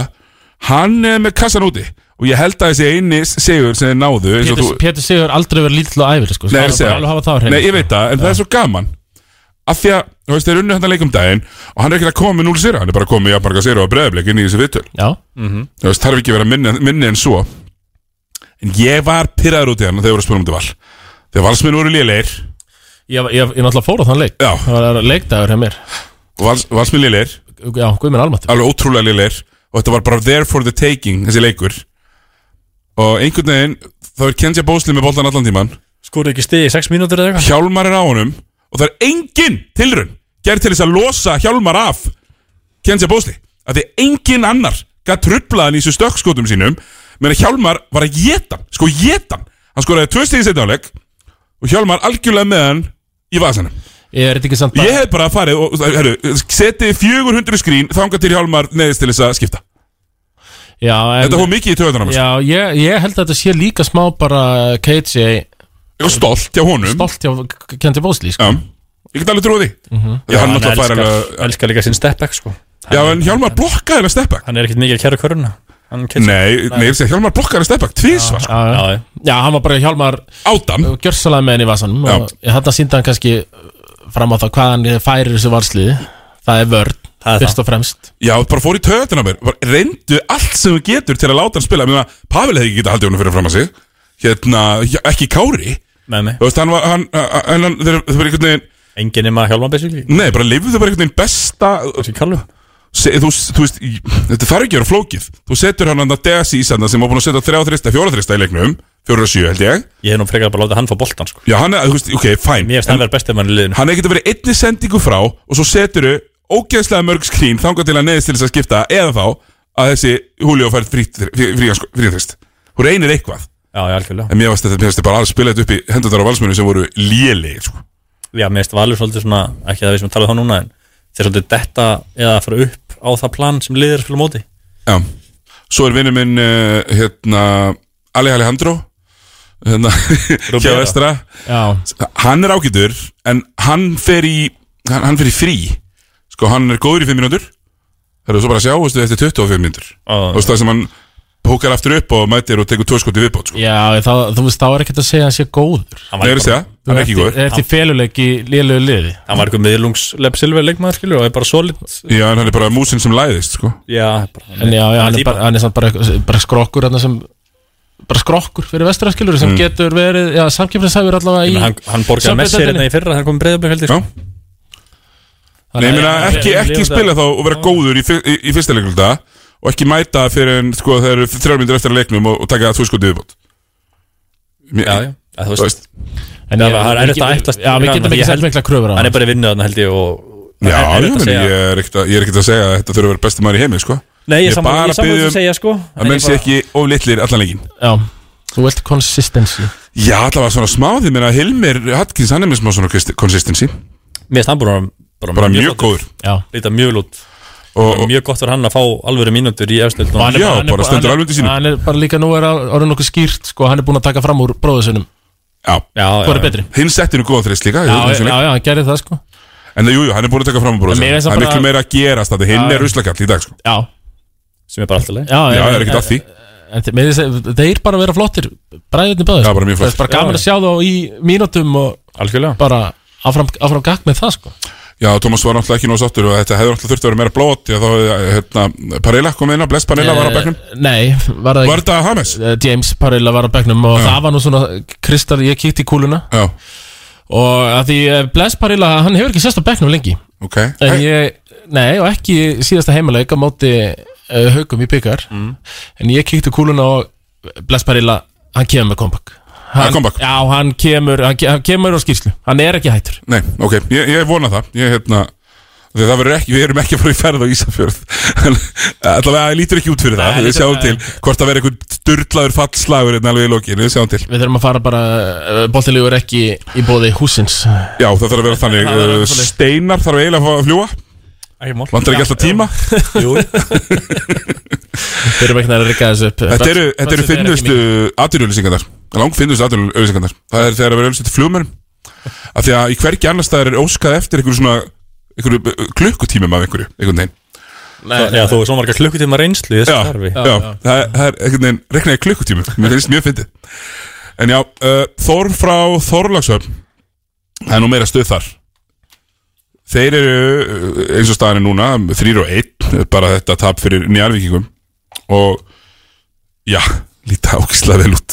Speaker 1: Hann er með kassan úti Og ég held að þessi eini segur sem þið náðu eins og
Speaker 2: Pétur,
Speaker 1: þú-
Speaker 2: Pétur Sigur aldrei verið lítill og æfir sko.
Speaker 1: Nei, ég
Speaker 2: Skal
Speaker 1: sé
Speaker 2: bara alveg hafa það á
Speaker 1: það
Speaker 2: hreinu.
Speaker 1: Nei, ég veit það, en það er svo gaman Af því að, þú veist, þeir unnu hann að leikum daginn Og hann er ekki að koma með 0 sýra Hann er bara að koma með jafnmarga sýra og breðablik inn í þessu vittul
Speaker 2: Já,
Speaker 1: Þú veist, þarf ekki að vera minni, minni en svo En ég var pyrraður út í hann Þegar voru að spila um þetta val Þegar valsmenn voru léleir
Speaker 2: ég, ég, ég náttúrulega fór á þann leik
Speaker 1: Já,
Speaker 2: Það var leikdagur hjá mér
Speaker 1: vals, valsmenn léleir
Speaker 2: Já, guð minn almatt
Speaker 1: Alveg ótrúlega léleir Og þetta var bara there for the taking, þessi leikur Og einhvern veginn Þá er Kenja Bósli með boltan allan tíman
Speaker 9: skorið ekki stið í 6 mínútur eða eitthvað
Speaker 1: Hjálmar er á honum Og það er engin tilrun Gerð til þess að losa Hjálmar af Kenja Bósli Af því engin annar Gat trublaðan í þessu stökkskotum sínum Meðan Hjálmar var að geta hann, Sko geta hann Hann skoraði tvö stíði setjáleik Og Hjálmar algjörlega með hann Í vasanum
Speaker 2: Ég er þetta ekki samt
Speaker 1: Ég hef bara farið og heru, Setið 400 skrín Þangað til Hjálmar neðist til þess að skipta
Speaker 2: Já, en
Speaker 1: Þetta fór mikið í töðunar á mér sko.
Speaker 2: Já, ég, ég held að þetta sé líka smá bara KJ
Speaker 1: Ég var stolt hjá honum
Speaker 2: stolt hjá Kendi Bósli sko.
Speaker 1: Já Ég get alveg trúið því Já, hann náttúrulega fær alveg
Speaker 9: elskar líka sinn step back sko
Speaker 1: Já, en Hjálmar blokkaði hennar steppa
Speaker 9: hann er ekkert mikið að kæra köruna hann keyrir-
Speaker 1: Nei, nei, ég segi Hjálmar blokkaði stefbak tvísvar sko,
Speaker 2: Já,
Speaker 9: Já, já.
Speaker 2: já, hann var bara Hjálmar
Speaker 1: átan
Speaker 2: gjörsalega með henni í vasanum
Speaker 1: Já.
Speaker 2: og þarna síndi hann kannski fram á það hvað hann færir þessu valsliði það er vörn,
Speaker 9: Það er
Speaker 2: fyrst og fremst
Speaker 1: Já, bara fór í töðin á mér bara Reyndu allt sem þú getur til að láta hann spila Mér meina, Pavel hefði ekki getað haldið honum fyrir fram að sig Hérna, já, ekki Kári
Speaker 9: með mig
Speaker 1: Þú veist, hann var, hann, hann, hann þeir, þeir bara einhvern veginn
Speaker 9: Engin nema hjálma basically
Speaker 1: Nei, bara lifðu bara einhvern veginn besta
Speaker 9: Þessi kallu
Speaker 1: se, þú, þú veist, í- þetta þarf ekki að vera flókið Þú setur hann hann að Desi í sanda sem var búin að setja 3 þrista, 4 þrista í leiknum 4 og 7 held ég
Speaker 9: Ég hef nú frekar bara látið hann fá boltan sko
Speaker 1: Já, hann, er- þú veist, ok, fæn
Speaker 9: Mér finnst hann verið bestið mann í liðinu
Speaker 1: Hann hefði getið verið einni sendingu frá og svo seturu ógeðslega mörg skrín þangað til að neðist til þess að skipta eða þá að þessi Julio fær fríðrist. Hún reynir eitthvað.
Speaker 9: Já, já, algjörlega
Speaker 1: En mér varst þetta, mér varst þetta bara alveg spila þetta upp í hendunar á valsmönu sem voru lélegir, sko.
Speaker 9: Já, mér finnst Valur svolítið svona Ekki að við sem tala þá um núna en þeir svolítið detta eða fara upp á það plan sem liðir að spila á móti
Speaker 1: Já, svo er vinnum minn uh, hérna, Ali Alejandro hérna, [LAUGHS] hjá
Speaker 9: Rubera.
Speaker 1: Vestra
Speaker 2: Já.
Speaker 1: hann er ágætur en hann fer í hann, hann fer í frí sko, hann er góður í 5 mínútur það eru svo bara að sjá, veistu, eftir 25 mínútur og það sem hann hókar aftur upp og mætir og tekur tóskoti viðbót sko.
Speaker 2: Já, þá, þú veist, þá er ekkert að segja að hann sé góður
Speaker 1: Nei, ég er að segja, hann er ekki eh, góður.
Speaker 2: Er til feluleik í liðlegu liði
Speaker 9: hann var eitthvað miðlungs Lepp Silver leikmaður skilur og er bara solid
Speaker 1: Já, en hann er bara músin sem læðist sko.
Speaker 9: Já, bara,
Speaker 2: En já, já hann, er
Speaker 9: típa.
Speaker 2: bara, hann er samt bara, bara skrokkur hann sem, bara skrokkur fyrir vesturarskilur sem
Speaker 9: Mm.
Speaker 2: getur verið, já, samkjöfnishæfur allavega
Speaker 9: Ég
Speaker 2: í
Speaker 9: meina, hann, hann borgaði með sér hérna í fyrra hann kom breyðabli heldur sko.
Speaker 1: Nei, ég Ah. meina
Speaker 9: Þannig að-
Speaker 1: ekki, ekki spila þá og vera góður í, fyr- í, í fyrsta leikluta og ekki mæta fyrir en sko þeir eru þrjármyndir eftir að leiknum og, og taka það tóskoti viðbót Já, já,
Speaker 9: þú
Speaker 1: veist
Speaker 9: en
Speaker 2: ég-
Speaker 9: það er
Speaker 2: við
Speaker 9: eftir að
Speaker 2: getum-
Speaker 9: ætlast
Speaker 2: já, við getum ekki sett mikla kröfur á
Speaker 9: hann
Speaker 2: hann.
Speaker 9: er bara í vinnu þarna held ég og
Speaker 1: Já,
Speaker 9: það er
Speaker 1: ég,
Speaker 9: erfitt
Speaker 1: meni,
Speaker 9: að segja.
Speaker 1: ég er ekkert að, ég er ekkert að segja að þetta þurfa að vera besti maður í heimi, sko
Speaker 9: Nei, ég
Speaker 1: er
Speaker 9: sammála-
Speaker 1: bara
Speaker 9: ég sammála
Speaker 1: biðja
Speaker 9: því að
Speaker 1: um
Speaker 9: segja, sko, en
Speaker 1: Að menn
Speaker 9: ég
Speaker 1: sé
Speaker 9: bara-
Speaker 1: ekki oflitlir allan leikin
Speaker 2: sko. Já, þú vilt consistency
Speaker 1: Já, allavega svona smá því, menna Hilmir Hatkins, hann er með smá svona konsistensi
Speaker 9: Mér stann búin bara,
Speaker 1: Bara
Speaker 9: mjög
Speaker 1: mjög
Speaker 9: flottur.
Speaker 1: góður
Speaker 2: Já.
Speaker 9: líta mjög lút og, mjög gott fyrir hann að fá alvöru mínútur í efstöld
Speaker 2: Og hann er hann er hann er- Hann er bara líka nú er á- orðin nokkuð skýrt sko, hann er búin að taka fram úr bróðusunum
Speaker 1: Já,
Speaker 9: já,
Speaker 2: Hvor er betri?
Speaker 1: Hinn settinu góða þreist líka
Speaker 2: Já, já, já, hann gerði það sko
Speaker 1: En það, jú, jú, hann er búin að taka fram á
Speaker 2: En
Speaker 1: bróðsinn
Speaker 2: mér finnst
Speaker 1: Það
Speaker 2: það
Speaker 1: er
Speaker 2: bara-
Speaker 1: miklu meira að gerast að hinn
Speaker 2: Já,
Speaker 1: er
Speaker 2: já.
Speaker 1: ruslakall í dag, sko
Speaker 2: Já,
Speaker 9: sem er bara alltaf leið
Speaker 2: já,
Speaker 1: Já,
Speaker 2: en-
Speaker 1: það er ekkert að því
Speaker 2: En þe- með þess að þeir bara vera flottir Bræðinni bæður
Speaker 1: Já, bara mjög flottir.
Speaker 2: Það er bara gaman
Speaker 1: Já,
Speaker 2: að sjá þá í mínútum og
Speaker 9: Algjörlega
Speaker 2: Bara áfram, áfram gagg með það sko
Speaker 1: Já, Tómas var náttúrulega ekki nóg sáttur og þetta hefur náttúrulega þurft að vera meira blót Já, þá, hefði, hérna, Parela kom inn á, Bless Parela var á bekknum
Speaker 2: Eh, Nei, var það Eh,
Speaker 1: Var þetta Hames?
Speaker 2: James Parilla var á bekknum og það var nú svona Kristal, ég kíkti í kúluna
Speaker 1: Já.
Speaker 2: Og að því eh, Bless Parilla, hann hefur ekki sérst á bekknum lengi
Speaker 1: Ok
Speaker 2: En ég, nei og ekki í síðasta heimileik á móti uh, haugum í byggar
Speaker 1: Mm.
Speaker 2: En ég kíkti í kúluna og Bless Parilla, hann kemur með kompakk
Speaker 1: Ah, comeback.
Speaker 2: Já, hann kemur, hann, ke- hann kemur á skýrslu Hann er ekki hættur
Speaker 1: Nei, ok, ég, ég vona það Ég, hérna Þegar það verður ekki, við erum ekki að fara í ferð á Ísafjörð [LAUGHS] eh, Allavega, það lítur ekki út fyrir það
Speaker 2: Nei,
Speaker 1: Við
Speaker 2: lítur-
Speaker 1: sjáum til hvort það verður einhvern styrlaður fallslagur En alveg í lokinu, við sjáum til
Speaker 2: Við þurfum að fara bara, uh, boltilegu er ekki í bóði húsins
Speaker 1: Já, það þarf að vera þannig
Speaker 2: [LAUGHS] Það þarf að
Speaker 1: uh,
Speaker 2: vera svoleiðis.
Speaker 1: Steinar þarf eiginlega að fá að fljúa
Speaker 9: Ekki mál.
Speaker 1: Vantar ekki
Speaker 9: Já,
Speaker 1: alltaf
Speaker 2: [LAUGHS]
Speaker 1: tíma
Speaker 9: Jú.
Speaker 2: Við erum ekki að rikka þessu upp
Speaker 1: Þetta eru, þetta eru
Speaker 2: Budgetið er ekki
Speaker 1: finnustu atvinnulisingarnar Lang finnustu atvinnulisingarnar Það er þegar að vera öllu til flugmörum Af því að í hvergi annars staðar er óskað eftir einhverju svona einhverju uh, klukkutímum af einhverju einhvern veginn
Speaker 9: Nei, Já, nei. þú er svo marga klukkutíma reynslu í þessu
Speaker 1: já,
Speaker 9: starfi.
Speaker 1: Já,
Speaker 9: Já,
Speaker 1: já.
Speaker 9: já.
Speaker 1: Það, er- það er einhvern veginn reknaði klukkutími Mér finnst mjög fyndið En já, uh, Þór frá Þorlagsöfn Það er nú meira stuð þar Þeir eru uh, eins og staðan er núna þrýr og einn, bara þetta tap fyrir nýjarvíkingum og já, líta ákislega vel út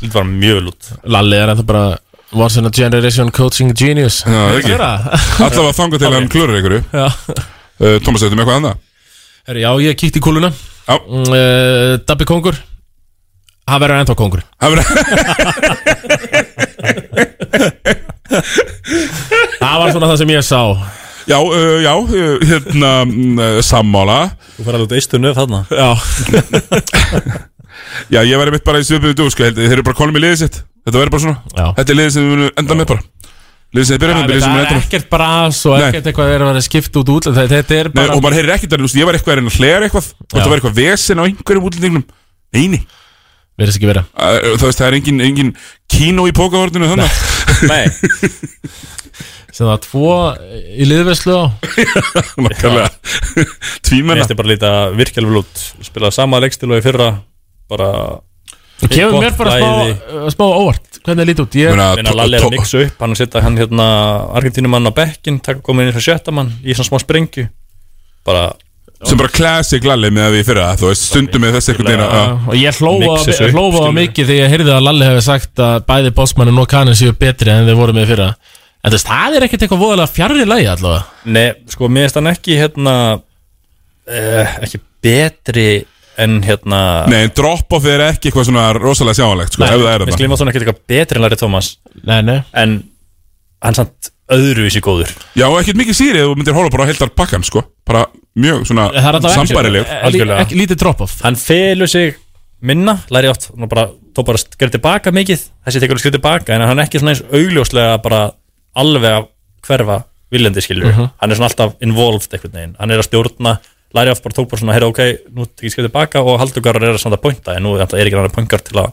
Speaker 9: Lítið bara mjög lút
Speaker 2: Lalli er ennþá bara Once in a generation coaching genius
Speaker 1: Já, það er ekki Alltaf að þanga til
Speaker 2: Ok.
Speaker 1: hann klurur einhverju
Speaker 2: Já.
Speaker 1: uh, Thomas, þetta með eitthvað annað
Speaker 2: [LAUGHS] Herri, já, ég kíkti í kúluna Mm, eh,
Speaker 1: uh,
Speaker 2: Dabbi Kongur Hann verður ennþá kongur
Speaker 1: Hann verður [LAUGHS]
Speaker 2: Það var svona það sem ég sá
Speaker 1: Já, uh, já, uh, hérna uh, sammála
Speaker 9: Þú fara alveg eistu nöf þarna
Speaker 2: Já
Speaker 1: Já, ég væri mitt bara í svipuðu dú, sko, held, þeir eru bara konum í liðið sitt Þetta verður bara svona
Speaker 2: Já.
Speaker 1: Þetta er liðið sem við munum enda með bara Liðið sem þið byrja með, liðið sem við munum
Speaker 2: Það er
Speaker 1: enda með
Speaker 2: ekkert bras og
Speaker 1: Nei.
Speaker 2: ekkert eitthvað er að vera skipt út út Þetta er
Speaker 1: Nei,
Speaker 2: bara
Speaker 1: og maður heyrir ekkert að lúst, ég var eitthvað að reyna að hlera eitthvað og það var eitthvað vesen á einhverjum útlendingnum Neini
Speaker 2: Verðist ekki vera
Speaker 1: Það veist, það er engin, engin kínó í pókavörninu þannig
Speaker 9: Nei
Speaker 2: sem það tvo í liðverslu á
Speaker 1: [LAUGHS] Nákvæmlega Tvímenna
Speaker 9: Mér finnst ég bara líta virkilega vel út Spilaði sama leikstil og í fyrra Bara
Speaker 2: og kemur mér bara
Speaker 9: Bæði.
Speaker 2: smá, smá óvart hvernig það líti út ég,
Speaker 1: Meina,
Speaker 9: Minna Lalli er að miksa upp, hann er að setja hann hérna Argentínumann á bekkin, taka komin inn fyrir sjöttamann í svona smá sprengju bara
Speaker 1: sem bara classic lalli með að við í fyrra þú veist stundum með þessi einhvern veginn að-
Speaker 2: og ég
Speaker 1: Mixa þessu upp,
Speaker 2: hlófa á
Speaker 1: skilur.
Speaker 2: mikið þegar ég heyrði að Lalli hefði sagt að bæði bossmannin og kanin séu betri en þeir voru með í fyrra en þess, það er ekkert eitthvað voðalega fjarrir lægi allavega
Speaker 9: Nei, sko, mér finnst hann ekki hérna eh, ekki betri en hérna
Speaker 1: nei, en drop-off er ekki eitthvað svona rosalega sjáanlegt sko, ef það er
Speaker 9: Mér
Speaker 1: það
Speaker 9: skilum að svona ekkert eitthvað betri en Larry Thomas
Speaker 2: Nei, nei
Speaker 9: En hann samt öðruvísi góður
Speaker 1: já, og ekkert mikið sýrið, þú myndir hóla bara á heldar pakkan sko, bara mjög svona
Speaker 9: Það er allavega ekki-
Speaker 1: sambærileg
Speaker 9: eh, lí- Algjörlega. ekki-
Speaker 2: lítið drop-off
Speaker 9: Hann felur sig minna, Larry átt hann bara, tó bara skrið tilbaka mikið þessi tekur skrið tilbaka, en hann er ekki svona eins augljóslega bara alveg að hverfa viljandi skilur
Speaker 1: Mhm.
Speaker 9: hann er svona alltaf involved einhvern veginn hann er að stjórna, læri af bara tók bara svona heyra ok, nú tekið skil tilbaka og haldugarar er að samt að pointa en nú er er ekki hann að poingar til að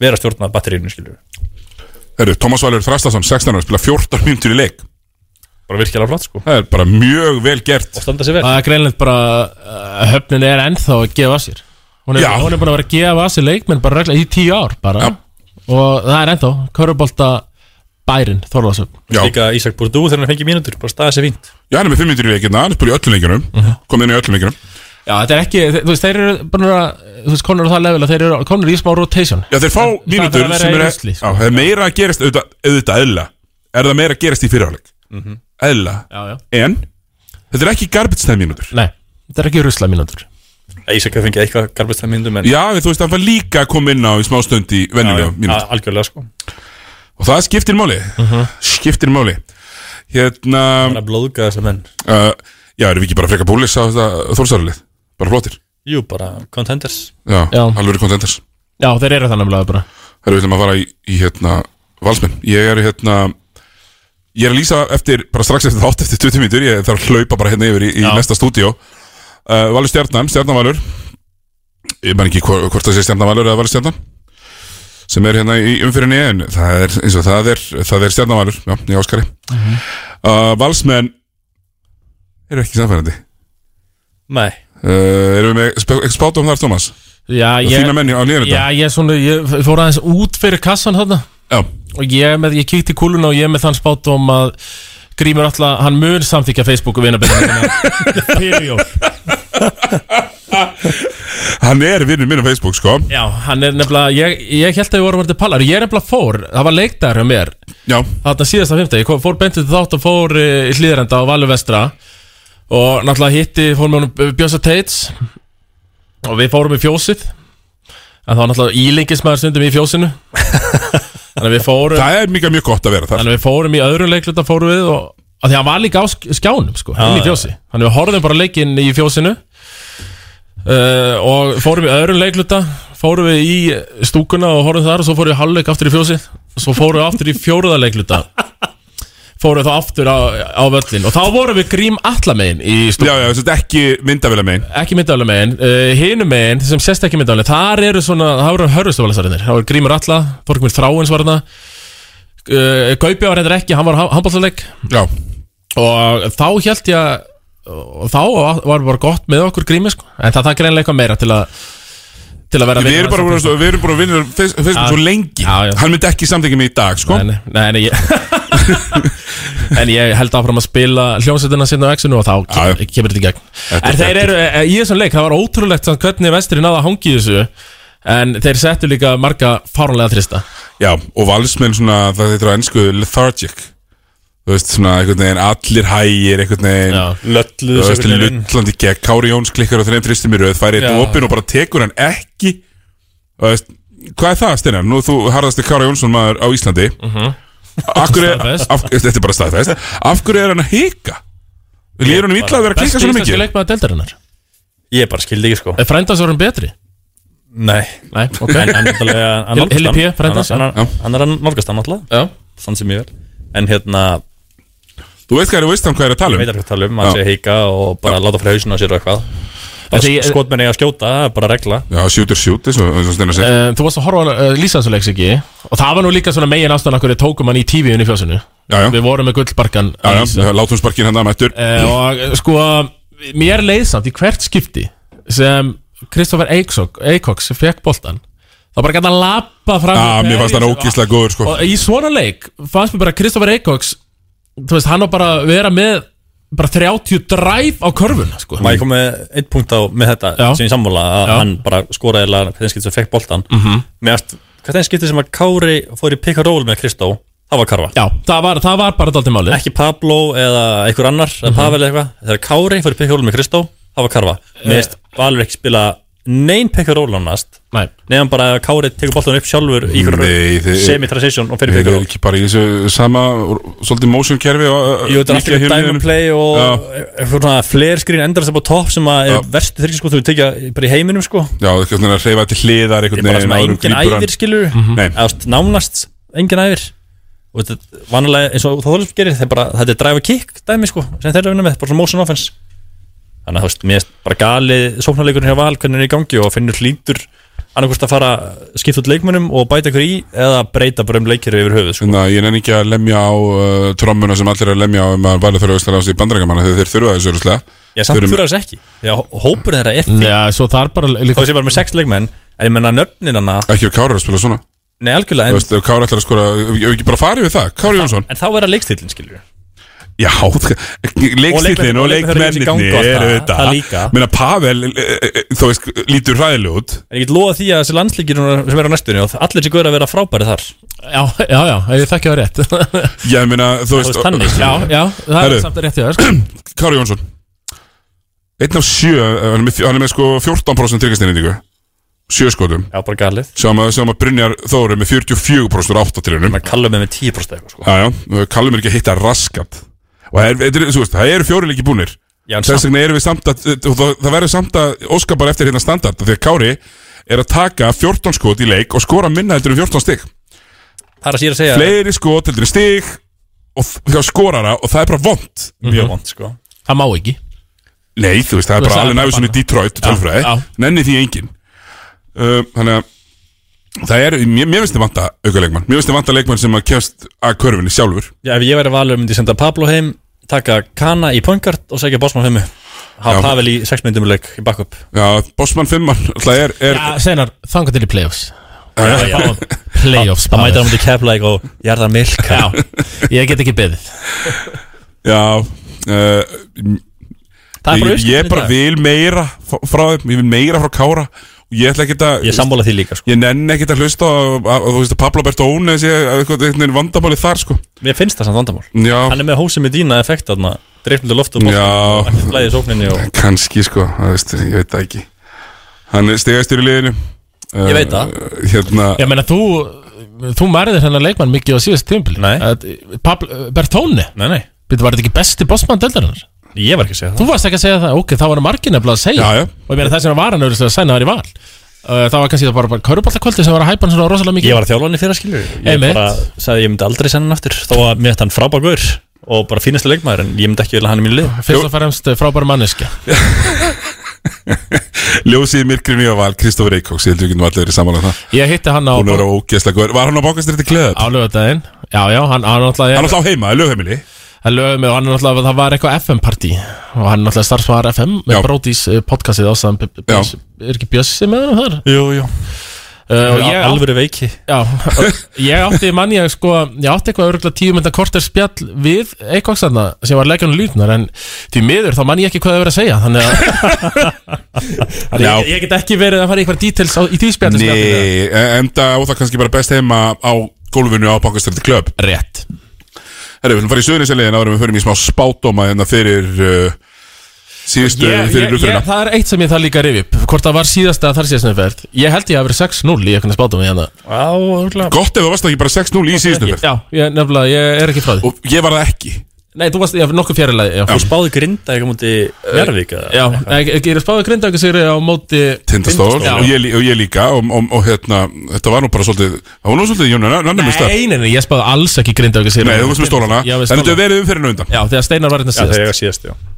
Speaker 9: vera að stjórna batterínu skilur
Speaker 1: Herru, Tómas Valur Þrastason, 16 ára, spila 14 mínútur í leik
Speaker 9: Bara virkilega flott sko
Speaker 1: Það er bara mjög vel gert Og
Speaker 9: standa sig
Speaker 2: Það er greinlega bara uh, höfnin er ennþá að gefa af sér hún er,
Speaker 1: Já.
Speaker 2: hún er búin að vera að gefa af sér leikmenn bara regla í tíu ár bara og það er ennþá Körubolta bærin Þorlásöfn
Speaker 9: líka Ísak Búrdú þegar hann fengi mínútur bara staði sér fínt
Speaker 1: Já, hann er með 5 mínútur í leikina, hann er bara í öllum leikunum
Speaker 9: Mhm.
Speaker 1: Komið inn í öllum leikunum
Speaker 2: Já, þetta er ekki, þe- þú veist, þeir eru bara þú veist, konur á það level að þeir eru konur í smá rotation
Speaker 1: Já, þeir fá
Speaker 2: Það er
Speaker 1: mínútur
Speaker 2: að vera
Speaker 1: sem
Speaker 2: í
Speaker 1: er,
Speaker 2: rusli,
Speaker 1: já,
Speaker 9: sko.
Speaker 1: það er meira að gerast auðvitað, auðvitað eðla Er það meira að gerast í fyrirháleik
Speaker 2: Mhm.
Speaker 1: Eðla
Speaker 2: Já, já.
Speaker 1: En þetta er ekki garbage time mínútur
Speaker 2: Nei, þetta er ekki rusla mínútur
Speaker 9: Ísak hafði fengið eitthvað garbistæð mínútur en
Speaker 1: Já, en þú veist, hann var líka að koma inn á í smá stund í venjulega
Speaker 9: Já, já,
Speaker 1: mínútur
Speaker 9: Algjörlega sko
Speaker 1: Og það skiptir máli Skiptir máli Hérna
Speaker 9: Mhm. Bara blóðga þessa menn
Speaker 1: uh, Já, erum við ekki bara freka búlis á þetta þórsarlið Bara flottir
Speaker 9: Jú, bara contenders
Speaker 1: Já, alveg contenders
Speaker 2: Já, þeir eru það nefnilega bara
Speaker 1: Það við ætlum að fara í, í hérna Valsmenn, ég er hérna Ég er að lýsa eftir, bara strax eftir þátt Eftir 20 mínútur, ég þarf að hlaupa bara hérna yfir í, í næsta stúdíó uh, Valur Stjarnan, Stjarnan Valur Ég man ekki hvort, hvort það sé Stjarnan Valur eða Valur Stjarnan sem er hérna í umfyrinni en það er eins og það er, það er stjarnavalur já, í áskari uh
Speaker 7: Mhm.
Speaker 1: Valsmenn eru ekki samfærandi
Speaker 9: Nei
Speaker 1: uh, erum við með sp- ekki spátum þar Thomas
Speaker 2: Já,
Speaker 1: Og
Speaker 2: ég,
Speaker 1: þína menn á liðinu
Speaker 2: já, ég, svona, ég fór aðeins út fyrir kassan þarna
Speaker 1: Já.
Speaker 2: og ég, er með, ég kíkti í kúluna og ég er með þann spátum að Grímur alltaf, hann mun samþykja Facebook og [LAUGHS] vinabindu fyrir jól
Speaker 1: hann er vinnur minn á Facebook sko
Speaker 2: Já, hann er nefnilega, ég, ég held að við vorum að þetta pallar, ég er nefnilega fór, það var leikdagur hjá mér
Speaker 1: Já
Speaker 2: Þarna síðasta fymta, ég kom- fór beintið þátt og fór eh, í hlýðrenda á Valur Vestra Og náttúrulega hitti, fór með honum eh, Bjössa Teits Og við fórum í fjósið En það var náttúrulega ílengismæður stundum í fjósinu Þannig að við fórum
Speaker 1: Það er mjög, mjög gott að vera þar
Speaker 2: Þannig að við fórum í öðru leikluta fórum við og að Því að hann var líka á sk- skjánum sko, inn í
Speaker 9: já.
Speaker 2: fjósi Þannig að við horfðum bara leikinn í fjósinu uh, Og fórum í öðru leikluta Fórum við í stúkuna og horfðum þar Og svo fórum við í hálfleik aftur í fjósi Svo fórum við aftur í fjóruða leikluta Fórum við þá aftur á, á völlin Og þá vorum við grím allamegin í
Speaker 1: Já, já, þetta er ekki myndavila megin
Speaker 2: ekki myndavælega megin uh, hinum megin, sem sést ekki myndavælega þar eru svona, það eru hörðustofalisarinnir það voru Grímur Alla, Þorgmur Þráins var hana uh, Gaupi var reyndar ekki hann var handbóltaleg
Speaker 1: Já
Speaker 2: og þá held ég að og þá var bara gott með okkur Grími sko. en það það greinlega eitthvað meira til að til að vera
Speaker 1: Við erum bara búin að- við erum bara að vinna Facebook
Speaker 2: Já.
Speaker 1: svo lengi Hann myndi ekki samþykja mig í dag sko
Speaker 2: Nei, nei, nei, nei ég...
Speaker 1: [LAUGHS]
Speaker 2: En ég held áfram að spila hljómsveitina sinna á X-inu og þá kemur, kemur þetta í gegn
Speaker 1: Þetta
Speaker 2: En
Speaker 1: er
Speaker 2: þeir eru, e, í þessum leik, það var ótrúlegt samt hvernig vestri náða að hangi þessu En þeir settu líka marga fáránlega trista
Speaker 1: Já, og valsmenn svona, það heitir á ennsku lethargic Þú veist, svona einhvern veginn allir hægir, einhvern veginn Þú
Speaker 9: Lölluðu sig
Speaker 1: veist,
Speaker 9: einhvern veginn inn.
Speaker 1: löllandi gegn, Kári Jóns klikkar á þreim tristum í röð Fær eitt
Speaker 9: Já.
Speaker 1: opinn og bara tekur hann ekki Þú veist, hvað er það, Steinar? Nú, þú harðast er Kári Jónsson maður á Íslandi
Speaker 9: Mhm.
Speaker 1: Akkur er,
Speaker 2: Staðfest.
Speaker 1: af, þetta er bara staðfest Af hverju er hann að hika? Lýður hann illa að vera að klikka svona
Speaker 2: Besti
Speaker 1: mikið?
Speaker 2: íslenski leikmaður deildarinnar
Speaker 9: Ég bara skildi ekki sko
Speaker 2: Er frændas vorum betri?
Speaker 9: Nei
Speaker 2: Nei, ok
Speaker 9: En hann náttúrulega hann nálgast
Speaker 2: Hilli
Speaker 9: hann.
Speaker 2: P, frændas
Speaker 9: Hann- hann- Hann er að nálgast hann náttúrulega Þann sem ég vel En hérna
Speaker 1: Þú veit hvað er, veist hann hvað er að tala um
Speaker 9: Ég veit að hvað tala um Hann
Speaker 1: Já.
Speaker 9: sé að hika og bara láta fyrir hausinu á sér og eitthvað
Speaker 2: Þetta ég-
Speaker 9: Bara Skotmenn eiga að skjóta, það er bara regla
Speaker 1: Já, sjútur sjút, eins og eins og
Speaker 9: Eh,
Speaker 1: Steinar segir
Speaker 2: Uh, þú varst að horfa að uh, lýsa þessu leiks ekki og það var nú líka svona megin ástæðan okkur við tókum hann í tífiðun í fjósinu
Speaker 1: já, já.
Speaker 2: við vorum með gullbarkan
Speaker 1: Já, já, látum sparkin hann að mættur
Speaker 2: uh, og eh, sko, mér leiðsamt í hvert skipti sem Kristoffer Eikoks fekk boltan þá bara gæti að lappa fram
Speaker 1: Já, Ah, mér fannst
Speaker 9: eh,
Speaker 1: hann
Speaker 2: Og-
Speaker 1: ógíslega góður, sko
Speaker 2: og í svona leik fannst mér bara Kristoffer Eikoks þú veist, hann á bara að vera með bara 30 dræf á körfuna sko.
Speaker 9: Má ég kom með einn punkt á með þetta sem ég sammála að hann bara skoraði eða hvernig skipti sem fekk boltan
Speaker 2: Mhm.
Speaker 9: með allt hvernig skipti sem að Kári fór í pick and roll með Kristó það var Karfa
Speaker 2: Já, það var, það var bara daldið máli
Speaker 9: ekki Pablo eða einhver annar eða
Speaker 1: Mhm.
Speaker 9: Pavel eða eitthvað þegar Kári fór í pick and roll með Kristó það var Karfa
Speaker 1: Eh.
Speaker 9: með veist Valur ekki spila neyn pick and roll nánast
Speaker 2: Nei.
Speaker 9: nefn bara að Kári tekur boltan upp sjálfur
Speaker 1: Nei,
Speaker 9: í hverju
Speaker 1: þið-
Speaker 9: semi-transition og
Speaker 1: Þeir
Speaker 9: fyrir pick and
Speaker 1: eru
Speaker 9: roll
Speaker 1: ekki bara í þessu sama Svolítið motion kerfi og,
Speaker 9: Jú, þetta er alltaf
Speaker 1: mikið á
Speaker 9: eitthvað diamond
Speaker 1: himninum.
Speaker 9: play og
Speaker 1: Já.
Speaker 9: eitthvað svona flare screen endar þess að búið topp sem að er verstu þyrkiskotum við tekja bara í heiminum
Speaker 1: Já,
Speaker 9: sko
Speaker 1: það er eitthvað svona að reyfa til hliðar
Speaker 9: Þetta
Speaker 1: einhvern
Speaker 9: er bara
Speaker 1: veginn
Speaker 9: svona sko.
Speaker 1: áður en grípur
Speaker 9: engin
Speaker 1: hann.
Speaker 9: æðir skilur
Speaker 1: Nei.
Speaker 9: Eðast, Nánast engin æðir og þetta vanlega eins og það þóðlega gerir þeir bara, þetta er drive a kick dæmi sko sem þeir eru að vinna með, bara svona motion offense þannig að þú veist, mér er bara gali sóknarleikurinn hjá Val, hvernig hann er í gangi og finnur hlýtur annarkvist að fara að skipta út leikmönum og bæta ykkur í eða breyta bara um leikir yfir höfuð sko.
Speaker 1: Næ, ég nenni ekki að lemja á uh, trommuna sem allir er að lemja á um að valið þurfa að í bandrækjamanna þegar þeir þurfa þessu örugglega.
Speaker 9: ég samt
Speaker 1: Þurfum-
Speaker 9: þurfa þess ekki, því að hó- hópur þeirra er
Speaker 2: Já, svo þar bara
Speaker 9: þá sé bara með sex leikmenn en ég menna nöfnin hana
Speaker 1: Ekki ef Kári er að spila svona
Speaker 9: Nei, algjörlega
Speaker 1: Þú veist, ef Kári ætlar að skora Ef ef ekki bara farið við það, Kári Jónsson
Speaker 9: En þá er að leikstillin, skilur
Speaker 1: Já, [LAUGHS] leikstillin
Speaker 9: leikmennirnir-
Speaker 1: og
Speaker 9: og
Speaker 1: leikmennirni
Speaker 9: leikmennirnir sem ganga á það,
Speaker 1: eru þetta
Speaker 9: það líka.
Speaker 1: Meina Pavel, eh, eh, þú veist, lítur hræðileg út
Speaker 9: En ég get lofa því að þessi landslíkir núna sem er á næstunni og allir sem góður að vera frábæri þar
Speaker 2: Já, já, já, ég þekki það rétt
Speaker 1: Já, ég meina, þú veist
Speaker 9: þannig,
Speaker 2: Já, já, það
Speaker 1: Herru.
Speaker 2: er samt rétt í það sko.
Speaker 1: Kári Jónsson Einn af sjö, eh, hann er með, hann er með sko 14% tryggasteinindíku Sjö skotum
Speaker 9: Já, bara galið
Speaker 1: Sem að, sem að Brynjar Þóri með 44% áttatrýnum
Speaker 9: Kallum við með 10% eitthvað sko
Speaker 1: Já, já, kallum er ekki að hitta raskat Og það er- þetta er, þú veist, það eru fjóri leiki búnir
Speaker 9: Já, en
Speaker 1: Þess vegna erum við samt að eh, og Það, það verður samt að óska bara eftir hérna standart Þegar Kári er að taka 14 skot í leik Og skora minna heldur um 14 stig
Speaker 9: Það er að sér að segja
Speaker 1: Fleiri skot heldur um stig Og f- hjá skorara og það er bara vond
Speaker 9: Mjög vond, sko
Speaker 2: Það má ekki
Speaker 1: Nei, þú veist, það er bara
Speaker 2: Þú veist,
Speaker 1: alveg
Speaker 2: það er bara
Speaker 1: næfisinn í
Speaker 2: bannað.
Speaker 1: Detroit
Speaker 2: Já,
Speaker 1: Tölfræði,
Speaker 2: já.
Speaker 1: nenni því engin uh, Þannig að Það er, mér, mér finnst þið vanta auka leikmann Mér finnst þið vanta leikmann sem að kemst að körfinni sjálfur
Speaker 9: Já, ef ég væri valur myndi ég senda Pablo heim Taka Kana í pointgard og segja Bosman heimu
Speaker 1: Já.
Speaker 9: Há Pavel í 6 myndum leik í backup
Speaker 1: Já, Bosman Fimman, alltaf er, er
Speaker 2: Já, senar, þanga Ah, til í playoffs
Speaker 9: Já, já.
Speaker 2: Playoffs,
Speaker 9: Það mætir
Speaker 2: maður.
Speaker 9: hann myndi kefla eitthvað og ég er það milka
Speaker 2: Já, ég get ekki beðið
Speaker 1: Já uh,
Speaker 2: Það er bara
Speaker 1: ég, ég
Speaker 2: uppskiptin í
Speaker 1: bara
Speaker 2: dag.
Speaker 1: vil meira f- frá þeim, ég vil meira frá Kára og ég ætla ekki að
Speaker 9: Ég sammála því líka, sko
Speaker 1: ég nenni ekki að hlusta á, á- á- þú veist að Pablo Bertone sé eitthvað einhvern veginn vandabáli þar sko
Speaker 9: Mér finnst það samt vandamál
Speaker 1: já,
Speaker 9: Hann er með hósi með dýna effekt þarna Dreifnundi loft og
Speaker 1: Já.
Speaker 9: bolta Flæði sókninni og
Speaker 1: kannski sko, það veist, ég veit það ekki hann er stegastur í liðinu
Speaker 9: Ég veit það.
Speaker 1: Eh, hérna,
Speaker 2: Ég meina, þú Þú mærðir hennar leikmann mikið á síðast tímpil
Speaker 9: Nei.
Speaker 2: Bertóni
Speaker 9: Nei, nei
Speaker 2: eh, Býttu, var þetta ekki besti bossmann döldarinnar?
Speaker 9: Ég var ekki að segja það
Speaker 2: Þú varst ekki að segja það, ok, það var margir nefnilega að segja
Speaker 1: Já, já.
Speaker 2: Og ég meina þess vegna var hann auðvitað að sæna þar í val uh, Það var kannski það bara, bara köruboltakvöldi sem var að hæpa hann svona rosalega mikið
Speaker 9: Ég var að þjálfa hann í fyrra skilur Ég
Speaker 2: Einmitt.
Speaker 9: bara sagði að ég myndi aldrei senda hann aftur Þó að mér þetta hann frábær gaur Og bara fínasta leikmaður En ég myndi ekki vilja hann í mínu lið
Speaker 2: Fyrst og fremst uh, frábæra manneskja
Speaker 1: ljósið í myrkrinu og val Kristófur Eikóks, ég heldur ekki nú allir í samanlega það
Speaker 2: Ég hitti hann á,
Speaker 1: hún er
Speaker 2: á
Speaker 1: ógeðslega góður, var hann á bókastir til kleðab?
Speaker 2: lögadaginn Já, já, hann, hann náttúrulega
Speaker 1: hann
Speaker 2: er-
Speaker 1: er alltaf á heima, í lögheimili
Speaker 2: Hann lögði mig og hann náttúrulega Það var eitthvað FM-partí Og hann náttúrulega starfsmaður FM
Speaker 1: Já.
Speaker 2: Með Brodís uh, podcastið ástæðan B- B-
Speaker 1: Já.
Speaker 2: Bjössi- Er ekki Bjössi með hann þar?
Speaker 9: Jú, jú
Speaker 2: Uh, og ég, átti,
Speaker 9: Alvöru veiki
Speaker 2: já, og ég átti mann ég sko Ég átti eitthvað örgulega tíu mynda korter spjall Við eitthvað sann Sem var leikjum lýtnar En því miður þá mann ég ekki hvað það verið að segja Þannig að
Speaker 1: [LAUGHS]
Speaker 2: Þannig
Speaker 1: Já.
Speaker 2: ég, ég get ekki verið að fara í eitthvað details á, Í því spjalli sko. spjallinu.
Speaker 1: Nei, e- enda á það kannski bara best heima á gólfinu á bókastir til kleðab
Speaker 2: Rétt
Speaker 1: Herru, við viljum fara í söðuninsaliðin áður en við förum í smá spátdóma hérna fyrir uh, síðustu,
Speaker 2: ég,
Speaker 1: fyrir
Speaker 2: ég, ég,
Speaker 1: umfyrirna.
Speaker 2: Það er eitt sem ég það líka rifi upp Hvort það var síðasta þar síðast meðferð Ég held ég að verið 6-0 í eitthvað spátum hérna. í hana
Speaker 9: Á, örgulega
Speaker 1: Gott ef það varst ekki bara 6-0 í síðustu umfyrir.
Speaker 2: Já, ég, nefnilega, ég er ekki frá því
Speaker 1: Og ég var það ekki.
Speaker 2: Nei, þú varst, já, nokkuð fjarilega Já,
Speaker 9: Þú spáði grinda eitthvað múti uh, Njárvík eða
Speaker 2: já nei, ég, ég er að spáði grindaðu sigri á móti
Speaker 1: Tindastól
Speaker 2: Já.
Speaker 1: og, ég lí- og ég líka og, og, og hérna, þetta var nú bara svolítið, það var nú svolítið Jónu Nannumist það.
Speaker 2: Nei, nei, nei, ég spáði alls ekki grindaðu sigri
Speaker 1: Nei, þú varst með stólana,
Speaker 2: Já,
Speaker 1: en
Speaker 2: við
Speaker 1: þetta
Speaker 2: stólana
Speaker 1: hefur verið umfyrirna undan.
Speaker 2: Já, þegar Steinar var hérna
Speaker 9: Já,
Speaker 2: síðast
Speaker 9: þegar ég var síðast, já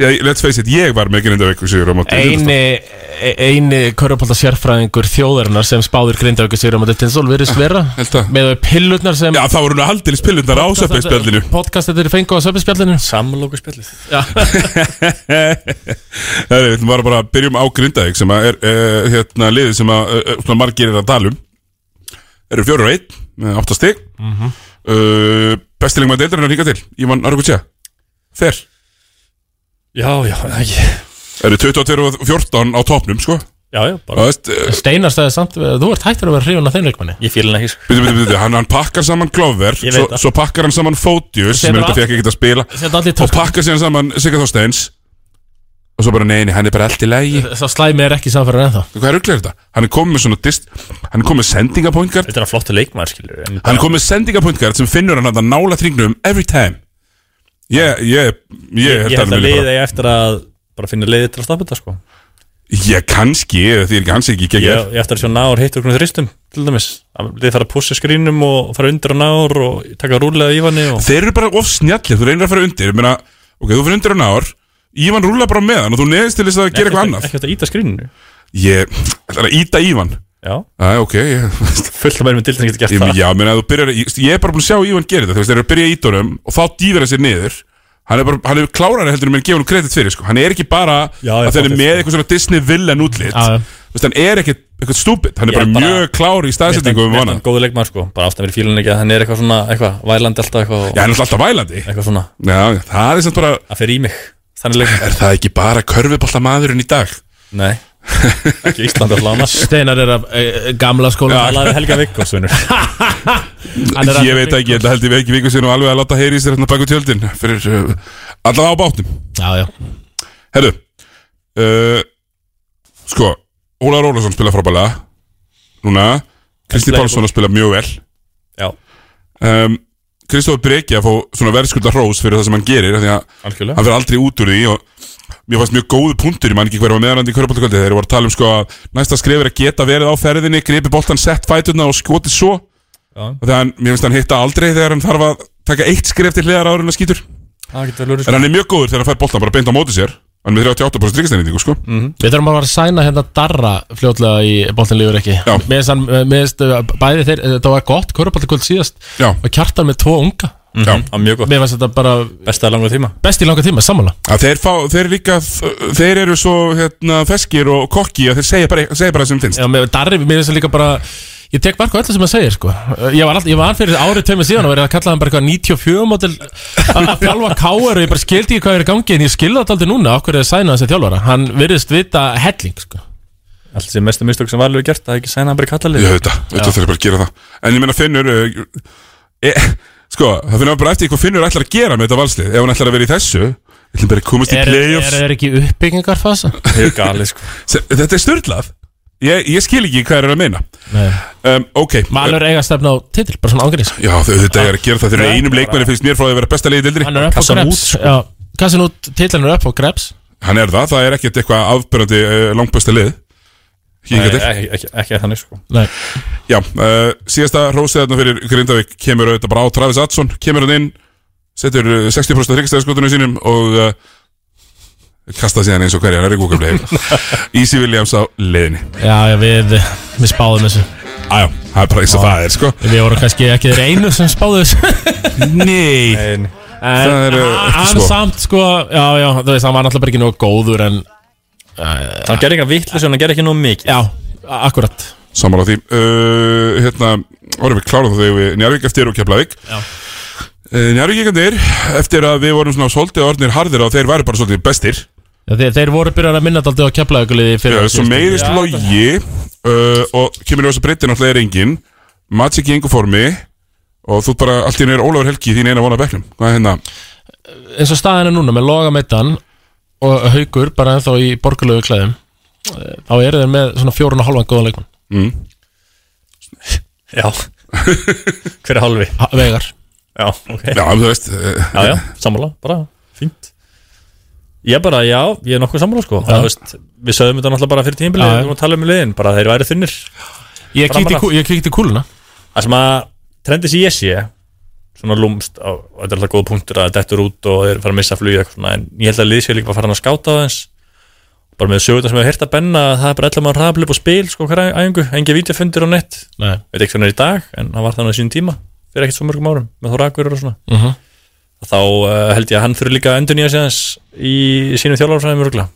Speaker 1: Ég, let's face it, ég var með Grindavík sigur á móti. Tindastól.
Speaker 2: Eini,
Speaker 9: hérna
Speaker 2: e- eini körupólta sérfræðingur þjóðarinnar sem spáðir grindaðu sigri á móti Tindastól virðist [LAUGHS] vera
Speaker 1: held það.
Speaker 2: Með þau pillurnar sem
Speaker 1: Já, það voru nú haldilis pillundar á
Speaker 2: [LAUGHS]
Speaker 1: söpbeinspjallinu.
Speaker 2: Podcastet eru fengu á söpinspjallinu
Speaker 9: Samlóku spjallið
Speaker 1: Herru, við ætlum bara bara að byrjum á Grindavík sem að er uh, hérna liðið sem að uh, svona margir er að tala um eru fjóru og einn, með átta stig mm
Speaker 2: Mhm.
Speaker 1: -hmm. uh, bestilegum að deildarinn að ringa til Ívan Argutsja Fer,
Speaker 9: Já, já, ekki
Speaker 1: eru 22 og 14 á topnum sko
Speaker 9: Já, já,
Speaker 1: Það
Speaker 9: bara
Speaker 1: veist, uh,
Speaker 2: Steinar stæði samt, þú ert hættur að vera hrifun af þeim leikmanni
Speaker 9: Ég fíl hann ekki, sko
Speaker 1: byrju, byrju, byrju, hann, hann pakkar saman Glover,
Speaker 9: Ég veit
Speaker 1: svo,
Speaker 9: það.
Speaker 1: svo pakkar hann saman Fótius sem
Speaker 2: Setur
Speaker 1: er þetta
Speaker 2: allt-
Speaker 1: fekk ekki að spila
Speaker 2: Þetta allir
Speaker 1: og
Speaker 2: tösku
Speaker 1: pakkar síðan saman Sigga Þorsteins og svo bara neini, hann er bara allt í lægi
Speaker 2: Sá slæmi er ekki samfæran ennþá
Speaker 1: hvað er auðvitað þetta? Hann er komið með svona dist, hann er komið með sendingapointgar
Speaker 9: Þetta er hann flottu leikmaður, skilur en
Speaker 1: Hann kom með sendingapunktgard sem finnur hann að nála þringnum every time Ég, ég, ég,
Speaker 9: Ég held
Speaker 1: hann
Speaker 9: að
Speaker 1: muni
Speaker 9: liða ég eftir að Bara finna leiði til að stoppa þetta, sko
Speaker 1: Ég kannski, því er ekki hans ekki
Speaker 9: Ég,
Speaker 1: geggjað.
Speaker 9: ég eftir að sjá náður heitt okkur þristum til dæmis, þið fara að pússa skrínum og fara undir á náður og taka rúlega í vanni og...
Speaker 1: Þeir eru bara of snjallir, þú reynir að fara undir Ég meina, ok, þú fyrir undir á náður Ívan rúla bara með hann og þú neðist til þess að gera eitthvað annað
Speaker 9: Ekki eftir að íta skríninu
Speaker 1: Ég, ætlar að íta Ívan
Speaker 9: Já
Speaker 1: Æ, ok, ég [LAUGHS]
Speaker 9: Fullt að mér með dildin getur gert
Speaker 1: Ég,
Speaker 9: það
Speaker 1: já, meina, þú byrjar, ég, ég er bara búin að sjá Ívan gera þetta Þú veist, þeir eru að byrja í ítunum og þá dýfir hann sér niður Hann er bara, hann er klárari heldur en menn gefa hann kredit fyrir, sko Hann er ekki bara
Speaker 9: Já, ég
Speaker 1: að þeir eru
Speaker 9: fattar,
Speaker 1: með
Speaker 9: sko.
Speaker 1: eitthvað svona Disney villain útlit
Speaker 9: Já, já.
Speaker 1: Þú veist, hann er ekkit, ekkit stúpid Hann er
Speaker 9: Ég
Speaker 1: bara,
Speaker 9: bara-
Speaker 1: mjög klár í staðsetningu um
Speaker 9: Mér
Speaker 1: hana
Speaker 9: finnst hann góðu leikmaður sko, bara ástæðan fyrir fílun ekki að hann er eitthvað svona, eitthvað, vælandi alltaf eitthvað og-
Speaker 1: Já, hann er alltaf vælandi
Speaker 9: Eitthvað svona,
Speaker 1: Já, það er samt bara,
Speaker 9: það fer í mig, þannig
Speaker 1: [LAUGHS]
Speaker 9: leikmaður
Speaker 1: er það ekki bara körfuboltamaðurinn í dag?
Speaker 9: Nei, ekki Íslandi alltaf annars
Speaker 2: Steinar er af e, e, gamla skóla
Speaker 9: Það laði Helga Vikkos, vinnur
Speaker 2: Hann er
Speaker 1: Ég
Speaker 2: að-
Speaker 1: veit ekki, ég held ég ekki viku sinni og alveg að láta heyri í sér hérna baku tjöldin fyrir uh, allavega á bátnum
Speaker 2: Já, já
Speaker 1: Herru uh, Sko, Ólaður Ólason spila frábælega Núna Kristi
Speaker 9: Playbook.
Speaker 1: Pálsson að spila mjög vel
Speaker 9: Já,
Speaker 1: um, Kristofi Breki að fá svona verðskulda hrós fyrir það sem hann gerir af Því að
Speaker 9: algjörlega
Speaker 1: hann fyrir aldrei út úr því og mér fannst mjög góðu punktur, ég man ekki hverja var meðanandi í kvöruboltakvöldi, þeir voru að tala um sko að næsta skrifir að geta verið á ferðinni, gripi boltan sett fæturna og skotið svo
Speaker 9: Já.
Speaker 1: og þegar hann, mér finnst hann hitta aldrei þegar hann þarf að taka eitt skrif til hliðar áður en að skýtur
Speaker 9: Það getur vel verið
Speaker 1: en
Speaker 9: sko
Speaker 1: hann er mjög góður þegar hann fær boltan bara beint á móti sér hann er með 38% tryggastæningu sko
Speaker 9: Mm.
Speaker 2: Við þurfum að fara að sæna hérna Darra fljótlega í Bóltinlífur ekki
Speaker 1: Já.
Speaker 2: Mér finnst hann, mér finnst uh, bæði þeir Það var gott, Köruboltakvöld síðast
Speaker 1: Já.
Speaker 2: Og kjartan með tvo unga
Speaker 1: Já.
Speaker 9: Það er mjög gott,
Speaker 2: Mér finnst þetta bara
Speaker 9: bestaði langa tíma
Speaker 2: best í langa tíma, sammála
Speaker 1: að þeir, fá, þeir líka, þeir eru svo hérna, feskir og kokki að þeir segja bara, segja bara það sem finnst
Speaker 2: Já, mér, Darri, mér finnst það líka bara Ég tek mark á öllu sem hann segir sko Uh, Ég var, all, ég var fyrir árið tveimur síðan og verið að kalla hann bara eitthvað 94 mótil að að þjálfa káar og ég bara skildi ekki hvað er í gangi en ég skilði þetta aldrei núna okkur er að sæna þessi þjálfara Hann virðist vita helling sko
Speaker 9: Allt sem mestu mistök sem varlega gert, það er ekki sæna hann bara í
Speaker 1: ég
Speaker 9: kallalið
Speaker 1: veit það, þetta þeir bara að gera það en ég meina Finnur uh, e, sko, það finnur bara eftir hvað Finnur ætlar að gera með þetta valslið, ef hann ætlar að vera í þessu ætlar bara að komast í
Speaker 2: Er, er,
Speaker 1: playoffs
Speaker 2: er ekki uppbyggingarfasa?
Speaker 9: Það er galið
Speaker 1: [LAUGHS]
Speaker 9: sko
Speaker 1: Sem- þetta er störtlað ég, ég skil ekki hvað er að meina
Speaker 2: Nei
Speaker 1: um, ok,
Speaker 2: Valur eiga stefna á titil, bara svona ángriðs
Speaker 1: já þau þetta er að gera það þeir eru einum leikmanni finnst mér frá því að vera besta liðið dildri
Speaker 2: Hann er upp á
Speaker 9: Kassan
Speaker 2: Krebs
Speaker 9: út, sko.
Speaker 2: Já, Kassan út, titlan er upp á Krebs
Speaker 1: hann er það, það er ekkert eitthvað afbyrjandi uh, langbæsta lið
Speaker 9: Nei,
Speaker 1: Hingað til.
Speaker 9: ekki, ekki, ekki þannig sko
Speaker 2: Nei,
Speaker 1: Já, uh, síðasta rósið þarna fyrir Grindavík kemur auðvitað bara á Travis Adson kemur hann inn, setur eh, 60% ríkstæðarskotunum sínum og uh, kasta síðan eins og hverjar er í gúkafleif Easy Williams á leiðinni
Speaker 2: já, já, við, við spáðum þessu
Speaker 1: Æjá, það er bara eins og það er sko
Speaker 2: Við vorum kannski ekki þeir einu sem spáðu þessu
Speaker 1: Nei
Speaker 9: En
Speaker 2: En
Speaker 1: Það er, uh,
Speaker 2: a-
Speaker 1: ekki
Speaker 2: hann
Speaker 1: svo.
Speaker 2: samt, sko, já, já, þú veist, hann var náttúrulega bara ekki nóg góður En,
Speaker 9: hann gerði eitthvað vitlu sem hann gerði ekki nóg mikið
Speaker 2: já, a- akkurat
Speaker 1: Samar á því uh, Hérna, orðum við klárum það þegar við Njarvík eftir og Keflavík
Speaker 2: Já.
Speaker 1: uh, Njarvíkikandir, eftir að við vorum svona svolítið orðnir harðir og þeir væru bara svolítið bestir
Speaker 2: Já, þeir, þeir voru byrjar að minna daldi á keflaðuguliði fyrir
Speaker 1: Já, svo meiðist logi uh, og kemur í þessu breytti náttúrulega er engin Mats ekki í engu formi og þú bara, allt í henni er Ólafur Helgi þín eina vona á bekknum, hvað er hérna?
Speaker 2: Eins og staðan er núna með loga meittan Og haukur bara ennþá í borgarlegu klæðum eh, Þá eru þeir með svona fjórun og hálfan góðan leikmann
Speaker 1: Mm.
Speaker 9: Já
Speaker 1: [LAUGHS]
Speaker 9: Hver er halvi?
Speaker 2: Ha- Veigar
Speaker 9: Já, ok
Speaker 1: Já, þú veist uh,
Speaker 9: Já, já, sammála, bara fínt Ég bara, já, ég er nokkuð sammála sko Það, veist, Við sögum þetta náttúrulega bara fyrir tímbilið
Speaker 2: Já, já.
Speaker 9: Við vorum að tala um liðin, bara þeir væri þunnir
Speaker 2: Ég
Speaker 9: Framan
Speaker 2: kíkti í
Speaker 9: af.
Speaker 2: kú- ég kíkti í kúluna
Speaker 9: Það sem að trendi sem ég sé Svona lúmst á, og Þetta er alltaf góð punktur að dettur út og þeir fara að missa flugið eitthvað svona En ég held að liðsvið líka bara fara að skáta það eins Bara með sögutna sem hefur hirt að benna að Það er bara ætla maður rafli upp og spil sko hverja æfingu Engi vídeofundir á nett
Speaker 2: Nei
Speaker 9: veit ekki hvernig er í dag en hann var þannig á sínum tíma fyrir ekkert svo mörgum árum með Þóra Akurur og svona
Speaker 2: Mhm.
Speaker 9: þá uh, held ég að hann þurfi líka að endur nýja séðans í sínum þjálfarfræðum örgla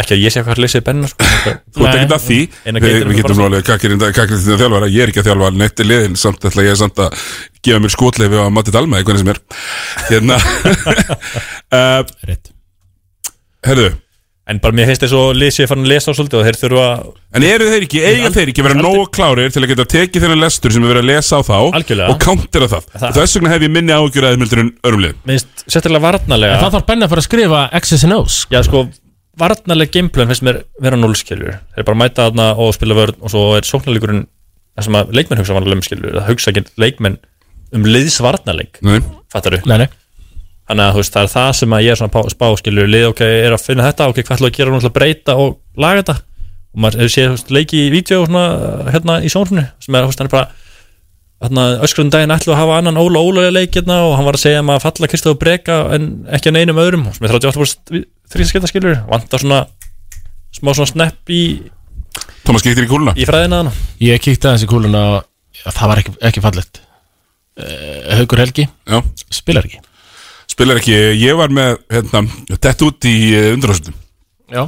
Speaker 9: ekki að ég sé hvað hann leysið bennar sko.
Speaker 1: Þú ert
Speaker 2: Nei.
Speaker 1: ekkert að því,
Speaker 9: En að
Speaker 1: við,
Speaker 9: getur
Speaker 1: við
Speaker 9: við
Speaker 1: getum
Speaker 9: bara-
Speaker 1: nálega kakirinn til þjálfara, ég er ekki að þjálfa neitt í liðin, samt ætla ég samt að gefa mér skotleifi á Matti Dalma, eitthvað sem er hérna [LAUGHS] uh,
Speaker 2: Rétt
Speaker 1: Herðu,
Speaker 9: en bara mér finnst þess að leysið fann að lesa á svolítið og þeir þurfa
Speaker 1: en eru þeir ekki, eiga þeir ekki að vera nógu klárir til að geta tekið þennan lestur sem við verið að lesa á þá
Speaker 9: Algjörlega.
Speaker 1: og countera það,
Speaker 9: Það-
Speaker 1: þess vegna hef ég minni ágjur aðeins mildur en örum liðum
Speaker 9: minnst settilega
Speaker 2: En
Speaker 9: varnarlega
Speaker 2: það þarf Benni að fara að skrifa X's and O's
Speaker 9: já sko varnarlega gameplan finnst mér vera núlskiljur þeir bara mæta þarna og spila vörn og svo er sóknarleikurinn það sem að leikmenn hugsa vanlega um skiljur það hugsa ekki leikmenn um liðsvarnarleik
Speaker 1: Nei.
Speaker 9: fattaru
Speaker 2: Nei, nei
Speaker 9: þannig að þú veist, það er það sem að ég er svona pá- spá skilur lið, ok, er að finna þetta, ok, hvað ætlum við að gera hún ætlum að breyta og laga þetta og maður hefur séð þú veist, leiki í vídeo svona, hérna í sjónfinu sem er, þú veist, hann er bara hérna, öskrunum daginn ætlum við að hafa annan Óla Óla leik hérna og hann var að segja um að falla Kristof Breka en ekki að neinum öðrum sem er 38 þrýskipta skilur vantar svona smá svona snepp í
Speaker 1: Thomas kíktir í kúluna
Speaker 9: í fræðina þannig
Speaker 2: Ég kíkti aðeins í kúluna og já, það var ekki, ekki fallegt uh, Haukur Helgi
Speaker 1: Já.
Speaker 2: Spilar ekki
Speaker 1: Spilar ekki, ég var með hérna, Dett út í eh, undurhásundum
Speaker 2: Já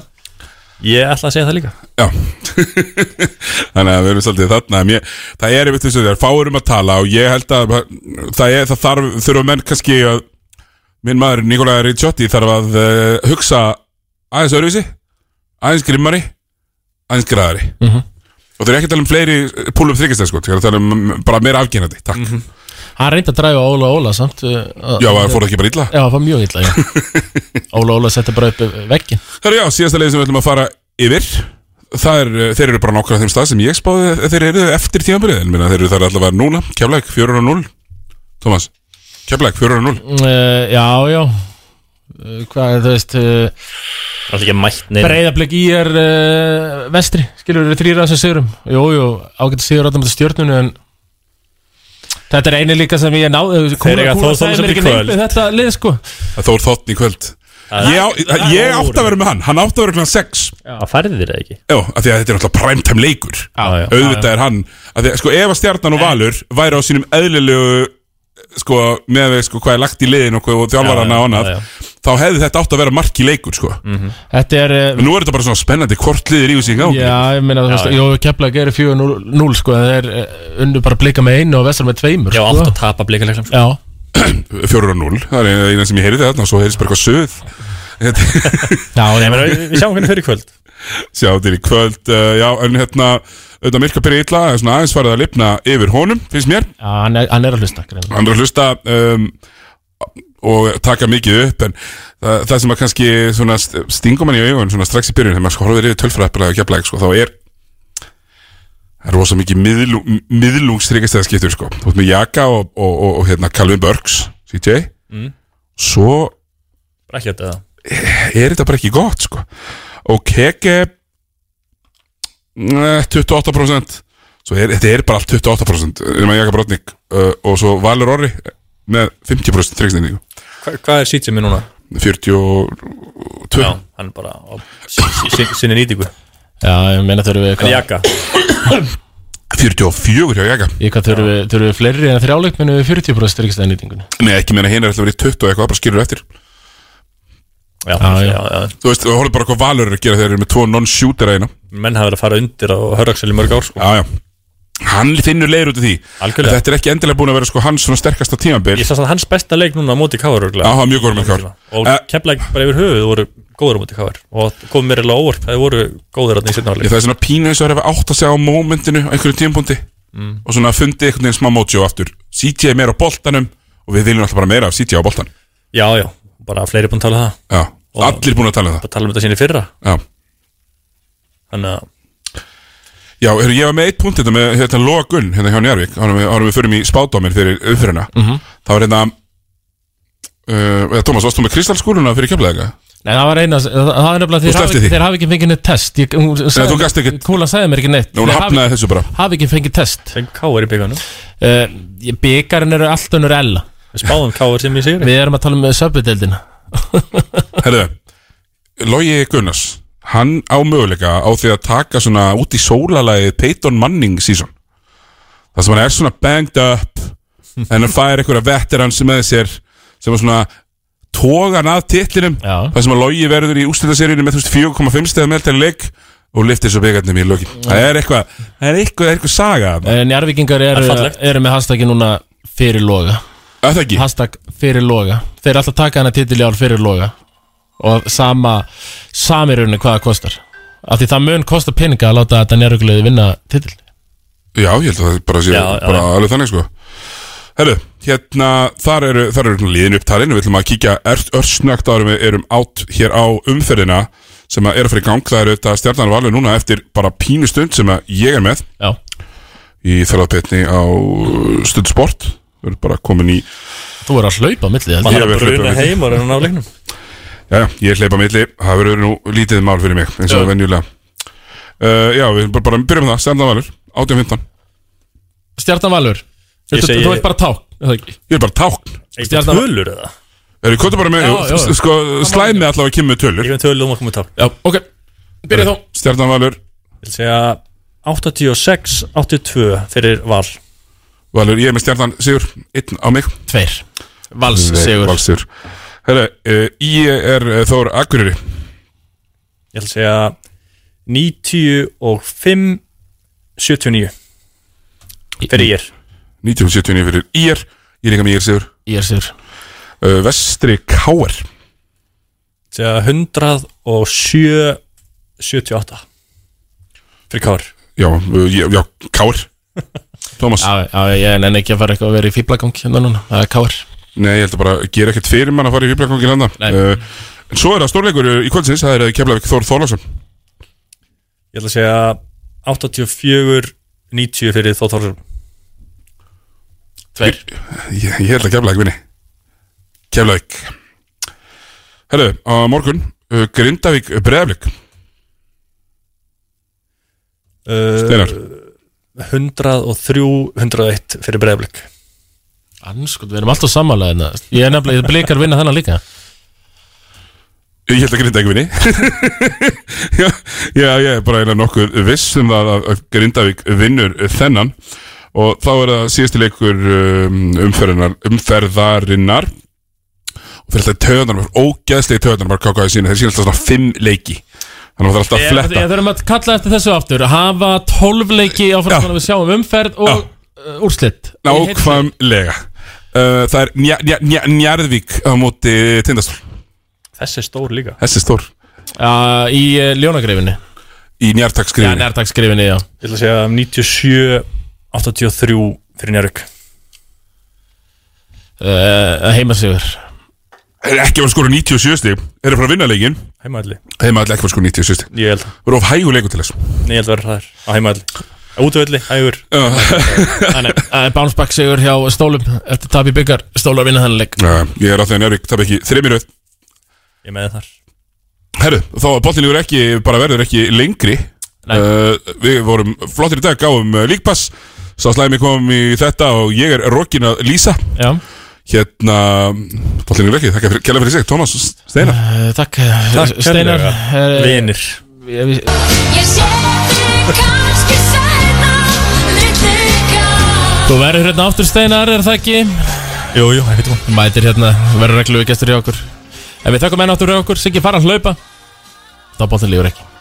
Speaker 9: Ég ætla að segja það líka
Speaker 1: Já [LAUGHS] Þannig að við erum svolítið þarna en ég, Það er einmitt þess að það er fáurum um að tala og ég held að það, er, það þarf, þurfa menn kannski að minn maður Nikolai Ricciotti þarf að uh, hugsa aðeins öðruvísi aðeins grimmari aðeins græðari
Speaker 2: Mhm.
Speaker 1: og þeir eru ekki að tala um fleiri púlum þryggjastæð sko, þeir eru að tala um mm, bara meira afgjennandi takk
Speaker 2: Hann reyndi að dræfa Óla Óla samt uh,
Speaker 1: Já, var- fór það ekki bara illa?
Speaker 2: Já, það fór mjög illa,
Speaker 1: [LAUGHS]
Speaker 2: já Óla Óla setti bara upp veggin
Speaker 1: Herra já, síðasta leið sem við ætlum að fara yfir Það er, eh, þeir eru bara nokkra af þeim stað sem ég spáði að þeir eru eftir tímabilið en minna, þeir eru þar allavega núna, Keflæk 4-0 Thomas, Keflæk 4-0
Speaker 2: uh, Já, já uh, Hvað, þú veist uh,
Speaker 9: Það er ekki mætt neina
Speaker 2: Breiðablik í er uh, vestri Skilur við þrýra þessum sigurum Jú, jú, ágætt sigur átum til stjórnunu en Þetta er eini líka sem ég náði
Speaker 1: Þeir eiga Þór Þórðarson í kvöld.
Speaker 2: Þetta lið sko
Speaker 1: Það Þór Þotn í kvöld Ég, á, ég átti að vera með hann, hann átti að vera klann 6
Speaker 9: Það færði þér það ekki
Speaker 1: Já, af því að þetta er náttúrulega primetime leikur
Speaker 9: já.
Speaker 1: Auðvitað
Speaker 9: Já, Eh. já.
Speaker 1: er hann af því, að, Sko, ef að stjarnan og valur væri á sínum eðlilegu sko, með við, sko, hvað er lagt í liðin og, hvað- og þjálfarana og annað þá hefði þetta átt að vera marki leikur, sko
Speaker 9: Mhm.
Speaker 2: Þetta er uh,
Speaker 1: En nú er þetta bara svona spennandi hvort liðir í þessi gangi
Speaker 2: Já, ég meina, þú veist, jú, Keflag er 4-0 sko, það er eh, unnu bara blika með einu og vestar með tveimur
Speaker 9: Já,
Speaker 2: sko.
Speaker 9: átt að tapa blikaleglam
Speaker 2: Já,
Speaker 1: 4-0, það er eina sem ég heyrði þarna og svo heyrðis bara eitthvað söð
Speaker 2: Já,
Speaker 9: Nei, menn, við- við sjáum hvernig fyrir kvöld
Speaker 1: [LAUGHS] Sjá til í kvöld, uh, já, en hérna auðvitað myrka byrja illa, en svona aðeins farið að lifna yfir honum, finnst mér
Speaker 2: já hann, er, hann er að hlusta greinilega.
Speaker 1: hann er að hlusta um, og taka mikið upp en það, það sem að kannski svona st- stingum hann í augun svona strax í byrjun þegar maður sko horfir yfir tölfræðabraði og keflæk sko, þá er það er rosa mikið miðlung, miðlungsryggastæða skiptur sko. þú ert með Jaka og, og, og, og hérna Calvin Burks, CJ
Speaker 9: Mm.
Speaker 1: svo
Speaker 9: Brekja þetta
Speaker 1: er þetta bara ekki gott sko. og keke eh, 28% svo er, þetta er bara allt 28% um að Jaka Brotnik uh, og svo Valur Orri með 50% tryggsningu
Speaker 9: Hva, Hvað er sítið mér núna?
Speaker 1: 42
Speaker 9: Já, hann er bara á sí- sí- sí- sinni nýtingu
Speaker 2: Já, ég meina þurfum við
Speaker 9: En Jaka
Speaker 1: 44 hjá Jaka
Speaker 2: Í hvað þurfum við, þurfum við fleiri en þrjáleik minnum við 40% styrkist að nýtingunni
Speaker 1: Nei, ekki meina hinn er alltaf verið 20 og eitthvað, bara skilur eftir
Speaker 9: Já,
Speaker 2: já.
Speaker 9: já, já
Speaker 1: Þú veist, þú horfðu bara hvað Valur er að gera þeir eru með tvo non-shooter eina
Speaker 9: Menn hafa verið að fara undir á Hörraksel í mörg ár sko
Speaker 1: Já, já Hann finnur leir út af því Algjörlega Þetta er ekki endilega búin að vera sko hans svona sterkasta tímabil
Speaker 9: Ég sá samt hans besta leik núna á móti káar
Speaker 1: Já, hann var mjög góður með Eh. KR.
Speaker 9: Og keflæk bara yfir höfuð voru góður á móti káar Og kom mér eiginlega á óvart, það voru góður hann í
Speaker 1: Ég,
Speaker 9: sinna áleik
Speaker 1: það er svona pínu eins og er að átt að segja á momentinu á einhverjum tímpúndi og svona fundið einhvern veginn smá mojo aftur CJ er meira á boltanum og við viljum alltaf bara meira af CJ á boltan
Speaker 9: Já, já, bara fleiri búin að tala um það
Speaker 1: Já, allir búin að tala um það
Speaker 9: Bara tala um þetta sín í fyrra
Speaker 1: Já,
Speaker 9: Þannig að
Speaker 1: Já heru, ég var með eitt punkt þetta með hérna, Lóa Gunn hérna hjá Njarvík árum við, árum við förum í spádáminn fyrir uppfyrirna
Speaker 2: Mhm.
Speaker 1: þá er hérna uh, eða, Thomas, varst þú með kristalskúluna fyrir kemlega?
Speaker 2: Nei, það var eina, það það er nefnilega
Speaker 1: Þú
Speaker 2: þeir
Speaker 1: slepptir
Speaker 2: hafi,
Speaker 1: því?
Speaker 2: þeir hafi ekki fengið neitt test ég, hún, sagði,
Speaker 1: þú gast ekki-
Speaker 2: Kúla sagði mér ekki neitt
Speaker 1: Nei, hún
Speaker 2: Þeir
Speaker 1: hafnaði
Speaker 2: hafi-
Speaker 1: þessu bara.
Speaker 2: Hafi ekki fengið test
Speaker 9: En káar í bygganum
Speaker 2: uh, Byggarinn eru allt önnur ella
Speaker 9: Við spáðum káar sem ég segir
Speaker 2: Við erum að tala um söpbudeldina
Speaker 1: Herðu, Lógi Gunnars hann á möguleika á því að taka svona út í sólalagið Peyton Manning season það sem hann er svona banged up en hann fær einhverja veteran sem með sér sem er svona tógan að titlinum
Speaker 2: Já.
Speaker 1: það sem að Lógi verður í ústildaseríunum með þú veist, 4,5 stegar meðaltæri leik og liftir svo byggarnum í lokin það er eitthvað, það er eitthvað, það er eitthvað saga þarna.
Speaker 2: En jarvíkingar
Speaker 1: Það er
Speaker 2: Eh, eru,
Speaker 1: fallegt.
Speaker 2: eru með hashtaggi núna fyrir loga
Speaker 1: Er Það ekki
Speaker 2: Hashtag fyrir loga Þeir er alltaf að taka hana titil í ár fyrir loga Og sama Samirunni hvað það kostar Af því það mun kosta peninga að láta þetta njárugluði vinna titil
Speaker 1: Já, ég held að það bara sé
Speaker 2: Já, já,
Speaker 1: bara
Speaker 2: já.
Speaker 1: alveg þannig sko Herru, hérna, þar eru, þar eru líðin upptalin og við ætlum að kíkja örsnögt árum við erum átt hér á umferðina sem að er að fyrir gang, það eru þetta stjarnan valið núna eftir bara pínu stund sem að ég er með
Speaker 2: Já
Speaker 1: uh, í þarlapetni á stundsport við erum bara komin í
Speaker 2: Þú er að hlaupa á milli
Speaker 9: Maður er að bruna heim og reyna á leiknum
Speaker 1: Já, ég hleypa milli, það verður nú lítið mál fyrir mig eins og
Speaker 9: Já.
Speaker 1: venjulega uh, Já, við bara, bara byrjum með það, stjarnan valur 18-15
Speaker 2: Stjarnan valur
Speaker 1: Ég
Speaker 2: Þú
Speaker 1: segi-
Speaker 2: þú ert bara ták
Speaker 1: Ég er bara tákn
Speaker 2: Stjarnan- tölur
Speaker 9: eða?
Speaker 1: Eru, hvað bara með,
Speaker 2: Já,
Speaker 1: já,
Speaker 2: já.
Speaker 1: sko, slæmið allavega að kemur með tölur
Speaker 9: Ég með tölur um og maður komið tákn
Speaker 2: Já, ok, byrja þá
Speaker 1: Stjarnan valur
Speaker 9: Ég vil segja 86-82 fyrir val
Speaker 1: Valur, ég er með stjarnan sigur, einn á mig
Speaker 2: Tveir, Vals
Speaker 1: Nei,
Speaker 2: sigur.
Speaker 1: Vals sigur Herra, uh, ég er uh, Þór Akureyri
Speaker 9: Ég vil segja 95-79 Fyrir ég
Speaker 1: 1979 fyrir ír, ég er líka með ír sigur
Speaker 2: Ír sigur
Speaker 1: uh, Vestri Káar
Speaker 9: Segja 107-78 Fyrir Kár
Speaker 1: Já, uh, ég- já, Káar Thomas
Speaker 2: Já, já, ég nenni ekki að fara eitthvað að vera í fýblagang hérna núna Það er káar
Speaker 1: Nei, ég held að bara gera ekkert fyrir mann að fara í fýblakongin handa uh, En svo er það stórleikur uh, í kvöldsins Það er uh, Keflavík Þór Þorláksson
Speaker 9: Ég ætla að segja 84-90 fyrir Þór Þórsson
Speaker 2: Tveir
Speaker 1: ég, ég held að Keflavík vinni Keflavík Herru, á morgun uh, Grindavík Breðavík Steinar.
Speaker 9: Eh, 103-101 fyrir breyflik
Speaker 2: Anskot, við erum alltaf samanlega hérna Ég er nefnilega, ég blikar vinna þennan líka
Speaker 1: Ég held að Grindavík vinni já, já, ég er bara eiginlega nokkuð viss um það að að Grindavík vinnur þennan Og þá er það síðasti leikur um, umferðarinnar, umferðarinnar Og fyrir alltaf töðanar Ógeðslegi töðanar bara kákaði sína Þeir sína alltaf svona fimm leiki Þannig að það er alltaf að
Speaker 2: Ég
Speaker 1: fletta
Speaker 2: ég þurfum að kalla eftir þessu aftur Hafa 12 leiki áfram þannig að við sjáum umferð og uh, úrslit Í heildina.
Speaker 1: Nákvæmlega uh, Það er nja, nja, nja, Njarðvík á móti Tindastól
Speaker 9: Þessi er stór líka
Speaker 1: Þessi er stór
Speaker 2: Já, Í uh, ljónagreifinni
Speaker 1: Í njartakskrifinni
Speaker 2: Já, njartakskrifinni, já
Speaker 9: Ég ætla að segja 97-83 fyrir Njárvík
Speaker 2: uh,
Speaker 1: [LAUGHS]
Speaker 2: Heimasigur
Speaker 1: Er ekki að skora 97 stig Er það frá vinnarleikin
Speaker 9: Heimaðli
Speaker 1: Heimaðli ekki að skora 97 stig
Speaker 9: Ég held
Speaker 1: Við erum of hægur leikur til þess
Speaker 9: Nei, ég held að vera hraðar Á heimaðli Útvöldi, hægur
Speaker 2: Það er bounce back sigur hjá Stólum Eftir tap í byggar, Stólar vinna þennan leik
Speaker 1: uh, Ég er á því að Njarðvík tap ekki þreimir auð
Speaker 9: Ég með þar
Speaker 1: Herru, þá að boltinlegur ekki bara verður ekki lengri uh, Við vorum flottir í dag Gáum uh, líkpass Sá slæmi kom í þetta og ég er rokin að lýsa
Speaker 2: Já
Speaker 1: Hérna, boltinlegur ekki Þakka fyrir, kæla fyrir sig, Tómas Steinar
Speaker 2: uh, Takk,
Speaker 1: Takk
Speaker 2: Steinar
Speaker 1: kærlega.
Speaker 2: eh,
Speaker 1: Vinir.
Speaker 2: ég- við- Þú verður hérna aftur Steinar, er það ekki?
Speaker 9: Jú, jú, ég veitum
Speaker 2: Þú mætir hérna, verður regluðu gestur hjá okkur En við þökkum enn áttur hjá okkur, Siggi fara að hlaupa Þá bóttin lífur ekki